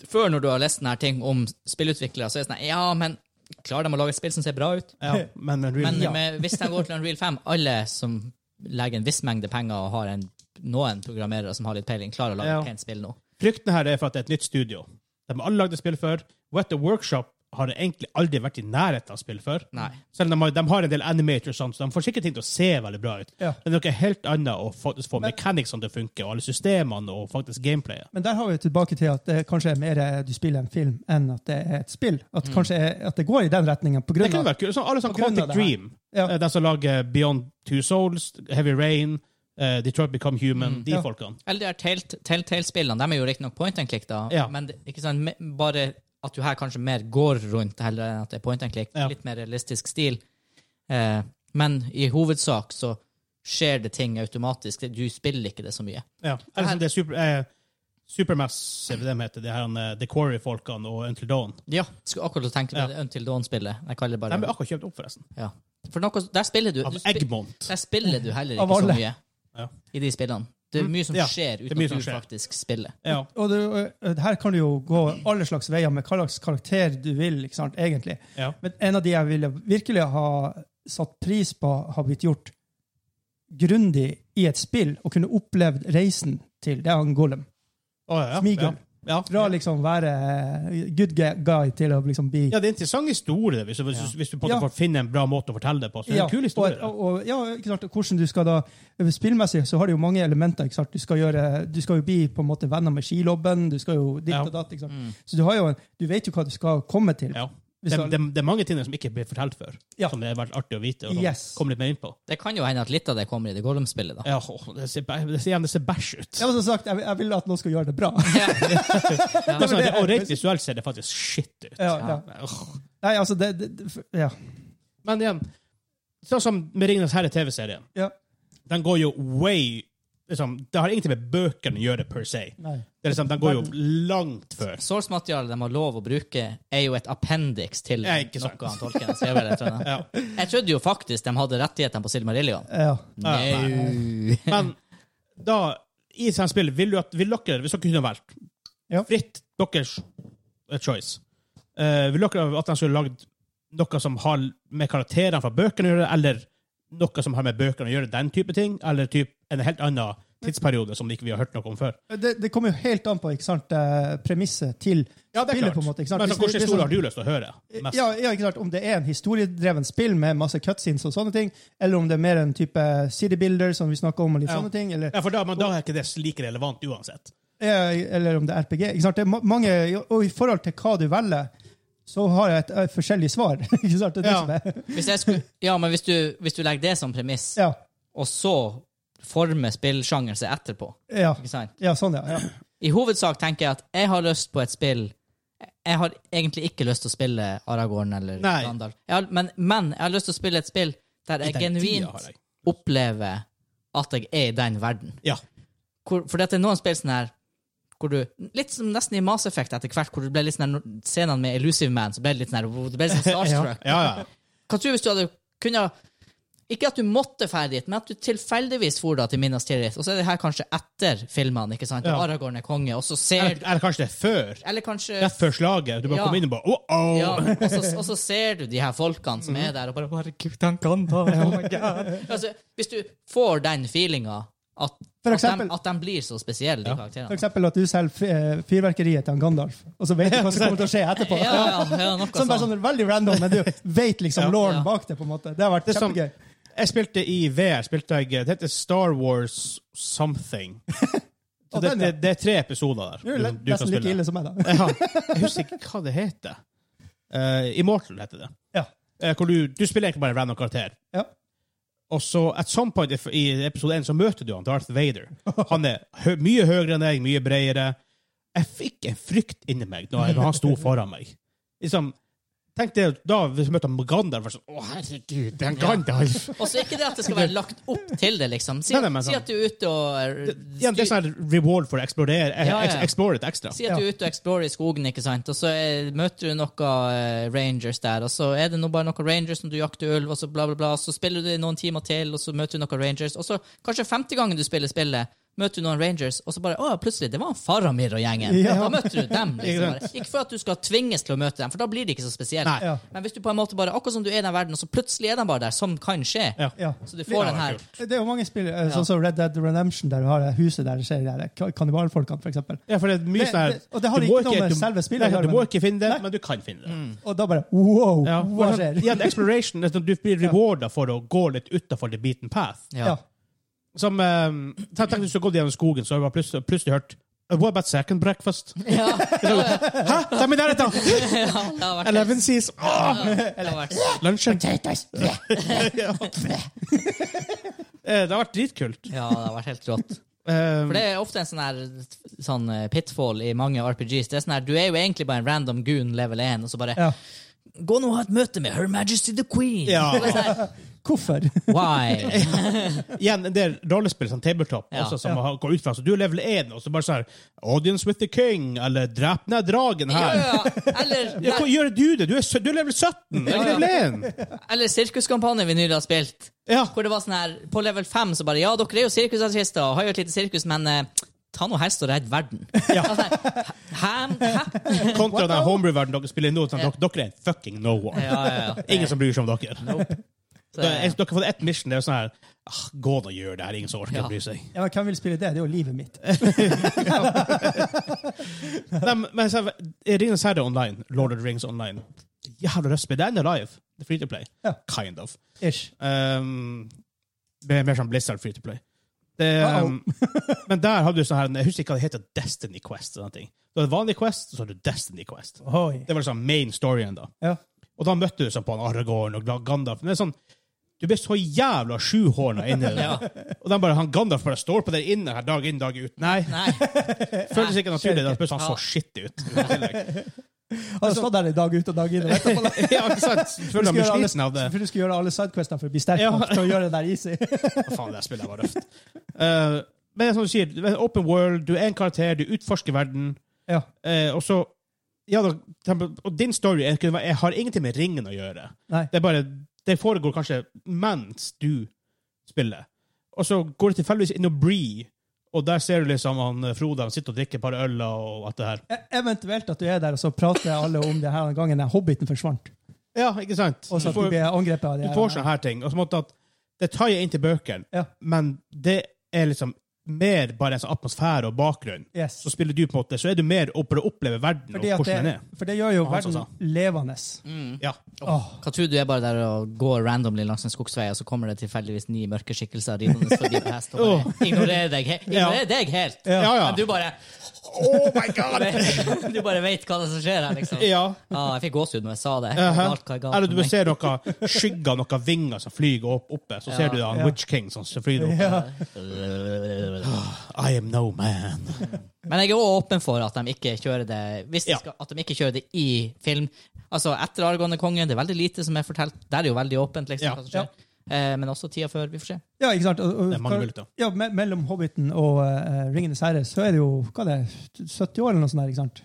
[SPEAKER 2] før, når du har lest denne her ting om spillutviklere, så er det sånn Ja, men klarer de å lage et spill som ser bra ut?
[SPEAKER 1] ja. Men, men,
[SPEAKER 2] Men
[SPEAKER 1] ja.
[SPEAKER 2] med, hvis de går til Unreal 5, alle som legger en viss mengde penger og har en, noen programmerere som har litt peiling, klarer å lage
[SPEAKER 1] Ja.
[SPEAKER 2] et pent spill nå.
[SPEAKER 1] Frykten her er for at det er et nytt studio. De har alle lagd et spill før. Wet the Workshop har egentlig aldri vært i nærheten av spill før.
[SPEAKER 2] Nei.
[SPEAKER 1] Selv om de har, de har en del animators, og sånt, så de får sikkert ting til å se veldig bra ut.
[SPEAKER 3] Ja.
[SPEAKER 1] Men det er noe helt annet å faktisk få mechanicsene til å funke, og alle systemene og faktisk gameplayet.
[SPEAKER 3] Men der har vi tilbake til at det kanskje er mer eh, du spiller en film enn at det er et spill. At kanskje er- at det går i den retningen på
[SPEAKER 1] Mm. Det
[SPEAKER 3] grunn
[SPEAKER 1] kunne
[SPEAKER 3] av
[SPEAKER 1] vært kult. Sånn, alle sånn
[SPEAKER 3] På grunn
[SPEAKER 1] Quantic
[SPEAKER 3] av det her.
[SPEAKER 1] Dream.
[SPEAKER 3] Ja.
[SPEAKER 1] Eh, De som lager Beyond Two Souls, Heavy Rain, eh, Detroit Become
[SPEAKER 2] Mm.
[SPEAKER 1] Human, de
[SPEAKER 3] Ja.
[SPEAKER 1] folkene.
[SPEAKER 2] Eller de her Tell- Telltale-spillene, de er jo riktignok point and click, da,
[SPEAKER 1] Ja.
[SPEAKER 2] men det- ikke sant, me- bare at du her kanskje mer går rundt heller enn at det er point and click.
[SPEAKER 1] Ja.
[SPEAKER 2] Litt mer realistisk stil. Eh, men i hovedsak så skjer det ting automatisk. Du spiller ikke det så mye.
[SPEAKER 1] Ja. Eller som det er super, eh, Supermassive, de heter det her, han, eh, The Quarry-folkene og Until Dawn.
[SPEAKER 2] Ja, skulle akkurat tenke på det Until Dawn-spillet. Jeg kaller det
[SPEAKER 1] De
[SPEAKER 2] bare
[SPEAKER 1] ble akkurat kjøpt opp, forresten.
[SPEAKER 2] ja. For noe, der spiller du,
[SPEAKER 1] Av
[SPEAKER 2] du spil-
[SPEAKER 1] Eggmont.
[SPEAKER 2] Der spiller du heller
[SPEAKER 3] Av
[SPEAKER 2] ikke så
[SPEAKER 3] alle.
[SPEAKER 2] mye
[SPEAKER 1] Ja. Mm.
[SPEAKER 2] i de spillene. Det er mye som
[SPEAKER 1] Ja,
[SPEAKER 2] skjer
[SPEAKER 1] det er
[SPEAKER 2] uten
[SPEAKER 1] mye
[SPEAKER 2] at
[SPEAKER 1] som
[SPEAKER 2] du
[SPEAKER 1] skjer.
[SPEAKER 2] faktisk spiller.
[SPEAKER 1] Ja.
[SPEAKER 3] Og det, eh, her kan du jo gå alle slags veier med hva slags karakter du vil, ikke sant, egentlig.
[SPEAKER 1] Ja.
[SPEAKER 3] Men en av de jeg ville virkelig ha satt pris på, har blitt gjort grundig i et spill, og kunne opplevd reisen til, det er han Golem.
[SPEAKER 1] Å, ja, ja.
[SPEAKER 3] Smeagol.
[SPEAKER 1] Ja.
[SPEAKER 3] Fra
[SPEAKER 1] Ja.
[SPEAKER 3] liksom være eh, good guy til å liksom bli
[SPEAKER 1] ja, det er en interessant historie, hvis, hvis, hvis du på en måte
[SPEAKER 3] Ja.
[SPEAKER 1] får finne en bra måte å fortelle det på. Så det er en kul historie.
[SPEAKER 3] Og, og, og, ja, ikke sant, og hvordan du skal da, eh, Spillmessig så har det jo mange elementer. ikke sant? Du skal, gjøre, du skal jo bli på en måte venner med skilobben, du skal jo ditt
[SPEAKER 1] Ja. Mm.
[SPEAKER 3] og datt. ikke sant? Så du, har jo, en- du vet jo hva du skal komme til.
[SPEAKER 1] ja.
[SPEAKER 3] Hvis
[SPEAKER 1] det,
[SPEAKER 3] du-
[SPEAKER 1] det, det er mange ting der som ikke blir fortalt før,
[SPEAKER 3] Ja.
[SPEAKER 1] som det har vært artig å vite. og som
[SPEAKER 3] Yes.
[SPEAKER 1] komme litt mer inn på.
[SPEAKER 2] Det kan jo hende at litt av det kommer i det Gollum-spillet, da.
[SPEAKER 1] Ja, å, det ser, bæ- det ser gjerne det ser bæsj ut.
[SPEAKER 3] Jeg, har også sagt, jeg, vil- jeg vil at noen skal gjøre det bra.
[SPEAKER 1] Det er sånn, at det, og rent visuelt ser det faktisk shit ut.
[SPEAKER 3] ja, ja.
[SPEAKER 1] Åh.
[SPEAKER 3] Nei, altså, det, det, det ja.
[SPEAKER 1] Men igjen, sånn som med Ringenes herre-TV-serien.
[SPEAKER 3] ja.
[SPEAKER 1] den går jo way liksom, Det har ingenting med bøkene å gjøre per se.
[SPEAKER 3] Nei.
[SPEAKER 1] Det er liksom, den går jo langt før.
[SPEAKER 2] Source-materialet de har lov å bruke, er jo et appendix til
[SPEAKER 1] Ja, ikke sant.
[SPEAKER 2] noe han tolken ser vel, jeg tror.
[SPEAKER 1] Ja.
[SPEAKER 2] Jeg trodde jo faktisk de hadde rettighetene på Silmarillion.
[SPEAKER 3] Ja.
[SPEAKER 2] Nei.
[SPEAKER 1] Men da, i sånne spill, vil, du at, vil dere, hvis dere kunne valgt
[SPEAKER 3] Ja.
[SPEAKER 1] fritt deres eh, choice eh, Vil dere at de skulle lagd noe som har med karakterene fra bøkene å gjøre, eller noe som har med bøkene å gjøre, den type ting, eller typ en helt annen tidsperiode som ikke vi har hørt noe om før?
[SPEAKER 3] Det, det kommer jo helt an på ikke sant, eh, premisset til spillet. på en måte, ikke sant?
[SPEAKER 1] Men så,
[SPEAKER 3] Hvis det-
[SPEAKER 1] hvilken
[SPEAKER 3] hvis
[SPEAKER 1] historie
[SPEAKER 3] det-
[SPEAKER 1] har du lyst til å høre? mest?
[SPEAKER 3] Ja, ja, ikke sant? Om det er en historiedreven spill med masse cutscenes og sånne ting, eller om det er mer en type city builder som vi snakker om, og litt
[SPEAKER 1] Ja.
[SPEAKER 3] sånne ting, eller,
[SPEAKER 1] Ja, for da, men da er ikke det like relevant uansett.
[SPEAKER 3] eh, eller om det er RPG. Ikke sant? Det er ma- mange, og i forhold til hva du velger, så har jeg et, eh, forskjellig svar. ikke sant? Det er det
[SPEAKER 1] Ja.
[SPEAKER 3] som er.
[SPEAKER 2] Hvis jeg skulle, ja, men hvis du, hvis du legger det som premiss,
[SPEAKER 3] Ja,
[SPEAKER 2] og så former spillsjangeren seg etterpå,
[SPEAKER 3] ja,
[SPEAKER 2] ikke sant?
[SPEAKER 3] ja, sånn ja. ja.
[SPEAKER 2] I hovedsak tenker jeg at jeg har lyst på et spill Jeg har egentlig ikke lyst til å spille Aragorn eller
[SPEAKER 1] Nei.
[SPEAKER 2] Gandalf. Jeg har, men, men jeg har lyst til å spille et spill der jeg
[SPEAKER 1] I den tida har
[SPEAKER 2] genuint
[SPEAKER 1] jeg.
[SPEAKER 2] opplever at jeg er i den verden.
[SPEAKER 1] Ja.
[SPEAKER 2] Hvor, for dette er noen spill sånn her hvor du, Litt som nesten i Mass Effect etter hvert, hvor du ble litt sånn her når- scenene med Elusive Man, så ble det litt sånn her wow, Du ble litt sånn starstruck.
[SPEAKER 1] Ja, ja.
[SPEAKER 2] Hva tror du hvis du hadde kunnet Ikke at du måtte ferdig dit, men at du tilfeldigvis for da til Minas Tirith, og så er det her kanskje etter filmene, ikke sant?
[SPEAKER 1] Ja.
[SPEAKER 2] Og Aragorn er konge, og så ser
[SPEAKER 1] Eller, eller kanskje det er før.
[SPEAKER 2] eller kanskje
[SPEAKER 1] Rett før slaget. Du bare
[SPEAKER 2] Ja.
[SPEAKER 1] kommer inn og bare oh, oh.
[SPEAKER 2] ja, og, så, og så ser du de her folkene som
[SPEAKER 3] Mm.
[SPEAKER 2] er der, og bare 'Herregud, han kan da!' Oh my God. altså, hvis du får den feelinga At,
[SPEAKER 3] For
[SPEAKER 2] at, de,
[SPEAKER 3] eksempel-
[SPEAKER 2] at de blir så spesielle, de karakterene.
[SPEAKER 3] For eksempel at du selger f- eh, fyrverkeriet til han Gandalf, og så vet du hva som kommer til å skje etterpå.
[SPEAKER 2] Ja, ja, ja, noe
[SPEAKER 3] Sånn bare
[SPEAKER 2] sånn.
[SPEAKER 3] sånn veldig random, men du vet liksom
[SPEAKER 1] Ja.
[SPEAKER 3] lauren
[SPEAKER 2] Ja.
[SPEAKER 3] bak det, på en måte. Det har vært
[SPEAKER 1] Det er sånn- som-
[SPEAKER 3] kjempegøy.
[SPEAKER 1] Jeg spilte i VR. spilte jeg, Det heter Star Wars Something. Så
[SPEAKER 3] Og
[SPEAKER 1] det,
[SPEAKER 3] den, ja.
[SPEAKER 1] det, det er tre episoder der.
[SPEAKER 3] Du er lett- nesten like ille som meg, da.
[SPEAKER 1] Ja, jeg husker ikke hva det heter. Eh, Immortal heter det.
[SPEAKER 3] Ja.
[SPEAKER 1] Eh, hvor du, du spiller egentlig bare en random karakter.
[SPEAKER 3] Ja.
[SPEAKER 1] Og så, at some point if- i episode 1, så møter du han, Darth Vader. Han er hø mye høyere enn deg, mye bredere. Jeg fikk en frykt inni meg når, jeg, når han sto foran meg. Liksom, tenk det, da hvis jeg møtte han Gandalf, var det sånn, å herregud, det er en Gandalf!
[SPEAKER 2] Og så er ikke det at det skal være lagt opp til det, liksom. Si,
[SPEAKER 1] sånn- Nei, nei, men
[SPEAKER 2] si
[SPEAKER 1] sånn.
[SPEAKER 2] at du er ute og eh,
[SPEAKER 1] Ja, det er sånn her reward for å eksplorere, eh,
[SPEAKER 2] Ja, ja, ja.
[SPEAKER 1] eks- explore litt ekstra.
[SPEAKER 2] Si at du er ute og explorer i skogen, ikke sant? og så eh, møter du noen eh, rangers der. Og så er det nå bare noen rangers som du jakter ulv, og så bla, bla, bla. Så spiller du noen timer til, og så møter du noen rangers. Og så kanskje femte gangen du spiller spillet, møter du noen rangers, og så bare Å, plutselig, det var han Faramir og gjengen.
[SPEAKER 3] Ja.
[SPEAKER 2] Da møter du dem.
[SPEAKER 1] Ikke
[SPEAKER 2] liksom
[SPEAKER 1] sant?
[SPEAKER 2] bare. Ikke for at du skal tvinges til å møte dem, for da blir det ikke så spesielt.
[SPEAKER 1] Nei.
[SPEAKER 3] Ja.
[SPEAKER 2] Men hvis du på en måte bare Akkurat som du er i den verden, og så plutselig er de bare der, som kan skje.
[SPEAKER 1] Ja.
[SPEAKER 3] Ja.
[SPEAKER 2] Så du får
[SPEAKER 1] Ja,
[SPEAKER 2] den her.
[SPEAKER 3] Det er jo mange spill, eh, sånn som Red Dead Redemption, der du har det huset der det skjer de der ka- kannibalfolkene, for eksempel.
[SPEAKER 1] Ja, for det er mye
[SPEAKER 3] Det-
[SPEAKER 1] sånn her
[SPEAKER 3] det- og det har
[SPEAKER 1] du
[SPEAKER 3] ikke
[SPEAKER 1] må
[SPEAKER 3] noe med
[SPEAKER 1] du-
[SPEAKER 3] selve spillet å
[SPEAKER 1] Nei,
[SPEAKER 3] gjøre,
[SPEAKER 1] Du må
[SPEAKER 3] men-
[SPEAKER 1] ikke finne det,
[SPEAKER 3] Nei.
[SPEAKER 1] men du kan finne det.
[SPEAKER 2] Mm.
[SPEAKER 3] Og da bare wow,
[SPEAKER 1] Ja,
[SPEAKER 3] hva
[SPEAKER 1] for sånn-
[SPEAKER 3] skjer?
[SPEAKER 1] ja, det er exploration, liksom, du blir rewarda for å gå litt utenfor the beaten path.
[SPEAKER 3] Ja.
[SPEAKER 1] Som um, Tenk tenk hvis du har gått gjennom skogen, så har du bare plutselig, plutselig hørt "Uh, What about second breakfast?
[SPEAKER 2] Ja,
[SPEAKER 1] Hæ? De er i nærheten!
[SPEAKER 2] ja, det har vært,
[SPEAKER 1] Eleven sees oh,
[SPEAKER 2] det har vært
[SPEAKER 1] Lunsjen! Ja. Eh, Det har vært dritkult.
[SPEAKER 2] Ja, det har vært helt rått.
[SPEAKER 1] Um,
[SPEAKER 2] For det er ofte en sånn her sånn eh, pitfall i mange RPGs. Det er sånn her, Du er jo egentlig bare en random goon level 1, og så bare
[SPEAKER 3] Ja.
[SPEAKER 2] Gå nå og ha et møte med Her Majesty the Queen!
[SPEAKER 1] Ja.
[SPEAKER 2] Og det er sånn her,
[SPEAKER 3] Hvorfor?
[SPEAKER 2] Why?
[SPEAKER 1] Igjen, en del rollespill, sånn tabletop,
[SPEAKER 2] Ja.
[SPEAKER 1] også, som har- går ut fra. Så du er level 1, og så bare sånn her, Audience with the king, eller Drep ned dragen
[SPEAKER 2] Ja,
[SPEAKER 1] her.
[SPEAKER 2] ja, ja. Eller,
[SPEAKER 1] Ja, Hvor
[SPEAKER 2] nei,
[SPEAKER 1] gjør du det? Du er, sø- du er level 17! Jeg
[SPEAKER 2] Ja, ja.
[SPEAKER 1] er level 1!
[SPEAKER 2] eller sirkuskampanjen vi nylig har spilt,
[SPEAKER 1] Ja.
[SPEAKER 2] hvor det var sånn her På level 5 så bare Ja, dere er jo sirkusartister og har jo et lite sirkus, men eh, ta nå helst og redd verden.
[SPEAKER 1] Ja.
[SPEAKER 2] Altså, hæ? hæ?
[SPEAKER 1] Kontra den homebrew-verden dere spiller i nå. Sånn,
[SPEAKER 2] Ja.
[SPEAKER 1] dere, dere er fucking no one.
[SPEAKER 2] Ja, ja, ja.
[SPEAKER 1] Ingen som bryr seg om dere.
[SPEAKER 2] Så,
[SPEAKER 1] Dere dere har fått ett mission. Det er sånn her ah, Gå nå og gjør det her. Ingen som orker
[SPEAKER 2] Ja.
[SPEAKER 1] å bry seg.
[SPEAKER 3] Ja, men Hvem vil spille det? Det er jo livet mitt.
[SPEAKER 1] Nei, men- men så, Ringenes herre online, Lord of the Rings online Jævla røstspill. Det er ennå live. Det er free to play.
[SPEAKER 3] Ja.
[SPEAKER 1] Kind of.
[SPEAKER 3] Ish.
[SPEAKER 1] Um, det er mer sånn Blizzard free to play. Det, um, men der hadde du sånn her Jeg husker ikke hva det heter. Destiny Quest. og Sånne ting. Du hadde vanlig Quest, og så hadde du Destiny Quest.
[SPEAKER 3] Oi.
[SPEAKER 1] Det var liksom main storyen, da.
[SPEAKER 3] Ja.
[SPEAKER 1] Og da møtte du sånn på han Aragorn og Gandalf. Men det er sånn, du blir så jævla sjuhårna inni det.
[SPEAKER 2] Ja.
[SPEAKER 1] Og den bare, han Gandalf bare står på der inne her dag inn, dag ut. Nei,
[SPEAKER 2] Nei.
[SPEAKER 1] føles ikke naturlig. Da plutselig han
[SPEAKER 2] Ja.
[SPEAKER 1] så skittig ut. i tillegg.
[SPEAKER 3] Han
[SPEAKER 1] Altså-
[SPEAKER 3] har stått der i dag ut og dag inn. og etterpå da-
[SPEAKER 1] ja, ikke sant? Føler
[SPEAKER 3] Du
[SPEAKER 1] meg
[SPEAKER 3] skal gjøre
[SPEAKER 1] sliten av det.
[SPEAKER 3] alle- For du skal gjøre alle sidequestene for å bli sterk
[SPEAKER 1] Ja.
[SPEAKER 3] nok til å gjøre det der easy.
[SPEAKER 1] Hva faen, det spillet var røft. Eh, men det er som du sier, det er open world, du er en karakter, du utforsker verden,
[SPEAKER 3] Ja.
[SPEAKER 1] eh, og så ja, da, tempo- og din story er, kunne være- jeg har ingenting med ringen å gjøre.
[SPEAKER 3] Nei.
[SPEAKER 1] Det er bare, det foregår kanskje mens du spiller. Og så går du tilfeldigvis inn og Bree, og der ser du liksom han eh, Frode han sitter og drikker et par øl og alt det her.
[SPEAKER 3] E- Eventuelt at du er der, og så prater alle om det her gangen der hobbiten forsvant.
[SPEAKER 1] Ja, ikke sant?
[SPEAKER 3] Og så
[SPEAKER 1] Du
[SPEAKER 3] at du
[SPEAKER 1] får,
[SPEAKER 3] blir angrepet av det.
[SPEAKER 1] du
[SPEAKER 3] her.
[SPEAKER 1] får sånne her ting. Og så måtte at det tar jeg inn til bøkene,
[SPEAKER 3] Ja.
[SPEAKER 1] men det er liksom mer bare en sånn atmosfære og bakgrunn.
[SPEAKER 3] Yes.
[SPEAKER 1] Så spiller du på en måte, så er du mer opp for å oppleve verden
[SPEAKER 3] Fordi
[SPEAKER 1] og
[SPEAKER 3] at
[SPEAKER 1] hvordan den
[SPEAKER 3] det,
[SPEAKER 1] er.
[SPEAKER 3] for det gjør jo
[SPEAKER 1] Han som
[SPEAKER 3] verden levende.
[SPEAKER 2] Mm.
[SPEAKER 1] Ja.
[SPEAKER 3] Åh.
[SPEAKER 2] Hva tror du er bare der og går randomly langs en skogsvei, og så kommer det tilfeldigvis ni mørke skikkelser ridende forbi på hest og bare ignorerer deg, he ignorerer deg helt?
[SPEAKER 1] Oh. Ja, ja.
[SPEAKER 2] Men du bare
[SPEAKER 1] Oh my god!
[SPEAKER 2] Du bare vet hva det er som skjer her, liksom.
[SPEAKER 1] ja.
[SPEAKER 2] Ja, jeg fikk gåsehud når jeg sa det. Hva er
[SPEAKER 1] Aha.
[SPEAKER 2] galt, hva er galt
[SPEAKER 1] Eller
[SPEAKER 2] med
[SPEAKER 1] du
[SPEAKER 2] meg?
[SPEAKER 1] ser noen skygger, noen vinger som flyger opp, oppe. Så
[SPEAKER 2] Ja.
[SPEAKER 1] ser du da, en
[SPEAKER 3] Ja.
[SPEAKER 1] Witch King som flyr opp. Ah, I am no man.
[SPEAKER 2] Men jeg er også åpen for at de ikke kjører det Hvis de
[SPEAKER 1] Ja.
[SPEAKER 2] skal, at de ikke kjører det i film. Altså, etter 'Argående konge' det er veldig lite som er fortalt. Der er jo veldig åpent, liksom,
[SPEAKER 1] Ja.
[SPEAKER 2] hva som skjer. Eh, men også tida før. Vi får se.
[SPEAKER 3] Ja, ikke sant? Og- og-
[SPEAKER 1] Det er mange muligheter.
[SPEAKER 3] Ja, me mellom Hobbiten og eh, Ringenes herre så er det jo hva er det, 70 år eller noe sånt der, ikke sant?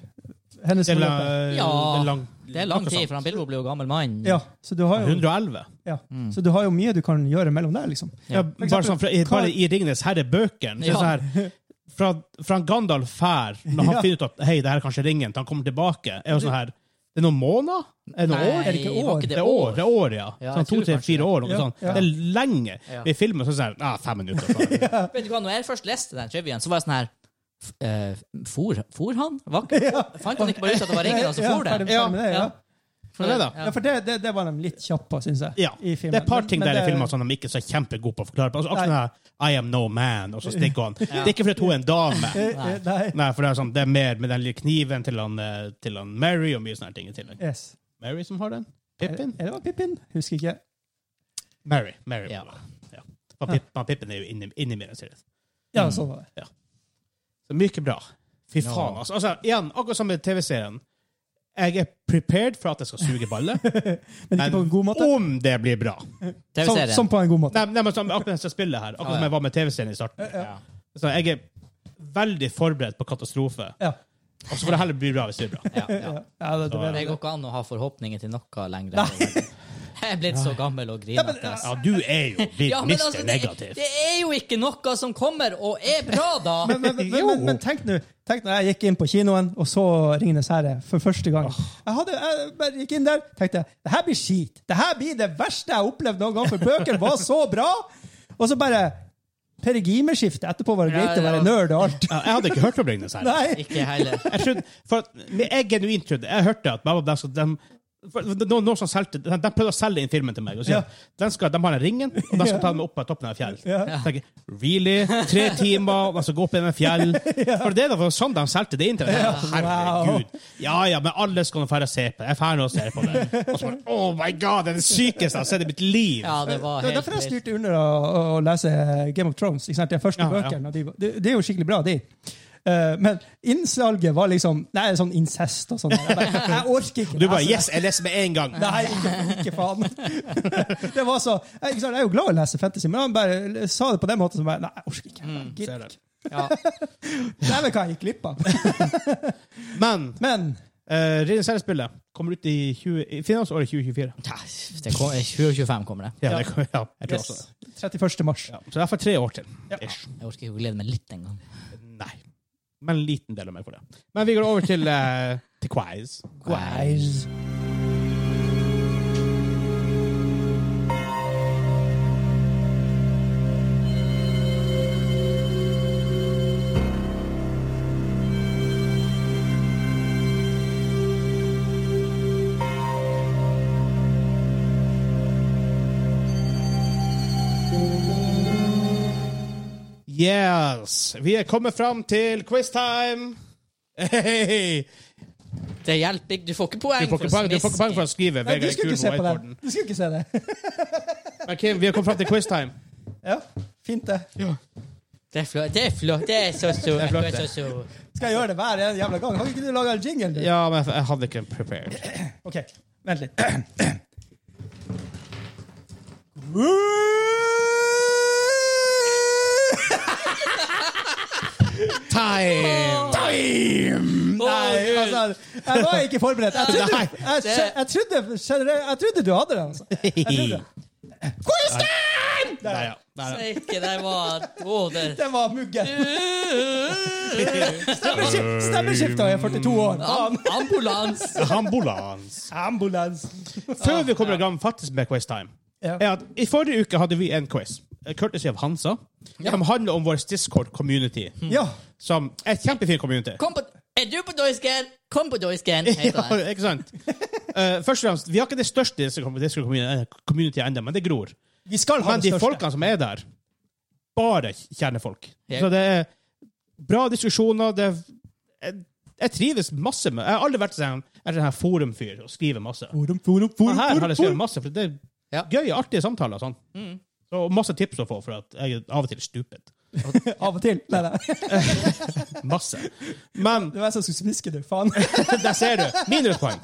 [SPEAKER 3] Hennes
[SPEAKER 1] Det er, la-
[SPEAKER 3] forløpet.
[SPEAKER 1] eh, det
[SPEAKER 2] Ja.
[SPEAKER 1] er lang,
[SPEAKER 2] Det er lang tid, for han Bilbo blir jo gammel mann.
[SPEAKER 3] Ja, så du har jo
[SPEAKER 1] 111.
[SPEAKER 3] Ja.
[SPEAKER 1] Mm.
[SPEAKER 3] Så du har jo mye du kan gjøre mellom der, liksom.
[SPEAKER 1] Ja,
[SPEAKER 3] eksempel,
[SPEAKER 1] bare, sånn, fra, i,
[SPEAKER 3] hva-
[SPEAKER 1] bare i Ringenes herre-bøkene. så er det
[SPEAKER 2] Ja.
[SPEAKER 1] sånn her, Fra, fra Gandalf her, når han
[SPEAKER 3] Ja.
[SPEAKER 1] finner ut at hei, det her er kanskje ringen, til han kommer tilbake, er jo sånn her Det er noen måneder? Er det noen år?
[SPEAKER 3] Er det ikke år?
[SPEAKER 2] var ikke
[SPEAKER 1] Det er år, det er år, ja.
[SPEAKER 2] Ja,
[SPEAKER 1] sånn
[SPEAKER 2] jeg tror kanskje
[SPEAKER 1] To-tre-fire år. noe
[SPEAKER 3] Ja,
[SPEAKER 1] sånt.
[SPEAKER 3] ja.
[SPEAKER 1] Det er lenge.
[SPEAKER 2] Ja.
[SPEAKER 1] Vi filmer sånn sånn ah, Fem minutter. Ja.
[SPEAKER 2] Vet du hva, når jeg først leste den trivien, så var jeg sånn her f- eh, For, for han? Var ikke, Fant han ikke bare ut at det var ringen, og så for
[SPEAKER 3] ferdig-
[SPEAKER 2] den?
[SPEAKER 3] ferdig med det, ja.
[SPEAKER 2] Ja. For
[SPEAKER 1] Ja, det da.
[SPEAKER 3] Ja, for det, det, det var de litt kjappe, syns jeg.
[SPEAKER 1] Ja.
[SPEAKER 3] i
[SPEAKER 1] Det
[SPEAKER 3] filmen.
[SPEAKER 1] er et par ting
[SPEAKER 3] Men- men
[SPEAKER 1] der i
[SPEAKER 3] det-
[SPEAKER 1] filmen som de ikke er så kjempegode på å forklare. Altså, akkurat den her I am no man, og så stikker han. Det er ikke fordi hun er en dame.
[SPEAKER 3] Eh, eh, Nei.
[SPEAKER 1] Nei, for det er, sånn, det er mer med den lille kniven til han, eh, til han Mary og mye sånne her ting i tillegg.
[SPEAKER 3] Yes.
[SPEAKER 1] Mary som har den?
[SPEAKER 3] Er
[SPEAKER 1] Pippin?
[SPEAKER 3] det var Pippin? Husker ikke.
[SPEAKER 1] Mary. Mary.
[SPEAKER 2] Ja.
[SPEAKER 1] Ja. For Pip, for Pippin er jo inni, inni mer enn seriøst.
[SPEAKER 3] Ja, sånn var det.
[SPEAKER 1] Så mye bra. Fy
[SPEAKER 2] Ja.
[SPEAKER 1] faen, altså. altså. Igjen, akkurat som med TV-serien. Jeg er prepared for at jeg skal suge baller,
[SPEAKER 3] Men ikke
[SPEAKER 1] men
[SPEAKER 3] på en god måte.
[SPEAKER 1] om det blir bra
[SPEAKER 3] Som,
[SPEAKER 2] TV-serien.
[SPEAKER 3] som på en god måte.
[SPEAKER 1] Nei, nei men som sånn, akkurat som jeg spiller her, akkurat
[SPEAKER 2] Ja, ja.
[SPEAKER 1] som jeg var med TV-serien i starten.
[SPEAKER 2] Ja.
[SPEAKER 1] Så jeg er veldig forberedt på katastrofe,
[SPEAKER 3] Ja.
[SPEAKER 1] og så får det heller bli bra hvis det blir bra.
[SPEAKER 2] Ja, ja.
[SPEAKER 3] Ja, ja, det, det,
[SPEAKER 1] Så,
[SPEAKER 3] det,
[SPEAKER 1] eh,
[SPEAKER 2] Det går ikke an å ha forhåpninger til noe lenger. Jeg er blitt så gammel og grinete. ass.
[SPEAKER 1] Ja, du er jo litt
[SPEAKER 2] Ja, men
[SPEAKER 1] mister
[SPEAKER 2] altså, det,
[SPEAKER 1] negativ.
[SPEAKER 2] det er jo ikke noe som kommer og er bra, da!
[SPEAKER 3] men, men, men, men, men, men tenk nå Tenk når jeg gikk inn på kinoen og så 'Ringenes herre' for første gang. Jeg, hadde, jeg bare gikk inn der tenkte det her blir skit. Det her blir det verste jeg har opplevd noen gang, for bøkene var så bra! Og så bare Peregimeskifte. Etterpå var det
[SPEAKER 2] Ja,
[SPEAKER 3] greit å
[SPEAKER 2] ja.
[SPEAKER 3] være nerd og alt.
[SPEAKER 1] Ja, Jeg hadde ikke hørt om Ringnes her.
[SPEAKER 3] Nei!
[SPEAKER 2] Ikke heller.
[SPEAKER 1] Jeg, trodde, for at, men jeg genuint trodde Jeg hørte at Baba Blask de, for det var noen som solgte de, de prøvde å selge inn filmen til meg. Og sier,
[SPEAKER 3] Ja.
[SPEAKER 1] at den skal, de har den ringen, og de skal ta den opp på toppen av en fjell.
[SPEAKER 3] Ja.
[SPEAKER 1] Jeg tenker, really? Tre timer, og de skal gå opp i en fjell? For det er da sånn de solgte det inn til meg. Herregud. Ja ja, men alle skal nå dra og se på det. Jeg drar nå og ser på det. Og så bare, oh my god, det er det sykeste jeg har sett i mitt liv!
[SPEAKER 2] Ja, det var
[SPEAKER 3] Det var
[SPEAKER 2] helt
[SPEAKER 3] derfor jeg
[SPEAKER 2] vilt.
[SPEAKER 3] styrte under å, å, å lese Game of Thrones. Ikke sant? De første
[SPEAKER 1] Ja, ja.
[SPEAKER 3] bøkene. og De, var- det, det er jo skikkelig bra, de. Eh, men innsalget var liksom Nei, sånn incest og sånn. Jeg, bare, jeg orker ikke.
[SPEAKER 1] Du bare
[SPEAKER 3] lese det.
[SPEAKER 1] Yes, jeg leser med en gang!
[SPEAKER 3] Altså- Nei, ikke, ikke faen. Det var så, jeg, ikke sant, jeg er jo glad i å lese fantasy, men han bare sa det på den måten som bare Nei, jeg orker ikke. Jeg
[SPEAKER 1] Mm, Ser
[SPEAKER 3] gidder
[SPEAKER 1] det.
[SPEAKER 3] ikke.
[SPEAKER 2] Ja.
[SPEAKER 3] Det er vel hva jeg gikk glipp av.
[SPEAKER 1] Men
[SPEAKER 3] Men
[SPEAKER 1] uh, Rinnes herre-spillet kommer ut i, 20, i finansåret 2024.
[SPEAKER 2] Ja, Det kom, 2025 kommer det.
[SPEAKER 1] Ja, det kan, ja jeg tror
[SPEAKER 3] yes,
[SPEAKER 1] også det.
[SPEAKER 3] 31. mars.
[SPEAKER 1] Ja, så det er for tre år til.
[SPEAKER 3] Ja.
[SPEAKER 1] Ish.
[SPEAKER 2] Jeg orker ikke å glede meg litt engang.
[SPEAKER 1] Nei. Men en liten del av meg for det. Men vi går over til, eh, til quiz.
[SPEAKER 3] Guys.
[SPEAKER 1] Yes! Vi er kommet fram til quiztime! Hey!
[SPEAKER 2] Det hjelper ikke. Du får ikke poeng
[SPEAKER 1] Du får ikke
[SPEAKER 2] for
[SPEAKER 1] poeng du får ikke poeng for å skrive.
[SPEAKER 3] Nei, du
[SPEAKER 1] Vegard er kul
[SPEAKER 3] skulle ikke se
[SPEAKER 1] på
[SPEAKER 3] på
[SPEAKER 1] whiteboarden.
[SPEAKER 3] den. Du skulle ikke se det.
[SPEAKER 1] Men Kim, vi er kommet fram til quiztime.
[SPEAKER 3] Ja, fint det.
[SPEAKER 2] Det er flott. Det er flott. Det er så så.
[SPEAKER 1] er flott,
[SPEAKER 2] Det er så så.
[SPEAKER 3] Skal jeg gjøre det hver en jævla gang? Har ikke du laga en jingle? du?
[SPEAKER 1] Ja, men jeg hadde ikke prepared.
[SPEAKER 3] OK, vent litt. Nei,
[SPEAKER 1] Time! Time!
[SPEAKER 3] altså, jeg var ikke forberedt. Jeg trodde,
[SPEAKER 1] Nei.
[SPEAKER 3] jeg, jeg, jeg trodde, generelt- jeg trodde du hadde den. Altså. Quiztime!
[SPEAKER 1] Der,
[SPEAKER 3] Der,
[SPEAKER 1] ja. Der, ja.
[SPEAKER 2] Steike, det var Å, det
[SPEAKER 3] Det var muggen. Stemmeskift- Stemmeskifta er 42 år.
[SPEAKER 2] Am Ambulans.
[SPEAKER 1] Ambulans.
[SPEAKER 3] Ambulans.
[SPEAKER 1] Før vi kommer i gang faktisk med quiztime,
[SPEAKER 3] Ja.
[SPEAKER 1] er at i forrige uke hadde vi en quiz, eh, courtesy av Hansa, som handler om vår Discord-community,
[SPEAKER 3] Ja.
[SPEAKER 1] som er et kjempefin community.
[SPEAKER 2] Kom på Er du på doisken? Kom på doisken, heter
[SPEAKER 1] Ja,
[SPEAKER 2] det.
[SPEAKER 1] ikke sant? Eh, først og fremst, vi har ikke det største Discord-community ennå, men det gror.
[SPEAKER 3] Vi skal ha
[SPEAKER 1] Men de
[SPEAKER 3] det største.
[SPEAKER 1] folkene som er der, bare kjernefolk.
[SPEAKER 2] Ja.
[SPEAKER 1] Så det er bra diskusjoner, det er jeg, jeg trives masse med Jeg har aldri vært sånn, jeg er sånn her forumfyr og skriver masse.
[SPEAKER 3] Forum, forum, forum,
[SPEAKER 1] Men her har
[SPEAKER 3] forum,
[SPEAKER 1] jeg skrevet masse, for det er
[SPEAKER 2] Ja. Mm.
[SPEAKER 1] gøy og artige samtaler. og Sånn. Så, og masse tips å få, for at jeg er av og til stupid.
[SPEAKER 3] forum. Av og til. Nei, nei.
[SPEAKER 1] Masse. Men
[SPEAKER 3] Det var jeg som skulle smiske, du. Faen.
[SPEAKER 1] der ser du! Minuspoeng.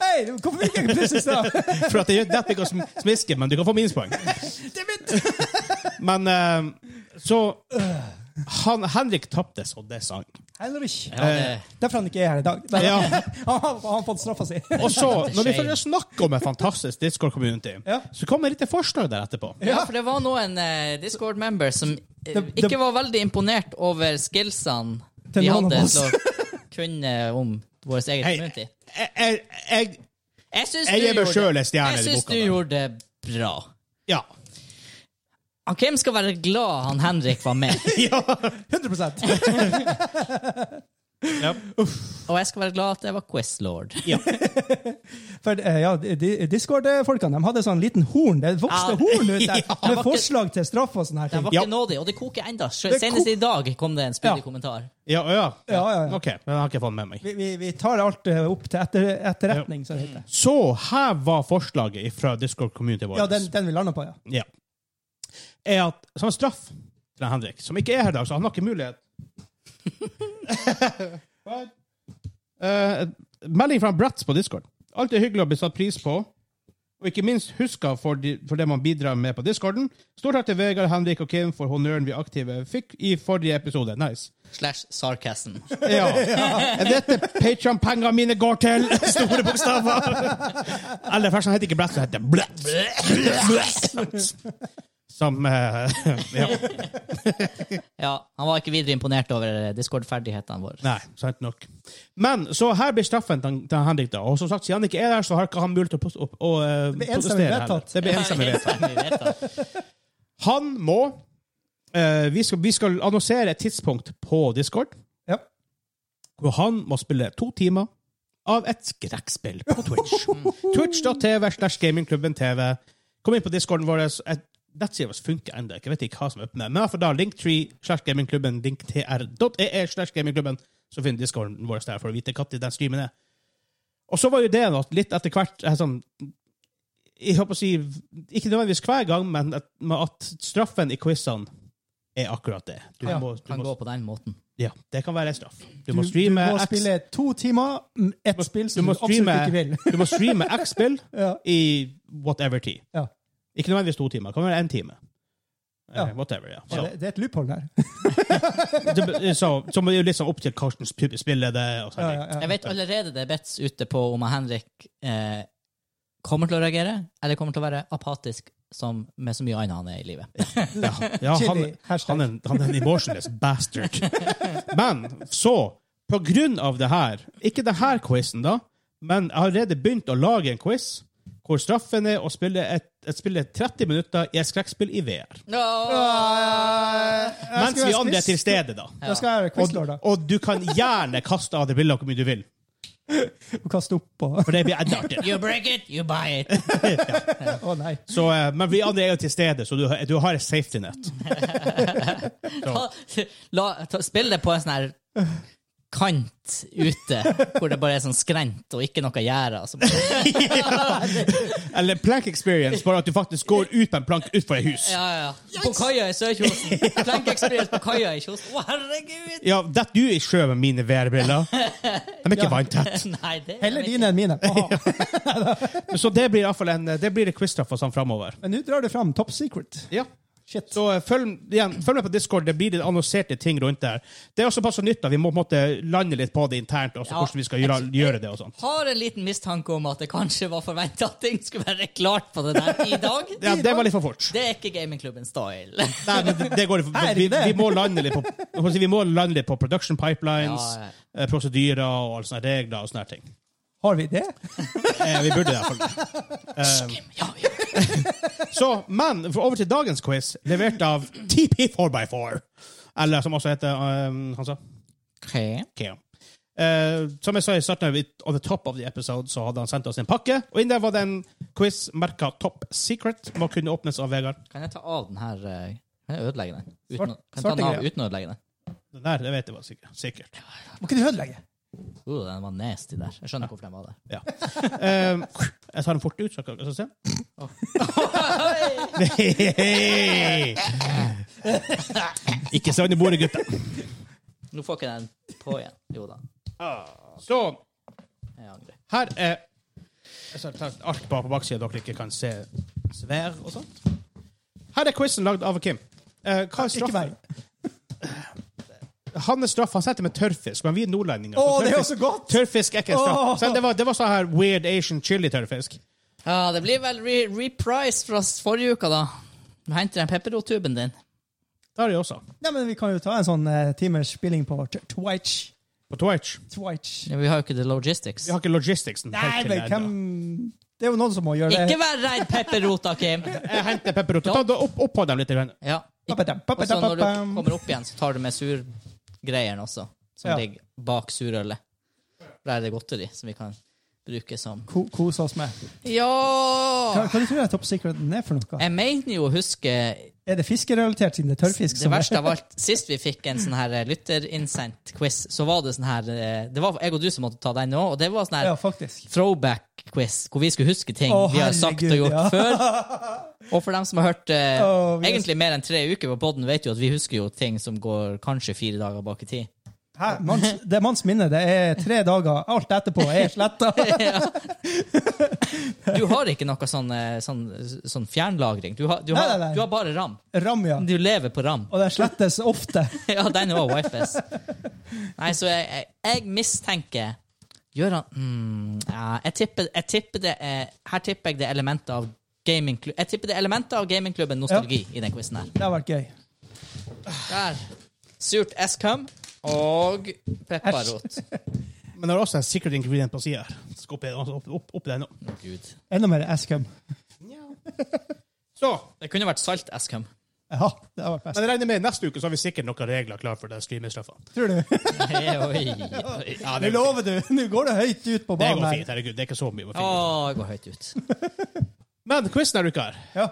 [SPEAKER 3] Hei, hvorfor fikk jeg ikke plutselig straff?
[SPEAKER 1] For at det gjør dette ikke å sm- smiske, men du kan få minuspoeng. Men eh, så han, Henrik tapte så det sang.
[SPEAKER 3] Heinrich.
[SPEAKER 2] Ja, det-
[SPEAKER 3] Eh, Derfor han ikke er her i dag.
[SPEAKER 1] Ja.
[SPEAKER 3] Han har han har fått straffa si.
[SPEAKER 1] Og så, når vi først snakker om et fantastisk Discord-community,
[SPEAKER 3] Ja.
[SPEAKER 1] så kommer det et lite forslag der etterpå.
[SPEAKER 2] Ja, for det var noen eh, Discord-member som
[SPEAKER 3] Det-
[SPEAKER 2] eh,
[SPEAKER 3] det-
[SPEAKER 2] ikke var veldig imponert over skillsene
[SPEAKER 3] Til
[SPEAKER 2] vi
[SPEAKER 3] noen av
[SPEAKER 2] hadde
[SPEAKER 3] oss.
[SPEAKER 2] til å kunne om vårt eget
[SPEAKER 1] Hei.
[SPEAKER 2] community.
[SPEAKER 1] Jeg, jeg, jeg,
[SPEAKER 2] Jeg syns
[SPEAKER 1] jeg
[SPEAKER 2] du
[SPEAKER 1] gir meg
[SPEAKER 2] gjorde-
[SPEAKER 1] selv en stjerne
[SPEAKER 2] Jeg
[SPEAKER 1] i
[SPEAKER 2] syns
[SPEAKER 1] boka
[SPEAKER 2] du
[SPEAKER 1] der.
[SPEAKER 2] gjorde det bra.
[SPEAKER 1] ja.
[SPEAKER 2] Han Kim skal være glad han Henrik var med,
[SPEAKER 1] ja.
[SPEAKER 3] 100
[SPEAKER 1] ja.
[SPEAKER 2] og jeg skal være glad at jeg var quizlord.
[SPEAKER 3] For eh, ja, de- de- Discord-folkene de hadde sånn liten horn. Det vokste
[SPEAKER 2] Ja.
[SPEAKER 3] horn ut
[SPEAKER 1] Ja.
[SPEAKER 3] der,
[SPEAKER 2] var
[SPEAKER 3] med
[SPEAKER 2] ikke-
[SPEAKER 3] forslag til straff og sånne her
[SPEAKER 2] Den
[SPEAKER 3] ting.
[SPEAKER 2] var
[SPEAKER 1] Ja.
[SPEAKER 2] ikke nådig, og det koker enda.
[SPEAKER 3] Det
[SPEAKER 2] Senest
[SPEAKER 3] kok-
[SPEAKER 2] i dag kom det en spydig
[SPEAKER 3] Ja.
[SPEAKER 2] kommentar.
[SPEAKER 1] Ja, ja.
[SPEAKER 3] Ja, ja, ja.
[SPEAKER 1] OK, men jeg har ikke fått med meg.
[SPEAKER 3] Vi, vi, vi tar alt eh, opp til etter, etterretning, så det heter.
[SPEAKER 2] Mm.
[SPEAKER 1] Så her var forslaget fra Discord-community vår.
[SPEAKER 3] Ja, den, den vi landa på, ja.
[SPEAKER 1] Ja. Er at som straff til Henrik, som ikke er her i dag, så han har ikke mulighet Eh, Melding fra Bratz på Discord. Alt er hyggelig å bli satt pris på. Og ikke minst huska for, de, for det man bidrar med på discorden. Stort takk til Vegard, Henrik og Kim for honnøren vi aktive fikk i forrige episode. Nice.
[SPEAKER 2] Slash sarcasm.
[SPEAKER 1] Ja. Er dette Patreon-pengene mine går til? Store bokstaver. Eller forresten, han heter ikke Bratz, han heter Blætz. Som eh, Ja.
[SPEAKER 2] Ja, Han var ikke videre imponert over Discord-ferdighetene våre.
[SPEAKER 1] Nei, sant nok. Men så her blir straffen til til Henrik, da. Og som sagt, siden han ikke er der, så har ikke han mulighet til å, pos- å, å eh,
[SPEAKER 3] blir enstemmig
[SPEAKER 1] protestere heller.
[SPEAKER 3] vedtatt.
[SPEAKER 1] Det blir enstemmig vedtatt.
[SPEAKER 2] Vi vet det.
[SPEAKER 1] Han må eh, vi, skal, vi skal annonsere et tidspunkt på Discord
[SPEAKER 3] ja.
[SPEAKER 1] hvor han må spille to timer av et skrekkspill på Twitch. Twitch.tv slash gamingklubben TV. Kom inn på discorden vår. Et- Nettsida vår funker ennå. Jeg vet ikke hva som er oppe med. Men i hvert fall da linktree slash gamingklubben, linktr.ee slash gamingklubben, så finner discorden vår der for å vite når den streamen er. Og så var jo det at litt etter hvert eh, sånn, Jeg håper å si Ikke nødvendigvis hver gang, men at, men at straffen i quizene er akkurat det. Du
[SPEAKER 3] Ja,
[SPEAKER 1] må, du
[SPEAKER 2] Kan gå
[SPEAKER 1] må,
[SPEAKER 2] på den måten.
[SPEAKER 1] ja, det kan være en straff. Du,
[SPEAKER 3] Du,
[SPEAKER 1] må streame
[SPEAKER 3] du må
[SPEAKER 1] X-
[SPEAKER 3] spille to timer, mm, ett spill
[SPEAKER 1] du
[SPEAKER 3] som du
[SPEAKER 1] må
[SPEAKER 3] absolutt
[SPEAKER 1] streame-
[SPEAKER 3] ikke vil.
[SPEAKER 1] Du må streame X-spill
[SPEAKER 3] Ja.
[SPEAKER 1] i whatever tid.
[SPEAKER 3] Ja.
[SPEAKER 1] Ikke nødvendigvis to timer. Det kan være én time.
[SPEAKER 3] Ja.
[SPEAKER 1] Eh, whatever, ja.
[SPEAKER 3] Ja,
[SPEAKER 1] Så,
[SPEAKER 3] det, det er et loophole der.
[SPEAKER 1] det, så, så må det jo litt sånn opp til Karsten sp- spiller det. Og
[SPEAKER 3] Ja,
[SPEAKER 1] sånne
[SPEAKER 3] ja,
[SPEAKER 1] ting.
[SPEAKER 3] ja.
[SPEAKER 2] Jeg vet allerede det er bets ute på om han Henrik eh, kommer til å reagere, eller kommer til å være apatisk som med så mye annet han er i livet.
[SPEAKER 1] Ja, ja, han,
[SPEAKER 3] Chili, hashtag.
[SPEAKER 1] han, er, en- han er en emotionless bastard. Men så, på grunn av det her Ikke det her quizen, da, men jeg har allerede begynt å lage en quiz hvor straffen er å spille et, et spille 30 minutter i et skrekkspill i VR.
[SPEAKER 3] Jeg
[SPEAKER 1] Mens vi
[SPEAKER 3] skulle være
[SPEAKER 1] andre er
[SPEAKER 3] quiz-
[SPEAKER 1] til stede, da.
[SPEAKER 3] Da skal jeg være quizlord, da.
[SPEAKER 1] Og, og du kan gjerne kaste av deg brillene hvor mye du vil,
[SPEAKER 3] Og kaste opp og
[SPEAKER 1] for det blir enda artigere.
[SPEAKER 2] You break it, you buy it.
[SPEAKER 3] Å nei.
[SPEAKER 1] Så, eh, men vi andre er jo til stede, så du, har- du har et safety net.
[SPEAKER 2] Ta, la, ta, spill det på en sånn her kant ute, hvor det bare er sånn skrent og ikke noe gjerde. Altså. bare-
[SPEAKER 1] Eller plank experience, bare at du faktisk går ut på en plank utenfor et hus.
[SPEAKER 2] Ja, ja. På kaia i Sørkjosen. Plank experience på kaia i Kjosen. Å, herregud!
[SPEAKER 1] Ja, detter du i sjø med mine VR-briller? De er ikke vanntett.
[SPEAKER 2] Nei, det er
[SPEAKER 3] Heller
[SPEAKER 2] ikke-
[SPEAKER 3] dine enn mine. Aha.
[SPEAKER 1] Så det blir i hvert fall en, det blir en quiz-straff for sånn framover.
[SPEAKER 3] Men nå drar du fram Top Secret.
[SPEAKER 1] Ja.
[SPEAKER 3] Shit.
[SPEAKER 1] Så eh, følg, igjen, følg med på Discord, det blir litt annonserte ting rundt der. Det er også passe nytt, da. Vi må på en måte lande litt på det internt, også,
[SPEAKER 2] Ja.
[SPEAKER 1] hvordan vi skal gjøre, gjøre det og sånn.
[SPEAKER 2] Har en liten mistanke om at det kanskje var forventa at ting skulle være klart på det der i dag.
[SPEAKER 1] Ja, det var litt for fort.
[SPEAKER 2] Det er ikke gamingklubben style.
[SPEAKER 1] Nei, men det- det går ikke.
[SPEAKER 3] Nei,
[SPEAKER 1] Vi,
[SPEAKER 3] det-
[SPEAKER 1] vi, må lande litt på, jeg må si, vi må lande litt på production pipelines,
[SPEAKER 2] Ja, ja.
[SPEAKER 1] eh, prosedyrer og alle sånne regler og sånne ting.
[SPEAKER 3] Har vi det?
[SPEAKER 1] Eh, vi burde det. i hvert fall.
[SPEAKER 2] Ja, ja.
[SPEAKER 1] Så, men for over til dagens quiz, levert av TP4x4. Eller som også heter eh, Han sa
[SPEAKER 2] Okay.
[SPEAKER 1] Keo. Eh, som jeg sa i starten, vi- on the top of the episode, så hadde han sendt oss en pakke. Og inni der var det en quiz merka Top Secret. Må kunne åpnes av Vegard.
[SPEAKER 2] Kan jeg ta av den her eh, Kan jeg ødelegge den? Uten, å-
[SPEAKER 3] Svart-
[SPEAKER 2] kan jeg ta den
[SPEAKER 3] svarte
[SPEAKER 2] av
[SPEAKER 3] greia.
[SPEAKER 2] uten å ødelegge den?
[SPEAKER 1] Den der, det vet jeg var sikkert. sikkert.
[SPEAKER 3] Må ikke du ødelegge?
[SPEAKER 2] Uh, den var nasty der. Jeg skjønner hvorfor den var der.
[SPEAKER 1] Ja. Eh, jeg tar den fort ut, så kan så se.
[SPEAKER 2] Å.
[SPEAKER 1] Nei. Ikke så under bordet, gutter.
[SPEAKER 2] Nå får ikke den på igjen. Jo da.
[SPEAKER 1] Så
[SPEAKER 2] Jeg angrer.
[SPEAKER 1] her er jeg skal ta alt bare på baksida, dere ikke kan se svær og sånt. Her er quizen lagd av Kim. Eh, hva er
[SPEAKER 3] Ikke
[SPEAKER 1] straffen?
[SPEAKER 3] meg.
[SPEAKER 1] Han er straff. Han setter med tørrfisk, men vi er nordlendinger.
[SPEAKER 3] Å,
[SPEAKER 1] så
[SPEAKER 3] det er jo
[SPEAKER 1] tørrfisk-
[SPEAKER 3] så godt!
[SPEAKER 1] Tørrfisk er ikke en straff.
[SPEAKER 3] Åh.
[SPEAKER 1] Så det, var, det var sånn her weird Asian chili-tørrfisk.
[SPEAKER 2] Ja, det blir vel re reprise fra s- forrige uke, da. Du henter den pepperrotuben din.
[SPEAKER 1] Det har de også.
[SPEAKER 3] Nei, men vi kan jo ta en sånn eh, timers spilling på t- Twitch.
[SPEAKER 1] på Twitch.
[SPEAKER 3] Twitch.
[SPEAKER 2] Ja, vi har jo ikke the logistics.
[SPEAKER 1] Vi har ikke logisticsen
[SPEAKER 3] Nei,
[SPEAKER 1] helt til
[SPEAKER 3] men
[SPEAKER 1] det
[SPEAKER 3] hvem
[SPEAKER 1] ennå.
[SPEAKER 3] Det er jo noen som må gjøre
[SPEAKER 2] Ikke
[SPEAKER 3] det.
[SPEAKER 2] vær redd pepperrota, Kim!
[SPEAKER 1] Jeg henter pepperrot. Ta da opp, opp på dem litt. grann.
[SPEAKER 2] Ja. Og
[SPEAKER 3] Papadam,
[SPEAKER 2] så
[SPEAKER 3] papadam,
[SPEAKER 2] når du
[SPEAKER 3] papadam.
[SPEAKER 2] kommer opp igjen, så tar du med surgreiene også, som
[SPEAKER 3] Ja.
[SPEAKER 2] ligger bak surølet. Der er det godteri som vi kan bruke som
[SPEAKER 3] Ko Kose oss med. Hva,
[SPEAKER 2] Ja!
[SPEAKER 3] hva du tror du Top Secreten er for noe?
[SPEAKER 2] Jeg mener jo å huske
[SPEAKER 3] Er det fiskerelatert, siden det er tørrfisk?
[SPEAKER 2] det
[SPEAKER 3] som er-
[SPEAKER 2] verste av alt. Sist vi fikk en sånn her eh, lytterinnsendt quiz, så var det sånn her eh, Det var jeg og du som måtte ta den nå, og det var sånn her
[SPEAKER 3] Ja, faktisk.
[SPEAKER 2] throwback-quiz, hvor vi skulle huske ting
[SPEAKER 3] Å,
[SPEAKER 2] vi har sagt og
[SPEAKER 3] herregud,
[SPEAKER 2] gjort
[SPEAKER 3] ja.
[SPEAKER 2] før. Og for dem som har hørt eh,
[SPEAKER 3] Å, vi er-
[SPEAKER 2] egentlig mer enn tre uker på podden, vet jo at vi husker jo ting som går kanskje fire dager bak i tid.
[SPEAKER 3] Hæ? Manns, det er manns minne. Det er tre dager. Alt etterpå er sletta.
[SPEAKER 2] Ja. Du har ikke noe sånn, eh, sånn, sånn fjernlagring. Du har, du,
[SPEAKER 3] Nei,
[SPEAKER 2] har,
[SPEAKER 3] nei, nei.
[SPEAKER 2] du har bare RAM.
[SPEAKER 3] Ramja.
[SPEAKER 2] Du lever på RAM.
[SPEAKER 3] Og den slettes ofte.
[SPEAKER 2] ja, den var wifes. Nei, så jeg, jeg, jeg mistenker Gjør han mm, ja, jeg, tipper, jeg tipper det er, Her tipper jeg det er elementer av gamingklubben Jeg tipper det er elementer av gamingklubben nostalgi i den quizen her.
[SPEAKER 3] Det har vært gøy.
[SPEAKER 2] Der. Surt eskum og pepperrot.
[SPEAKER 1] Men det er også en secret ingredient på sida her. Skal opp, opp, opp, opp der nå.
[SPEAKER 2] Å, Gud.
[SPEAKER 3] Enda mer Ascum.
[SPEAKER 1] Så,
[SPEAKER 2] Det kunne vært salt eskum.
[SPEAKER 3] Ja, det har vært best.
[SPEAKER 1] men jeg regner med neste uke så har vi sikkert noen regler klar for den streamerstraffa.
[SPEAKER 3] Tror du?
[SPEAKER 2] Oi, oi, oi.
[SPEAKER 1] Ja,
[SPEAKER 3] Det lover du. Nå går det høyt ut på
[SPEAKER 1] Det går
[SPEAKER 3] banen
[SPEAKER 1] fint.
[SPEAKER 3] her.
[SPEAKER 1] Herregud, det er ikke så mye. å
[SPEAKER 2] Å,
[SPEAKER 1] finne ut.
[SPEAKER 2] jeg går høyt ut.
[SPEAKER 1] Men quizen denne uka her
[SPEAKER 3] Ja.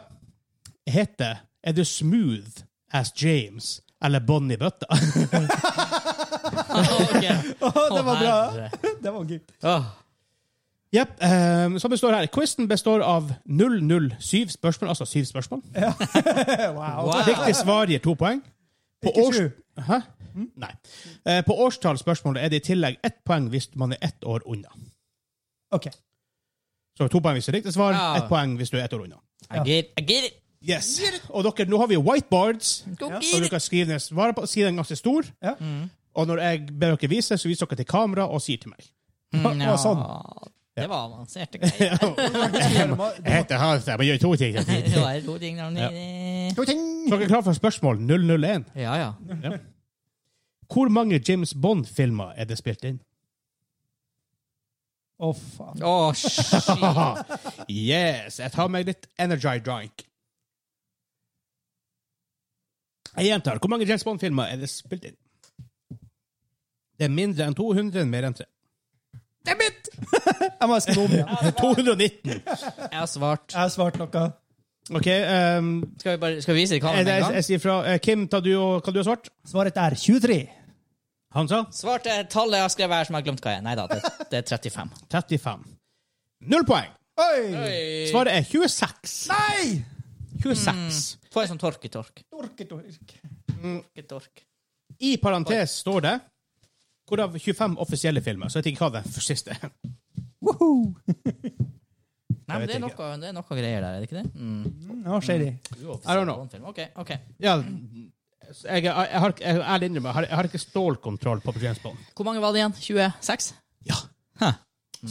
[SPEAKER 1] heter Er du smooth as James eller Bonnie Bøtta?
[SPEAKER 2] Ah, Ok.
[SPEAKER 3] Å, det var bra.
[SPEAKER 2] Å, herre.
[SPEAKER 3] Det var gøy.
[SPEAKER 2] Åh.
[SPEAKER 1] Jepp. Um, som består her. Quizen består av 007 spørsmål, altså syv spørsmål.
[SPEAKER 3] Wow.
[SPEAKER 2] Wow.
[SPEAKER 1] Riktig svar gir to poeng. På
[SPEAKER 3] Ikke sju.
[SPEAKER 1] Hæ? Nei. Eh, på årstallsspørsmålet er det i tillegg ett poeng hvis man er ett år unna.
[SPEAKER 3] OK.
[SPEAKER 1] Så to poeng hvis det er riktig svar,
[SPEAKER 2] Ja.
[SPEAKER 1] ett poeng hvis du er ett år unna.
[SPEAKER 2] I get, I get it.
[SPEAKER 1] Yes. Og dere, nå har vi whiteboards,
[SPEAKER 2] Go
[SPEAKER 3] Ja.
[SPEAKER 1] og
[SPEAKER 2] get
[SPEAKER 1] dere
[SPEAKER 2] it.
[SPEAKER 1] kan skrive ned svaret på siden ganske stor.
[SPEAKER 3] Ja.
[SPEAKER 1] Og når jeg ber dere vise, så viser dere til kamera og sier til meg.
[SPEAKER 3] Mm, ja.
[SPEAKER 2] Det var avanserte greier.
[SPEAKER 1] Jeg heter Hans, jeg må gjøre to ting.
[SPEAKER 2] Det var to ting der nede.
[SPEAKER 1] Så dere er klare for spørsmål 001.
[SPEAKER 2] Ja, ja.
[SPEAKER 1] Hvor mange James Bond-filmer er det spilt inn?
[SPEAKER 3] Å, faen.
[SPEAKER 2] Å, shit.
[SPEAKER 1] Haha. yes, jeg tar meg litt Energy Drink. Jeg gjentar. Hvor mange James Bond-filmer er det spilt inn? Det er mindre enn 200, mer enn 3.
[SPEAKER 2] Damn it!
[SPEAKER 3] Jeg må skrive om igjen.
[SPEAKER 1] 219!
[SPEAKER 2] Jeg har svart.
[SPEAKER 3] Jeg har svart noe.
[SPEAKER 1] OK, um,
[SPEAKER 2] Skal vi, bare, skal vi vise det i
[SPEAKER 1] jeg,
[SPEAKER 2] kameraet med
[SPEAKER 1] jeg,
[SPEAKER 2] en gang?
[SPEAKER 1] jeg sier fra eh, Kim, tar du og, hva du har svart?
[SPEAKER 3] Svaret er 23.
[SPEAKER 1] Han sa
[SPEAKER 2] Svart er tallet jeg har skrevet her som jeg har glemt hva er. Nei da, det, det er 35.
[SPEAKER 1] 35. Null poeng!
[SPEAKER 3] Oi!
[SPEAKER 1] Svaret er 26.
[SPEAKER 3] Nei!
[SPEAKER 1] 26.
[SPEAKER 2] Få en sånn torketork.
[SPEAKER 3] Dork, dork.
[SPEAKER 2] Torketork.
[SPEAKER 1] I parentes står det hvorav 25 offisielle filmer. Så jeg vet ikke hva det er for siste.
[SPEAKER 3] Woohoo!
[SPEAKER 2] Nei, men det
[SPEAKER 1] Jeg
[SPEAKER 2] er,
[SPEAKER 1] vet
[SPEAKER 2] noe, det er noe greier der, er det ikke det? Mm.
[SPEAKER 3] Nå skjer de.
[SPEAKER 1] I don't know.
[SPEAKER 2] Film. Ok, ok.
[SPEAKER 1] Ja, jeg, jeg, jeg, har, ikke- jeg, ærlig innrømmer, jeg, har, jeg har ikke stålkontroll på James Bond.
[SPEAKER 2] Hvor mange var det igjen? 26?
[SPEAKER 1] Ja.
[SPEAKER 2] Hæ.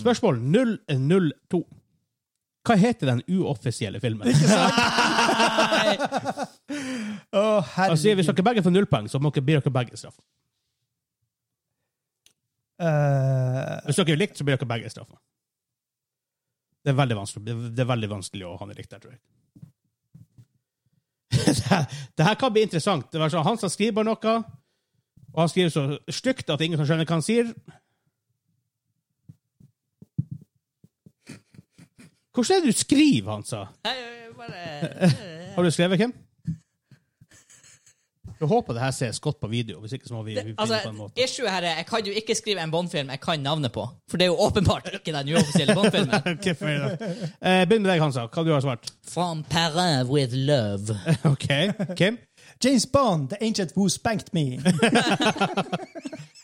[SPEAKER 1] Spørsmål 002. Hva heter den uoffisielle filmen?
[SPEAKER 2] Nei.
[SPEAKER 3] Å,
[SPEAKER 1] Altså,
[SPEAKER 3] herregud.
[SPEAKER 1] hvis dere begge får nullpoeng, så må dere blir dere begge straffa.
[SPEAKER 3] Eh,
[SPEAKER 1] Hvis dere er likt, så blir dere begge straffa. Det er veldig vanskelig, det er- det er veldig vanskelig å ha det likt der, tror jeg. det, her, det her kan bli interessant. Det var sånn, han som skriver noe, og han skriver så stygt at ingen kan skjønne hva han sier. Hvordan er det du skriver, han sa?
[SPEAKER 2] jeg bare...
[SPEAKER 1] Har du skrevet, Kim? Jeg håper det her ses godt på video. Hvis ikke så må vi, vi finne på en
[SPEAKER 2] Altså,
[SPEAKER 1] måte.
[SPEAKER 2] issue her er, jeg kan jo ikke skrive en Bond-film jeg kan navnet på. For det er jo åpenbart ikke den uoffisielle Bond-filmen.
[SPEAKER 1] Ok, fair enough. Eh, Begynn med deg, Hansa. Hva du har svart?
[SPEAKER 2] From Paris with love.
[SPEAKER 1] OK. Kim?
[SPEAKER 3] James Bond, The Ancient Who Spanked Me.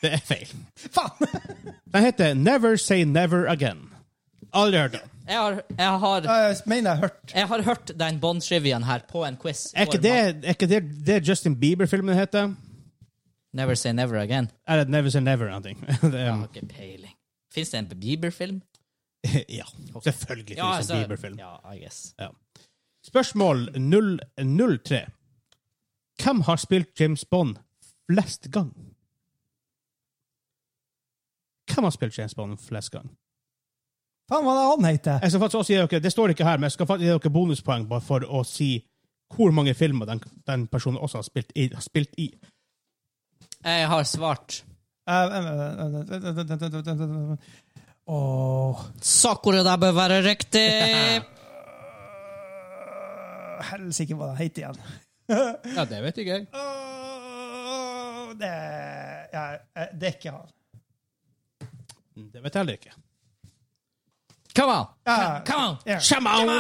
[SPEAKER 1] Det er feil.
[SPEAKER 3] Faen!
[SPEAKER 1] Den heter Never Say Never Again. Aldri hørt den.
[SPEAKER 2] Jeg har, jeg har,
[SPEAKER 3] Jeg mener jeg har hørt.
[SPEAKER 2] jeg har hørt den Bond-triviaen her på en quiz.
[SPEAKER 1] Er ikke det, er ikke det, det Justin Bieber-filmen heter?
[SPEAKER 2] Never Say Never Again.
[SPEAKER 1] Er det Never Say Never eller noe? Det
[SPEAKER 2] Jeg
[SPEAKER 1] er-
[SPEAKER 2] har ikke peiling. Fins det en Bieber-film?
[SPEAKER 1] Ja. Selvfølgelig ja,
[SPEAKER 2] altså-
[SPEAKER 1] Justin Bieber-film.
[SPEAKER 2] ja, I guess.
[SPEAKER 1] Ja. Spørsmål 003. Hvem har spilt James Bond flest gang? Hvem har spilt James Bond flest ganger?
[SPEAKER 3] Faen, hva er det han heter?
[SPEAKER 1] Jeg skal faktisk også gi dere, Det står ikke her, men jeg skal faktisk gi dere bonuspoeng bare for å si hvor mange filmer den, den personen også har spilt i. Har spilt i.
[SPEAKER 2] Jeg har svart
[SPEAKER 3] Åh
[SPEAKER 2] Sakura, det bør være riktig!
[SPEAKER 3] Helsike, hva den heter igjen.
[SPEAKER 1] Ja, det vet ikke jeg.
[SPEAKER 3] Åh, Det, ja, det er ikke han.
[SPEAKER 1] Det vet jeg heller ikke.
[SPEAKER 2] Come on!
[SPEAKER 3] Ja.
[SPEAKER 2] Come on!
[SPEAKER 3] Ja.
[SPEAKER 2] Shamaona!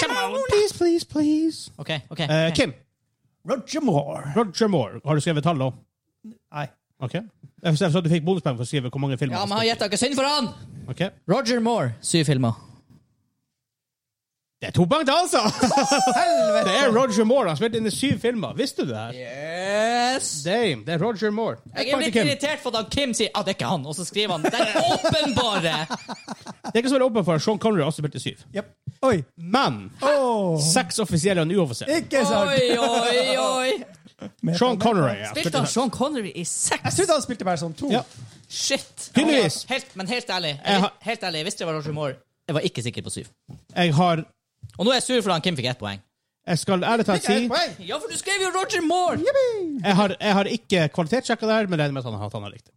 [SPEAKER 2] Shamaona!
[SPEAKER 1] Please, please, please.
[SPEAKER 2] OK. ok.
[SPEAKER 1] Eh,
[SPEAKER 2] ok.
[SPEAKER 1] Kim,
[SPEAKER 3] Roger Moore.
[SPEAKER 1] Roger Moore, har du skrevet tall nå?
[SPEAKER 3] Nei.
[SPEAKER 1] Ok. Jeg forstår at du fikk bonuspoeng for å skrive hvor mange filmer
[SPEAKER 2] Ja,
[SPEAKER 1] han
[SPEAKER 2] men
[SPEAKER 1] har
[SPEAKER 2] han
[SPEAKER 1] spilt
[SPEAKER 2] gjetta ikke synd for han!
[SPEAKER 1] i. Ok.
[SPEAKER 2] Roger Moore. Syv filmer.
[SPEAKER 1] Det er to poeng, til, altså!
[SPEAKER 3] Helvete!
[SPEAKER 1] Det er Roger Moore. Han spilte inn i syv filmer. Visste du det? her?
[SPEAKER 2] Yes!
[SPEAKER 1] Damn, det er Roger Moore.
[SPEAKER 2] Jeg
[SPEAKER 1] Ett
[SPEAKER 2] er
[SPEAKER 1] poeng til
[SPEAKER 2] litt
[SPEAKER 1] Kim.
[SPEAKER 2] irritert for at Kim sier at det er ikke han, og så skriver han den åpenbare!
[SPEAKER 1] Det er ikke så veldig åpen for at Sean Connery også spilte syv.
[SPEAKER 3] Yep. Oi.
[SPEAKER 1] Men
[SPEAKER 3] Åh,
[SPEAKER 1] seks offisielle og en uoffisiell.
[SPEAKER 3] Ikke sant?
[SPEAKER 2] Oi, oi, oi!
[SPEAKER 3] Med-
[SPEAKER 1] Sean Connery. ja,
[SPEAKER 2] Spilte han Sean Connery i
[SPEAKER 3] Jeg
[SPEAKER 2] seks?
[SPEAKER 3] trodde han spilte bare sånn to.
[SPEAKER 1] Ja.
[SPEAKER 2] Shit!
[SPEAKER 1] Tydeligvis.
[SPEAKER 2] Helt, men helt ærlig,
[SPEAKER 1] Jeg har-
[SPEAKER 2] helt ærlig, jeg visste det var Roger Moore. Jeg var ikke sikker på syv.
[SPEAKER 1] Jeg har
[SPEAKER 2] Og nå er jeg sur for at Kim fikk ett poeng.
[SPEAKER 1] Jeg skal ærlig talt si
[SPEAKER 3] Ett poeng.
[SPEAKER 2] Ja, for du skrev jo Roger Moore!
[SPEAKER 1] jeg har, jeg har ikke kvalitetssjekka det her, men regner med at han, har- at han har riktig.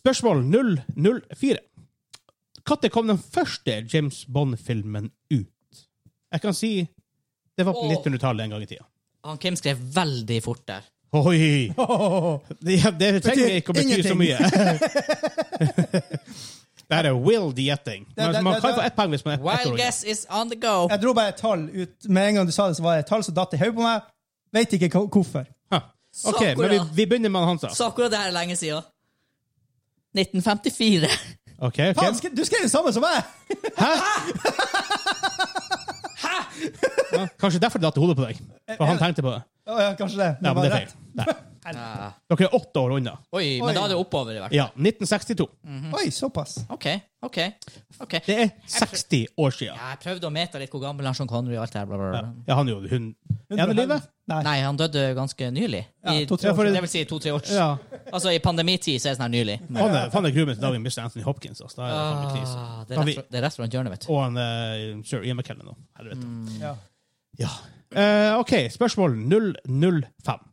[SPEAKER 1] Spørsmål 004. Når kom den første James Bond-filmen ut? Jeg kan si det var på
[SPEAKER 2] Åh.
[SPEAKER 1] 1900-tallet en gang i tida.
[SPEAKER 2] Han Kim skrev veldig fort der.
[SPEAKER 1] Oi!
[SPEAKER 3] Åh,
[SPEAKER 1] Det, det trenger ikke å bety så
[SPEAKER 3] ingenting.
[SPEAKER 1] mye. det her er will the gjetting.
[SPEAKER 3] Det- det-
[SPEAKER 1] Man, man
[SPEAKER 3] det-
[SPEAKER 1] kan
[SPEAKER 3] det-
[SPEAKER 1] få ett poeng hvis man er ett
[SPEAKER 2] Wild
[SPEAKER 1] år.
[SPEAKER 2] guess is on the go.
[SPEAKER 3] Jeg dro bare et tall ut. Med en gang du sa det, så var det et tall som datt i hodet på meg. Vet ikke hva- hvorfor.
[SPEAKER 1] Ha. OK, men vi, vi begynner med Hansa.
[SPEAKER 2] Så akkurat det her er lenge siden. 1954.
[SPEAKER 1] OK,
[SPEAKER 3] Faen,
[SPEAKER 1] ok.
[SPEAKER 3] sk- du skrev det samme som meg!
[SPEAKER 1] Ja, Kanskje derfor det datt i hodet på deg. For han tenkte på det.
[SPEAKER 3] Å, ja, kanskje det.
[SPEAKER 1] Ja,
[SPEAKER 3] var
[SPEAKER 1] men det er
[SPEAKER 3] rett.
[SPEAKER 1] feil. Nei. Dere er åtte år unna.
[SPEAKER 2] Oi, men da er det oppover i hvert fall.
[SPEAKER 1] Ja, 1962.
[SPEAKER 3] Oi, såpass.
[SPEAKER 2] OK, OK. ok.
[SPEAKER 1] Det er 60 år siden.
[SPEAKER 2] Ja, jeg prøvde å mete litt hvor gammel han Sean Connery og alt det her. Bla, bla, bla.
[SPEAKER 1] Ja, han er jo hun... Er han i live?
[SPEAKER 3] Nei.
[SPEAKER 2] Nei, han døde ganske nylig. I,
[SPEAKER 3] to-tre år
[SPEAKER 2] det vil si to-tre år.
[SPEAKER 1] Ja.
[SPEAKER 2] Altså, i pandemitid så er det sånn her nylig.
[SPEAKER 1] Han er, han er groomen til dagen Mr. Anthony Hopkins. Altså. Da er det faen meg krise.
[SPEAKER 2] Ah, det, er
[SPEAKER 1] Kan
[SPEAKER 2] rett,
[SPEAKER 1] vi-
[SPEAKER 2] fra- det er rett rundt hjørnet, vet du.
[SPEAKER 1] Og han uh, Sir Ian McKellen nå. Helvete.
[SPEAKER 3] Ja.
[SPEAKER 1] Ja. Eh, OK, spørsmål 005.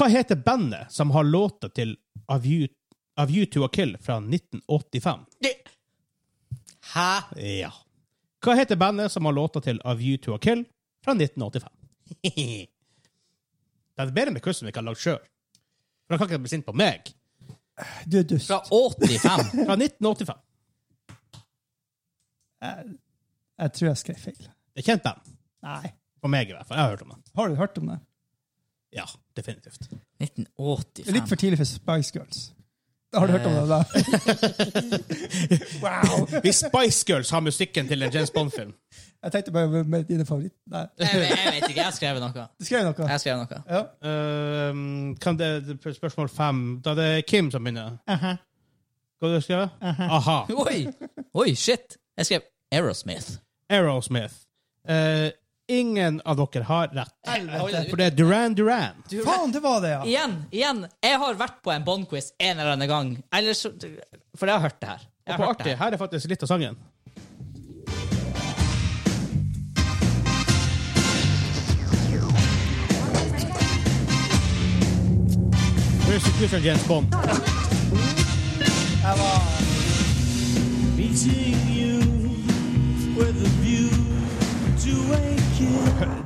[SPEAKER 1] Hva heter bandet som har låta til A View, A View to a Kill fra 1985?
[SPEAKER 2] Det- Hæ?
[SPEAKER 1] Ja. Hva heter bandet som har låta til A View to a Kill fra 1985? det er bedre med quizen vi ikke har lagd sjøl. For da kan ikke bli sint på meg.
[SPEAKER 3] Du er dust.
[SPEAKER 2] Fra 85?
[SPEAKER 1] Fra 1985.
[SPEAKER 3] Jeg tror jeg skrev feil.
[SPEAKER 1] Det er kjent band.
[SPEAKER 3] Nei.
[SPEAKER 1] For meg, i hvert fall. Jeg har hørt om det.
[SPEAKER 3] Har du hørt om det?
[SPEAKER 1] Ja, definitivt.
[SPEAKER 3] Det er litt
[SPEAKER 2] 1985.
[SPEAKER 3] for tidlig for Spice Girls. Har du hørt om det? da? wow!
[SPEAKER 1] Hvis Spice Girls har musikken til en James Bond-film
[SPEAKER 3] Jeg tenkte bare med dine favoritter. Nei.
[SPEAKER 2] Jeg, vet- jeg vet ikke, jeg skrev noe.
[SPEAKER 3] Du skrev noe?
[SPEAKER 2] Jeg skrev noe.
[SPEAKER 3] Ja.
[SPEAKER 1] Ehm, Kan det det er Spørsmål fem. Da det er Kim som begynner. Hva du skrevet? Aha.
[SPEAKER 2] Oi! Oi, shit! Jeg skrev Aerosmith.
[SPEAKER 1] Aerosmith. Eh, ingen av dere har rett. For det er Duran Duran.
[SPEAKER 3] Faen, det var det, ja!
[SPEAKER 2] Igjen, igjen, jeg har vært på en Bond-quiz en eller annen gang. Eller så, for jeg har hørt det her.
[SPEAKER 1] Og
[SPEAKER 2] Jeg har
[SPEAKER 1] på
[SPEAKER 2] hørt det
[SPEAKER 1] artig,
[SPEAKER 2] her.
[SPEAKER 1] her er faktisk litt av sangen. Where's the future, James Bond?
[SPEAKER 3] Jeg var...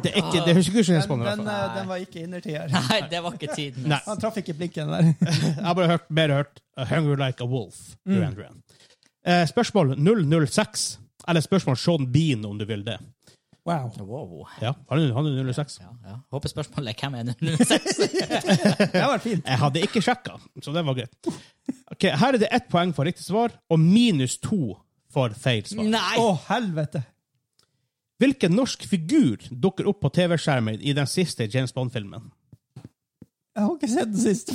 [SPEAKER 1] Det er ikke, det høres ikke ut som James Bond. Sånn i hvert
[SPEAKER 3] Den,
[SPEAKER 1] fall.
[SPEAKER 3] eh, den var ikke innertier.
[SPEAKER 2] Nei, det var ikke tiden.
[SPEAKER 1] Nei.
[SPEAKER 3] Han traff ikke blinken der.
[SPEAKER 1] Jeg har bare hørt, mer hørt uh, 'Hunger Like a Wolf'.
[SPEAKER 2] Mm.
[SPEAKER 1] Duran Duran. Eh, spørsmål 006. Eller spørsmål Sean Bean, om du vil det.
[SPEAKER 3] Wow.
[SPEAKER 2] Wow.
[SPEAKER 1] Ja, han er- han er 06.
[SPEAKER 2] Ja, ja. Håper spørsmålet er hvem er 06?
[SPEAKER 3] Det har vært fint.
[SPEAKER 1] Jeg hadde ikke sjekka, så det var greit. Ok, Her er det ett poeng for riktig svar og minus to for feil svar.
[SPEAKER 2] Nei!
[SPEAKER 3] Å, helvete.
[SPEAKER 1] Hvilken norsk figur dukker opp på TV-skjermen i den siste James Bond-filmen?
[SPEAKER 3] Jeg har ikke sett den sist.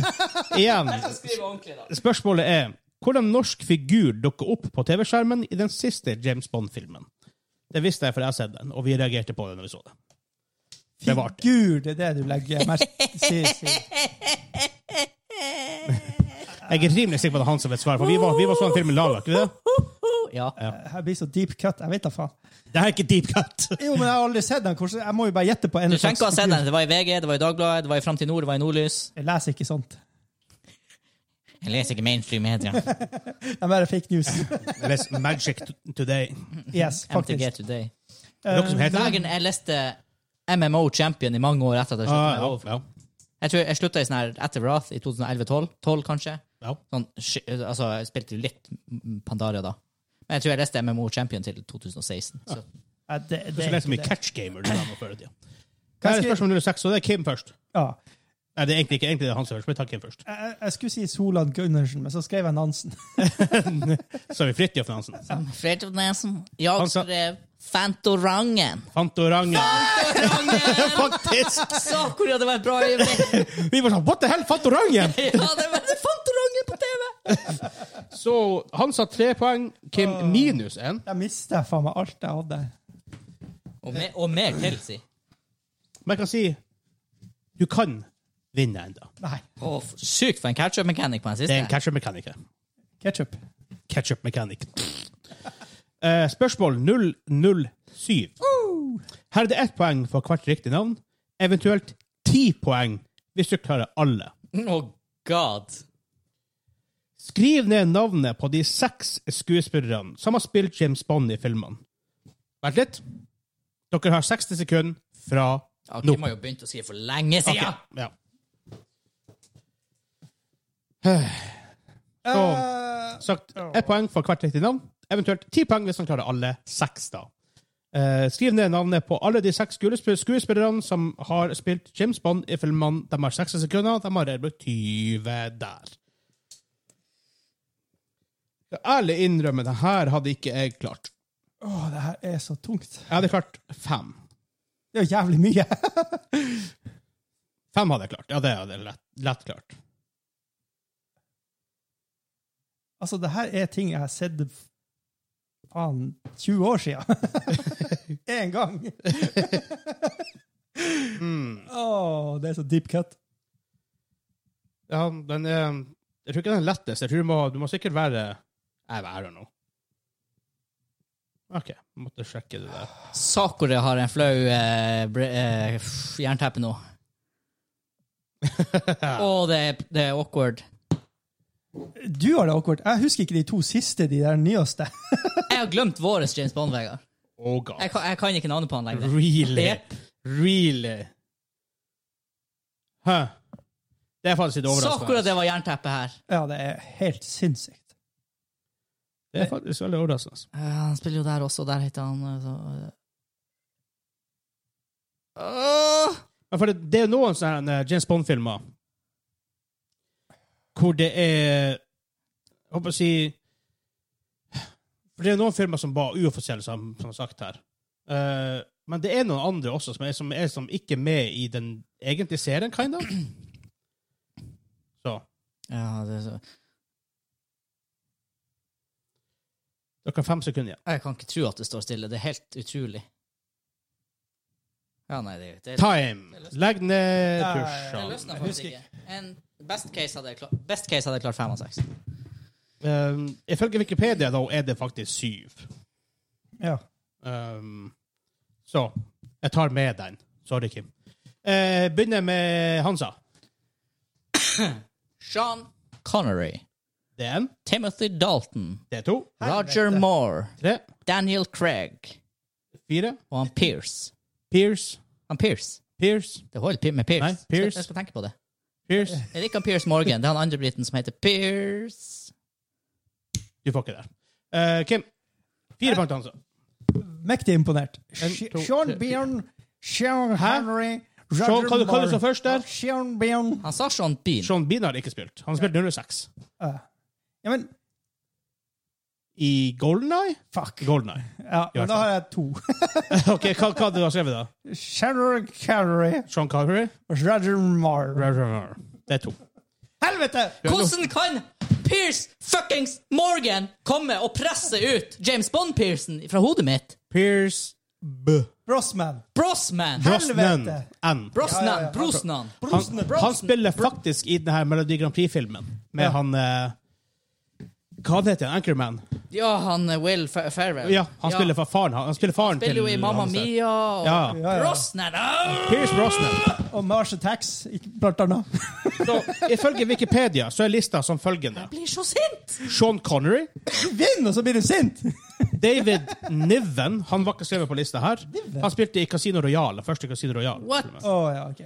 [SPEAKER 1] Igjen,
[SPEAKER 2] Skriv ordentlig, da.
[SPEAKER 1] spørsmålet er hvordan norsk figur dukker opp på TV-skjermen i den siste James Bond-filmen? Det visste jeg, for jeg har sett den, og vi reagerte på det når vi så det. Det var artig.
[SPEAKER 3] Figur, det er det du legger merke til. sier- sier.
[SPEAKER 1] Jeg er rimelig sikker på at det er han som vet svaret, for vi var, vi var sånn filmen Lala, ikke det?
[SPEAKER 2] Ja.
[SPEAKER 3] Jeg blir så deep cut. Jeg vet da faen.
[SPEAKER 1] Det her er ikke deep cut.
[SPEAKER 3] Jo, men jeg har aldri sett den. Hvordan- Jeg må jo bare gjette på en
[SPEAKER 2] Du trenger ikke å ha sett den. Det var i VG, det var i Dagbladet, det var i Framtid Nord, det var i Nordlys.
[SPEAKER 3] Jeg leser ikke sånt.
[SPEAKER 2] Jeg leser ikke mainstream media.
[SPEAKER 3] Det er bare fake news.
[SPEAKER 1] Jeg leser Magic t- Today.
[SPEAKER 3] Yes,
[SPEAKER 2] MTG
[SPEAKER 3] faktisk.
[SPEAKER 2] Today.
[SPEAKER 1] Er det noe som heter det?
[SPEAKER 2] Dagen jeg leste MMO Champion i mange år etter at jeg sluttet med
[SPEAKER 1] Ah,
[SPEAKER 2] WoW.
[SPEAKER 1] ja, ja.
[SPEAKER 2] Jeg tror jeg slutta i sånn her etter Wrath i 2011-12, 12 kanskje.
[SPEAKER 1] Ja.
[SPEAKER 2] Sånn, sk- altså, jeg spilte jo litt mm, Pandaria da. Men jeg tror jeg leste MMO Champion til 2016. Så.
[SPEAKER 3] Ja, det, det,
[SPEAKER 1] Du som leser
[SPEAKER 3] er ikke
[SPEAKER 1] mye
[SPEAKER 3] det.
[SPEAKER 1] Catch Gamer. Du, da, nå før i tida.
[SPEAKER 3] Hva
[SPEAKER 1] Her er
[SPEAKER 3] skal-
[SPEAKER 1] spørsmål nummer seks, og det er Kim først.
[SPEAKER 3] Ja.
[SPEAKER 1] Nei, det er egentlig ikke egentlig det er han som er først, men ta Kim først.
[SPEAKER 3] Jeg, jeg- jeg skulle si Solan Gundersen, men så skrev jeg Nansen.
[SPEAKER 1] Så er vi Fridtjof Nansen.
[SPEAKER 2] Fredrik Nesen, jeg
[SPEAKER 1] Han sa-
[SPEAKER 2] skrev Fantorangen.
[SPEAKER 1] Fantorangen.
[SPEAKER 2] Fantorangen!
[SPEAKER 1] Faktisk!
[SPEAKER 2] Sakura, det var et bra øyeblikk!
[SPEAKER 1] Vi var sånn What the hell, Fantorangen?
[SPEAKER 2] Ja, det var det er Fantorangen på TV!
[SPEAKER 1] Så han sa tre poeng, Kim minus én.
[SPEAKER 3] Jeg mista faen meg alt jeg hadde.
[SPEAKER 2] Og, me, og mer til, si.
[SPEAKER 1] Men jeg kan si du kan vinne ennå.
[SPEAKER 3] Nei.
[SPEAKER 2] Å, f- Sykt for en catch-up-mechanic på den
[SPEAKER 1] Det er en
[SPEAKER 2] siste.
[SPEAKER 1] catcher-mechaniker.
[SPEAKER 3] Ketchup.
[SPEAKER 1] Ketchup mechanic. Eh, spørsmål 007. Her er det ett poeng for hvert riktig navn. Eventuelt ti poeng hvis du klarer alle.
[SPEAKER 2] Å, god.
[SPEAKER 1] Skriv ned navnet på de seks skuespillerne som har spilt James Bond i filmene. Vent litt. Dere har 60 sekunder fra
[SPEAKER 2] Ja,
[SPEAKER 1] nå.
[SPEAKER 2] Kim har jo begynt å si for lenge
[SPEAKER 1] Ok,
[SPEAKER 2] siden!
[SPEAKER 1] ja.
[SPEAKER 3] Eh,
[SPEAKER 1] Sagt ett poeng for hvert riktig navn. Eventuelt ti poeng hvis han klarer alle seks, da. Eh, skriv ned navnet på alle de seks skuespill- skuespillerne som har spilt James Bond i filmene. De har 60 sekunder, de har brukt 20 der. Jeg ærlig innrømme, det her hadde ikke jeg klart.
[SPEAKER 3] Åh, det her er så tungt.
[SPEAKER 1] Jeg hadde klart fem.
[SPEAKER 3] Det er jo jævlig mye.
[SPEAKER 1] Fem hadde jeg klart. Ja, det hadde jeg lett, lett klart.
[SPEAKER 3] Altså, det her er ting jeg har sett faen 20 år siden. Én gang.
[SPEAKER 1] Mm.
[SPEAKER 3] Åh, det er så deep cut.
[SPEAKER 1] Ja, den er Jeg tror ikke den er lettest. Jeg tror du må, du må sikkert være Jeg værer nå. OK. Måtte sjekke det der.
[SPEAKER 2] Sakura har en flau eh, bre- eh, f- jernteppe nå. Å, det, er- det er awkward.
[SPEAKER 3] Du har det akkurat. Jeg husker ikke de to siste, de der nyeste.
[SPEAKER 2] Jeg har glemt vår James Bond, Vegard.
[SPEAKER 1] Oh god.
[SPEAKER 2] Jeg, kan- jeg kan ikke navnet på han lenger.
[SPEAKER 1] Really?
[SPEAKER 2] Yep.
[SPEAKER 1] Really? Hæ? Det er faktisk litt
[SPEAKER 2] Sakura,
[SPEAKER 1] overraskende.
[SPEAKER 2] det var jernteppe her.
[SPEAKER 3] Ja, det er helt sinnssykt.
[SPEAKER 1] Det er faktisk veldig overraskende.
[SPEAKER 2] Eh, han spiller jo der også, der heter han eh, så, eh. Åh!
[SPEAKER 1] Men for det, det er noen sånne eh, James Bond-filmer hvor det er Jeg håper å si For det er noen filmer som var uoffisielle, som, som sagt her. Eh, men det er noen andre også som er, som er som ikke er med i den egentlige serien, kind of. Så
[SPEAKER 2] Ja, det er så...
[SPEAKER 1] dere har fem sekunder igjen.
[SPEAKER 2] Jeg kan ikke tro at det står stille. Det er helt utrolig. Ja, nei, det, det,
[SPEAKER 1] Time! Legg ned
[SPEAKER 3] Ja, ja, ja.
[SPEAKER 2] det
[SPEAKER 1] tusjene.
[SPEAKER 2] løsna faktisk ikke. En best case hadde jeg klart, best case hadde jeg klart fem av seks.
[SPEAKER 1] Um, ifølge Wikipedia da, er det faktisk syv.
[SPEAKER 3] Ja.
[SPEAKER 1] Um, så jeg tar med den. Sorry, Kim. Eh, begynner med Hansa.
[SPEAKER 2] Sean Connery.
[SPEAKER 1] Det er én,
[SPEAKER 2] Timothy Dalton.
[SPEAKER 1] det er to,
[SPEAKER 2] Roger Moore.
[SPEAKER 1] tre,
[SPEAKER 2] Daniel Craig.
[SPEAKER 1] fire.
[SPEAKER 2] Og han Pierce.
[SPEAKER 1] Pierce,
[SPEAKER 2] Han Pierce.
[SPEAKER 1] Pierce,
[SPEAKER 2] Det holder pi- med Pierce.
[SPEAKER 1] Nei, Pierce.
[SPEAKER 2] Jeg skal tenke på det.
[SPEAKER 1] Pierce.
[SPEAKER 2] Jeg liker han Pierce Morgan. Det er han andre briten som heter Pierce.
[SPEAKER 1] Du får ikke det. Eh, Kim. Fire poeng til Hansa.
[SPEAKER 3] Mektig imponert.
[SPEAKER 1] En,
[SPEAKER 3] Sh-
[SPEAKER 1] to,
[SPEAKER 3] Sean
[SPEAKER 1] tre,
[SPEAKER 3] Bjørn, Sean Henry,
[SPEAKER 1] Sean, hva du
[SPEAKER 3] Moore,
[SPEAKER 1] kaller du som først der?
[SPEAKER 3] Sean Bjørn.
[SPEAKER 2] Han sa Sean Bean.
[SPEAKER 1] Sean Bean har ikke spilt. Han har spilt 06.
[SPEAKER 3] Eh, Ja, men
[SPEAKER 1] I Golden Eye?
[SPEAKER 3] fuck.
[SPEAKER 1] Golden Eye.
[SPEAKER 3] Ja, men da har jeg to.
[SPEAKER 1] OK, hva, hva du har du skrevet, da?
[SPEAKER 3] Sean Connery
[SPEAKER 1] Sean Carvery?
[SPEAKER 3] og Roger Moore.
[SPEAKER 1] Det er to.
[SPEAKER 3] Helvete!
[SPEAKER 2] Hvordan kan Pierce fuckings Morgan komme og presse ut James Bond-Pearson fra hodet mitt?
[SPEAKER 1] Pierce B.
[SPEAKER 3] Brosman.
[SPEAKER 2] Brosman!
[SPEAKER 1] Brosnan.
[SPEAKER 3] Helvete!
[SPEAKER 1] N.
[SPEAKER 2] Brosnan!
[SPEAKER 3] Ja, ja, ja.
[SPEAKER 2] Brosnan!
[SPEAKER 1] Han, han spiller faktisk i denne Melodi Grand Prix-filmen med
[SPEAKER 3] Ja.
[SPEAKER 1] han eh, Hva heter han? Anchorman?
[SPEAKER 2] Ja, han eh, Will Fer- Ferrell.
[SPEAKER 1] Ja, han spiller for faren han- Han spiller faren
[SPEAKER 2] Spiller
[SPEAKER 1] til
[SPEAKER 2] jo i Mamma
[SPEAKER 1] han-
[SPEAKER 2] Mia og
[SPEAKER 1] Ja.
[SPEAKER 3] Ja, ja.
[SPEAKER 2] Brosnan! au!
[SPEAKER 1] Pierce Brosnan.
[SPEAKER 3] Og Mars Attacks, ikke- blant annet.
[SPEAKER 1] Så, ifølge Wikipedia så er lista som følgende.
[SPEAKER 2] Jeg blir så sint!
[SPEAKER 1] Sean Connery.
[SPEAKER 3] Du vinner, og så blir du sint!
[SPEAKER 1] David Niven. Han var ikke skrevet på lista her.
[SPEAKER 3] Niven?
[SPEAKER 1] Han spilte i Casino Royale. Første Casino Royale.
[SPEAKER 2] What?
[SPEAKER 3] Å ja, OK.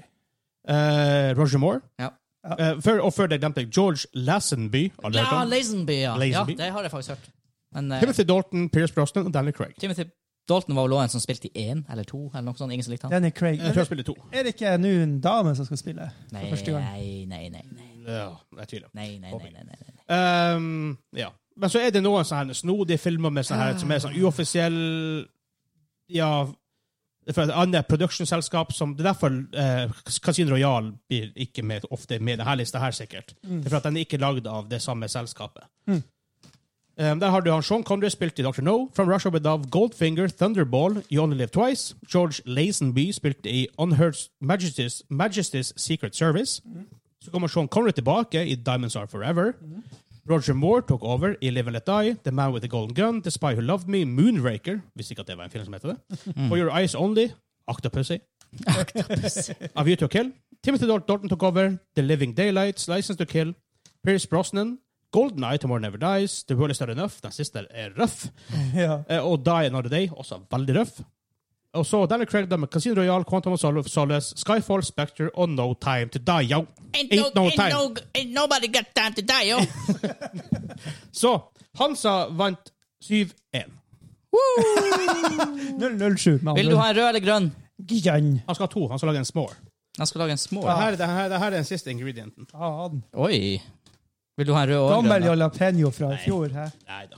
[SPEAKER 1] Eh, Roger Moore.
[SPEAKER 2] Ja.
[SPEAKER 1] Eh, før, og før det glemte jeg George Lassenby. Har du hørt
[SPEAKER 2] Ja,
[SPEAKER 1] om?
[SPEAKER 2] Lazenby, ja. ja.
[SPEAKER 1] Lazenby.
[SPEAKER 2] Det har jeg faktisk hørt. Men eh,
[SPEAKER 1] Timothy Dalton, Pierce Brosnan og Daniel Craig.
[SPEAKER 2] Timothy Dalton var vel også en som spilte i én eller to, eller noe sånt. Ingen som likte han.
[SPEAKER 3] Danny Craig.
[SPEAKER 1] Jeg tror jeg spiller to.
[SPEAKER 3] Er det ikke nå en dame som skal spille?
[SPEAKER 2] Nei,
[SPEAKER 3] første gang.
[SPEAKER 2] nei, nei, nei. nei.
[SPEAKER 1] Ja, jeg tviler.
[SPEAKER 2] Nei, nei, nei, nei, nei.
[SPEAKER 1] Ehm, ja. Men så er det noen sånne her snodige filmer med sånne her, som er sånn uoffisiell Ja For et annet production-selskap som Det er derfor eh, Casino Royale blir ikke med, ofte med denne lista her, sikkert. Det er for at den er ikke lagd av det samme selskapet. Ehm, der har du han Sean Connery spilt i Dr. No, From Russia With Love, Goldfinger, Thunderball, You Only Live Twice, George Lazenby spilte i Unheard Majesty's, Majesty's Secret Service. Så kommer Sean Connery tilbake i Diamonds Are Forever. Roger Moore tok over i Live and Let Die, The Man With The Golden Gun, The Spy Who Loved Me, Moonraker Visste ikke at det var en film som heter det. For Your Eyes Only, Octopussy. A View To Kill. Timothy Dal- Dalton tok over, The Living Daylights, License To Kill, Pierce Brosnan, Golden Eye, Tomorrow Never Dies, The World Is Not Enough, den siste er røff,
[SPEAKER 3] Ja.
[SPEAKER 1] eh, og Die Another Day, også veldig røff. Og så Daniel Craig da med Casino Royale, Quantum of Sol- Solace, Skyfall, Spectre og No Time To Die. Yo. Ain't no time.
[SPEAKER 2] ain't nobody got time to die, yo!
[SPEAKER 1] Så Hansa vant 7-1.
[SPEAKER 3] 007, med
[SPEAKER 2] Vil du ha en rød eller grønn?
[SPEAKER 3] Gjan.
[SPEAKER 1] Han skal ha to. Han skal lage en s'more.
[SPEAKER 2] Jeg skal lage en små.
[SPEAKER 1] Det her, det, her, det her er den siste ingredienten.
[SPEAKER 3] Faen.
[SPEAKER 2] Oi! Vil du ha en rød og en
[SPEAKER 3] Gammel
[SPEAKER 2] grønn? da?
[SPEAKER 3] jalapeño fra i fjor. Hæ?
[SPEAKER 1] Nei da.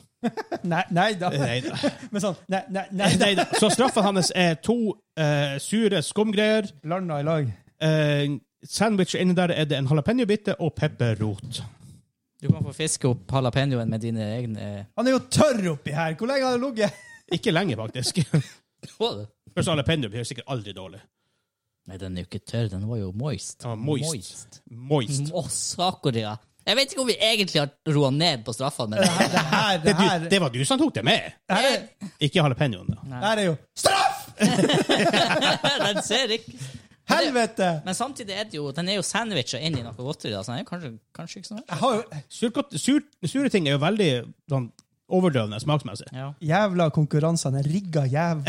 [SPEAKER 3] Nei, nei da.
[SPEAKER 1] Nei da.
[SPEAKER 3] Men sånn Nei, nei, nei da.
[SPEAKER 1] Så straffen hans er to eh, sure skumgreier.
[SPEAKER 3] Blanda i lag.
[SPEAKER 1] Uh, sandwich inni der er det en jalapeño-bitte og pepperrot.
[SPEAKER 2] Du kan få fiske opp jalapeñoen med dine egne eh,
[SPEAKER 3] Han er jo tørr oppi her! Hvor lenge har det ligget?
[SPEAKER 1] Ikke lenge, faktisk.
[SPEAKER 2] Åh.
[SPEAKER 1] Først jalapeño blir sikkert aldri dårlig.
[SPEAKER 2] Nei, eh, den er jo ikke tørr. Den var jo moist.
[SPEAKER 1] Den var moist.
[SPEAKER 2] Moist. Mm.
[SPEAKER 1] Moist.
[SPEAKER 2] Å, sakoria. Jeg vet ikke om vi egentlig har roa ned på straffene, men eh,
[SPEAKER 3] Det her, det
[SPEAKER 1] Det,
[SPEAKER 3] her,
[SPEAKER 1] du, det var du som tok det med!
[SPEAKER 3] det her, er,
[SPEAKER 1] Ikke jalapeñoen, da.
[SPEAKER 3] det her er jo Straff!
[SPEAKER 2] den ser ikke
[SPEAKER 3] Helvete!
[SPEAKER 2] Men samtidig er det jo, den er jo sandwicha inn i noe godteri, da, så den er jo kanskje, kanskje ikke så verst.
[SPEAKER 3] Jeg har jo
[SPEAKER 1] Surkott- sur, sure ting er jo veldig sånn, overdøvende smaksmessig.
[SPEAKER 2] Ja.
[SPEAKER 3] Jævla konkurransene er rigga jæv.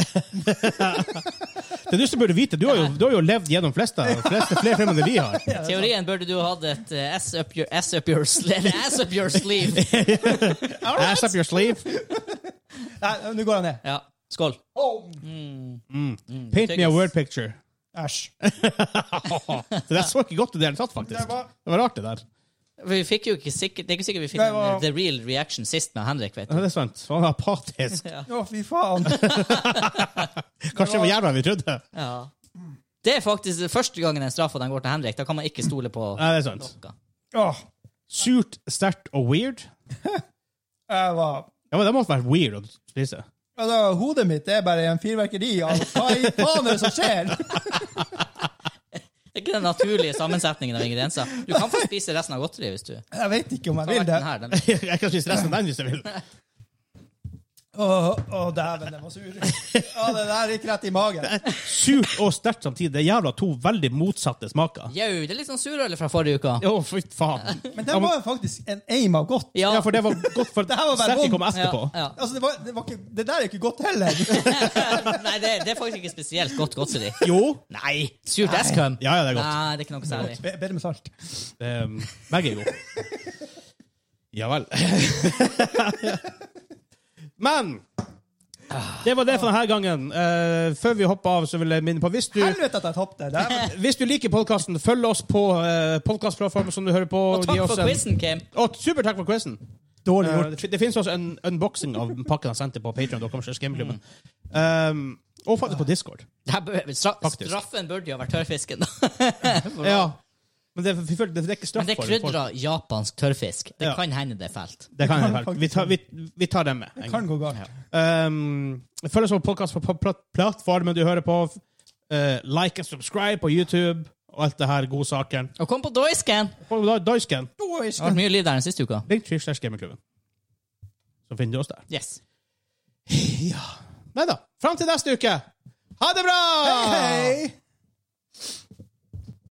[SPEAKER 1] Det er du som burde vite. Du har jo, du har jo levd gjennom fleste, fleste flere filmer enn vi har.
[SPEAKER 2] I teorien burde du hatt et eh, ass up your, ass up your, sle eller ass up your sleeve.
[SPEAKER 1] Ass up your sleeve.
[SPEAKER 3] Nei, nå går han ned.
[SPEAKER 2] Ja. Skål.
[SPEAKER 1] Paint me a word picture.
[SPEAKER 3] Æsj.
[SPEAKER 1] Så det så ikke godt ut i det hele tatt, faktisk.
[SPEAKER 3] Det var-
[SPEAKER 1] Det var rart, det der.
[SPEAKER 2] Vi fikk jo ikke sikkert, det er ikke sikkert vi fikk
[SPEAKER 3] Nei,
[SPEAKER 2] en
[SPEAKER 3] hva-
[SPEAKER 2] eh, the real reaction sist med Henrik, vet
[SPEAKER 1] Ja,
[SPEAKER 2] du.
[SPEAKER 1] det er sant. Han var apatisk.
[SPEAKER 2] Ja.
[SPEAKER 3] Å, fy faen.
[SPEAKER 1] Kanskje det var jævla vi trodde.
[SPEAKER 2] Ja. Det er faktisk første gangen en straff og den går til Henrik. Da kan man ikke stole på
[SPEAKER 1] Nei, det er sant.
[SPEAKER 2] noe.
[SPEAKER 3] Åh,
[SPEAKER 1] Surt, sterkt og weird.
[SPEAKER 3] jeg var
[SPEAKER 1] Ja, men Det måtte være weird å spise.
[SPEAKER 3] Altså, hodet mitt er bare en fyrverkeri av hva i faen er det som skjer?
[SPEAKER 2] Det er ikke den naturlige sammensetningen av ingredienser. Du kan få spise resten av godteriet hvis du har
[SPEAKER 3] Jeg vet ikke om jeg vil
[SPEAKER 2] vært
[SPEAKER 3] det.
[SPEAKER 2] den her. Den.
[SPEAKER 1] Jeg kan spise resten av den hvis jeg vil.
[SPEAKER 3] Å, å, dæven, den var sur. Å, det der gikk rett i magen.
[SPEAKER 1] Surt og sterkt samtidig. Det er jævla to veldig motsatte smaker.
[SPEAKER 2] Jau, det er litt sånn surøl fra forrige uke.
[SPEAKER 1] Å, fy faen.
[SPEAKER 3] Men den var faktisk en aim av godt.
[SPEAKER 1] Ja, for det var godt, for
[SPEAKER 3] Det her var bare
[SPEAKER 1] sterke kom
[SPEAKER 3] vondt.
[SPEAKER 1] etterpå.
[SPEAKER 2] Ja, ja.
[SPEAKER 3] Altså, det, var, det, var ikke, det der er ikke godt heller.
[SPEAKER 2] Nei, det, det er faktisk ikke spesielt godt godteri.
[SPEAKER 1] Jo.
[SPEAKER 2] Nei! Surt eskum?
[SPEAKER 1] Ja, ja, det er godt.
[SPEAKER 2] Nei, det er ikke noe særlig.
[SPEAKER 3] Be- Bedre med salt.
[SPEAKER 1] Um, begge er gode. Ja vel. Men det var det for denne gangen. Eh, før vi hopper av, så vil jeg minne på Hvis du,
[SPEAKER 3] Helvete at jeg tapte. Det er-
[SPEAKER 1] hvis du liker podkasten, følg oss på uh, podkastplattformen som du hører på.
[SPEAKER 2] Og takk for quizen, Kim.
[SPEAKER 1] super takk for quizen.
[SPEAKER 3] Dårlig
[SPEAKER 1] Eh,
[SPEAKER 3] gjort.
[SPEAKER 1] det, fin- det finnes også en unboxing av pakken han sendte på Patreon Um, og faktisk på Discord.
[SPEAKER 2] Det her bør- stra
[SPEAKER 1] Faktisk.
[SPEAKER 2] straffen burde jo ha vært tørrfisken, da.
[SPEAKER 1] Ja. Men det, er- vi føler- det er ikke straff
[SPEAKER 2] Men det er
[SPEAKER 1] for det. folk.
[SPEAKER 2] krydra japansk tørrfisk. Det
[SPEAKER 1] Ja.
[SPEAKER 2] kan hende det er fælt.
[SPEAKER 1] Det kan jeg vel. Vi tar, vi, vi tar dem med. en gang.
[SPEAKER 3] Kan gå galt.
[SPEAKER 1] Um, følg oss på podkast på pl- pl- plattformen du hører på. Eh, like and subscribe på YouTube og alt det her godsaken.
[SPEAKER 2] Og kom på Doyscan!
[SPEAKER 1] Og da- Dagsken.
[SPEAKER 3] Oi,
[SPEAKER 2] Det har vært mye lyd der den siste uka.
[SPEAKER 1] Linktree slash gamingklubben. Så finner du oss der.
[SPEAKER 2] Yes. Ah.
[SPEAKER 1] Ja. Nei da. Fram til neste uke. Ha det bra!
[SPEAKER 3] Hei!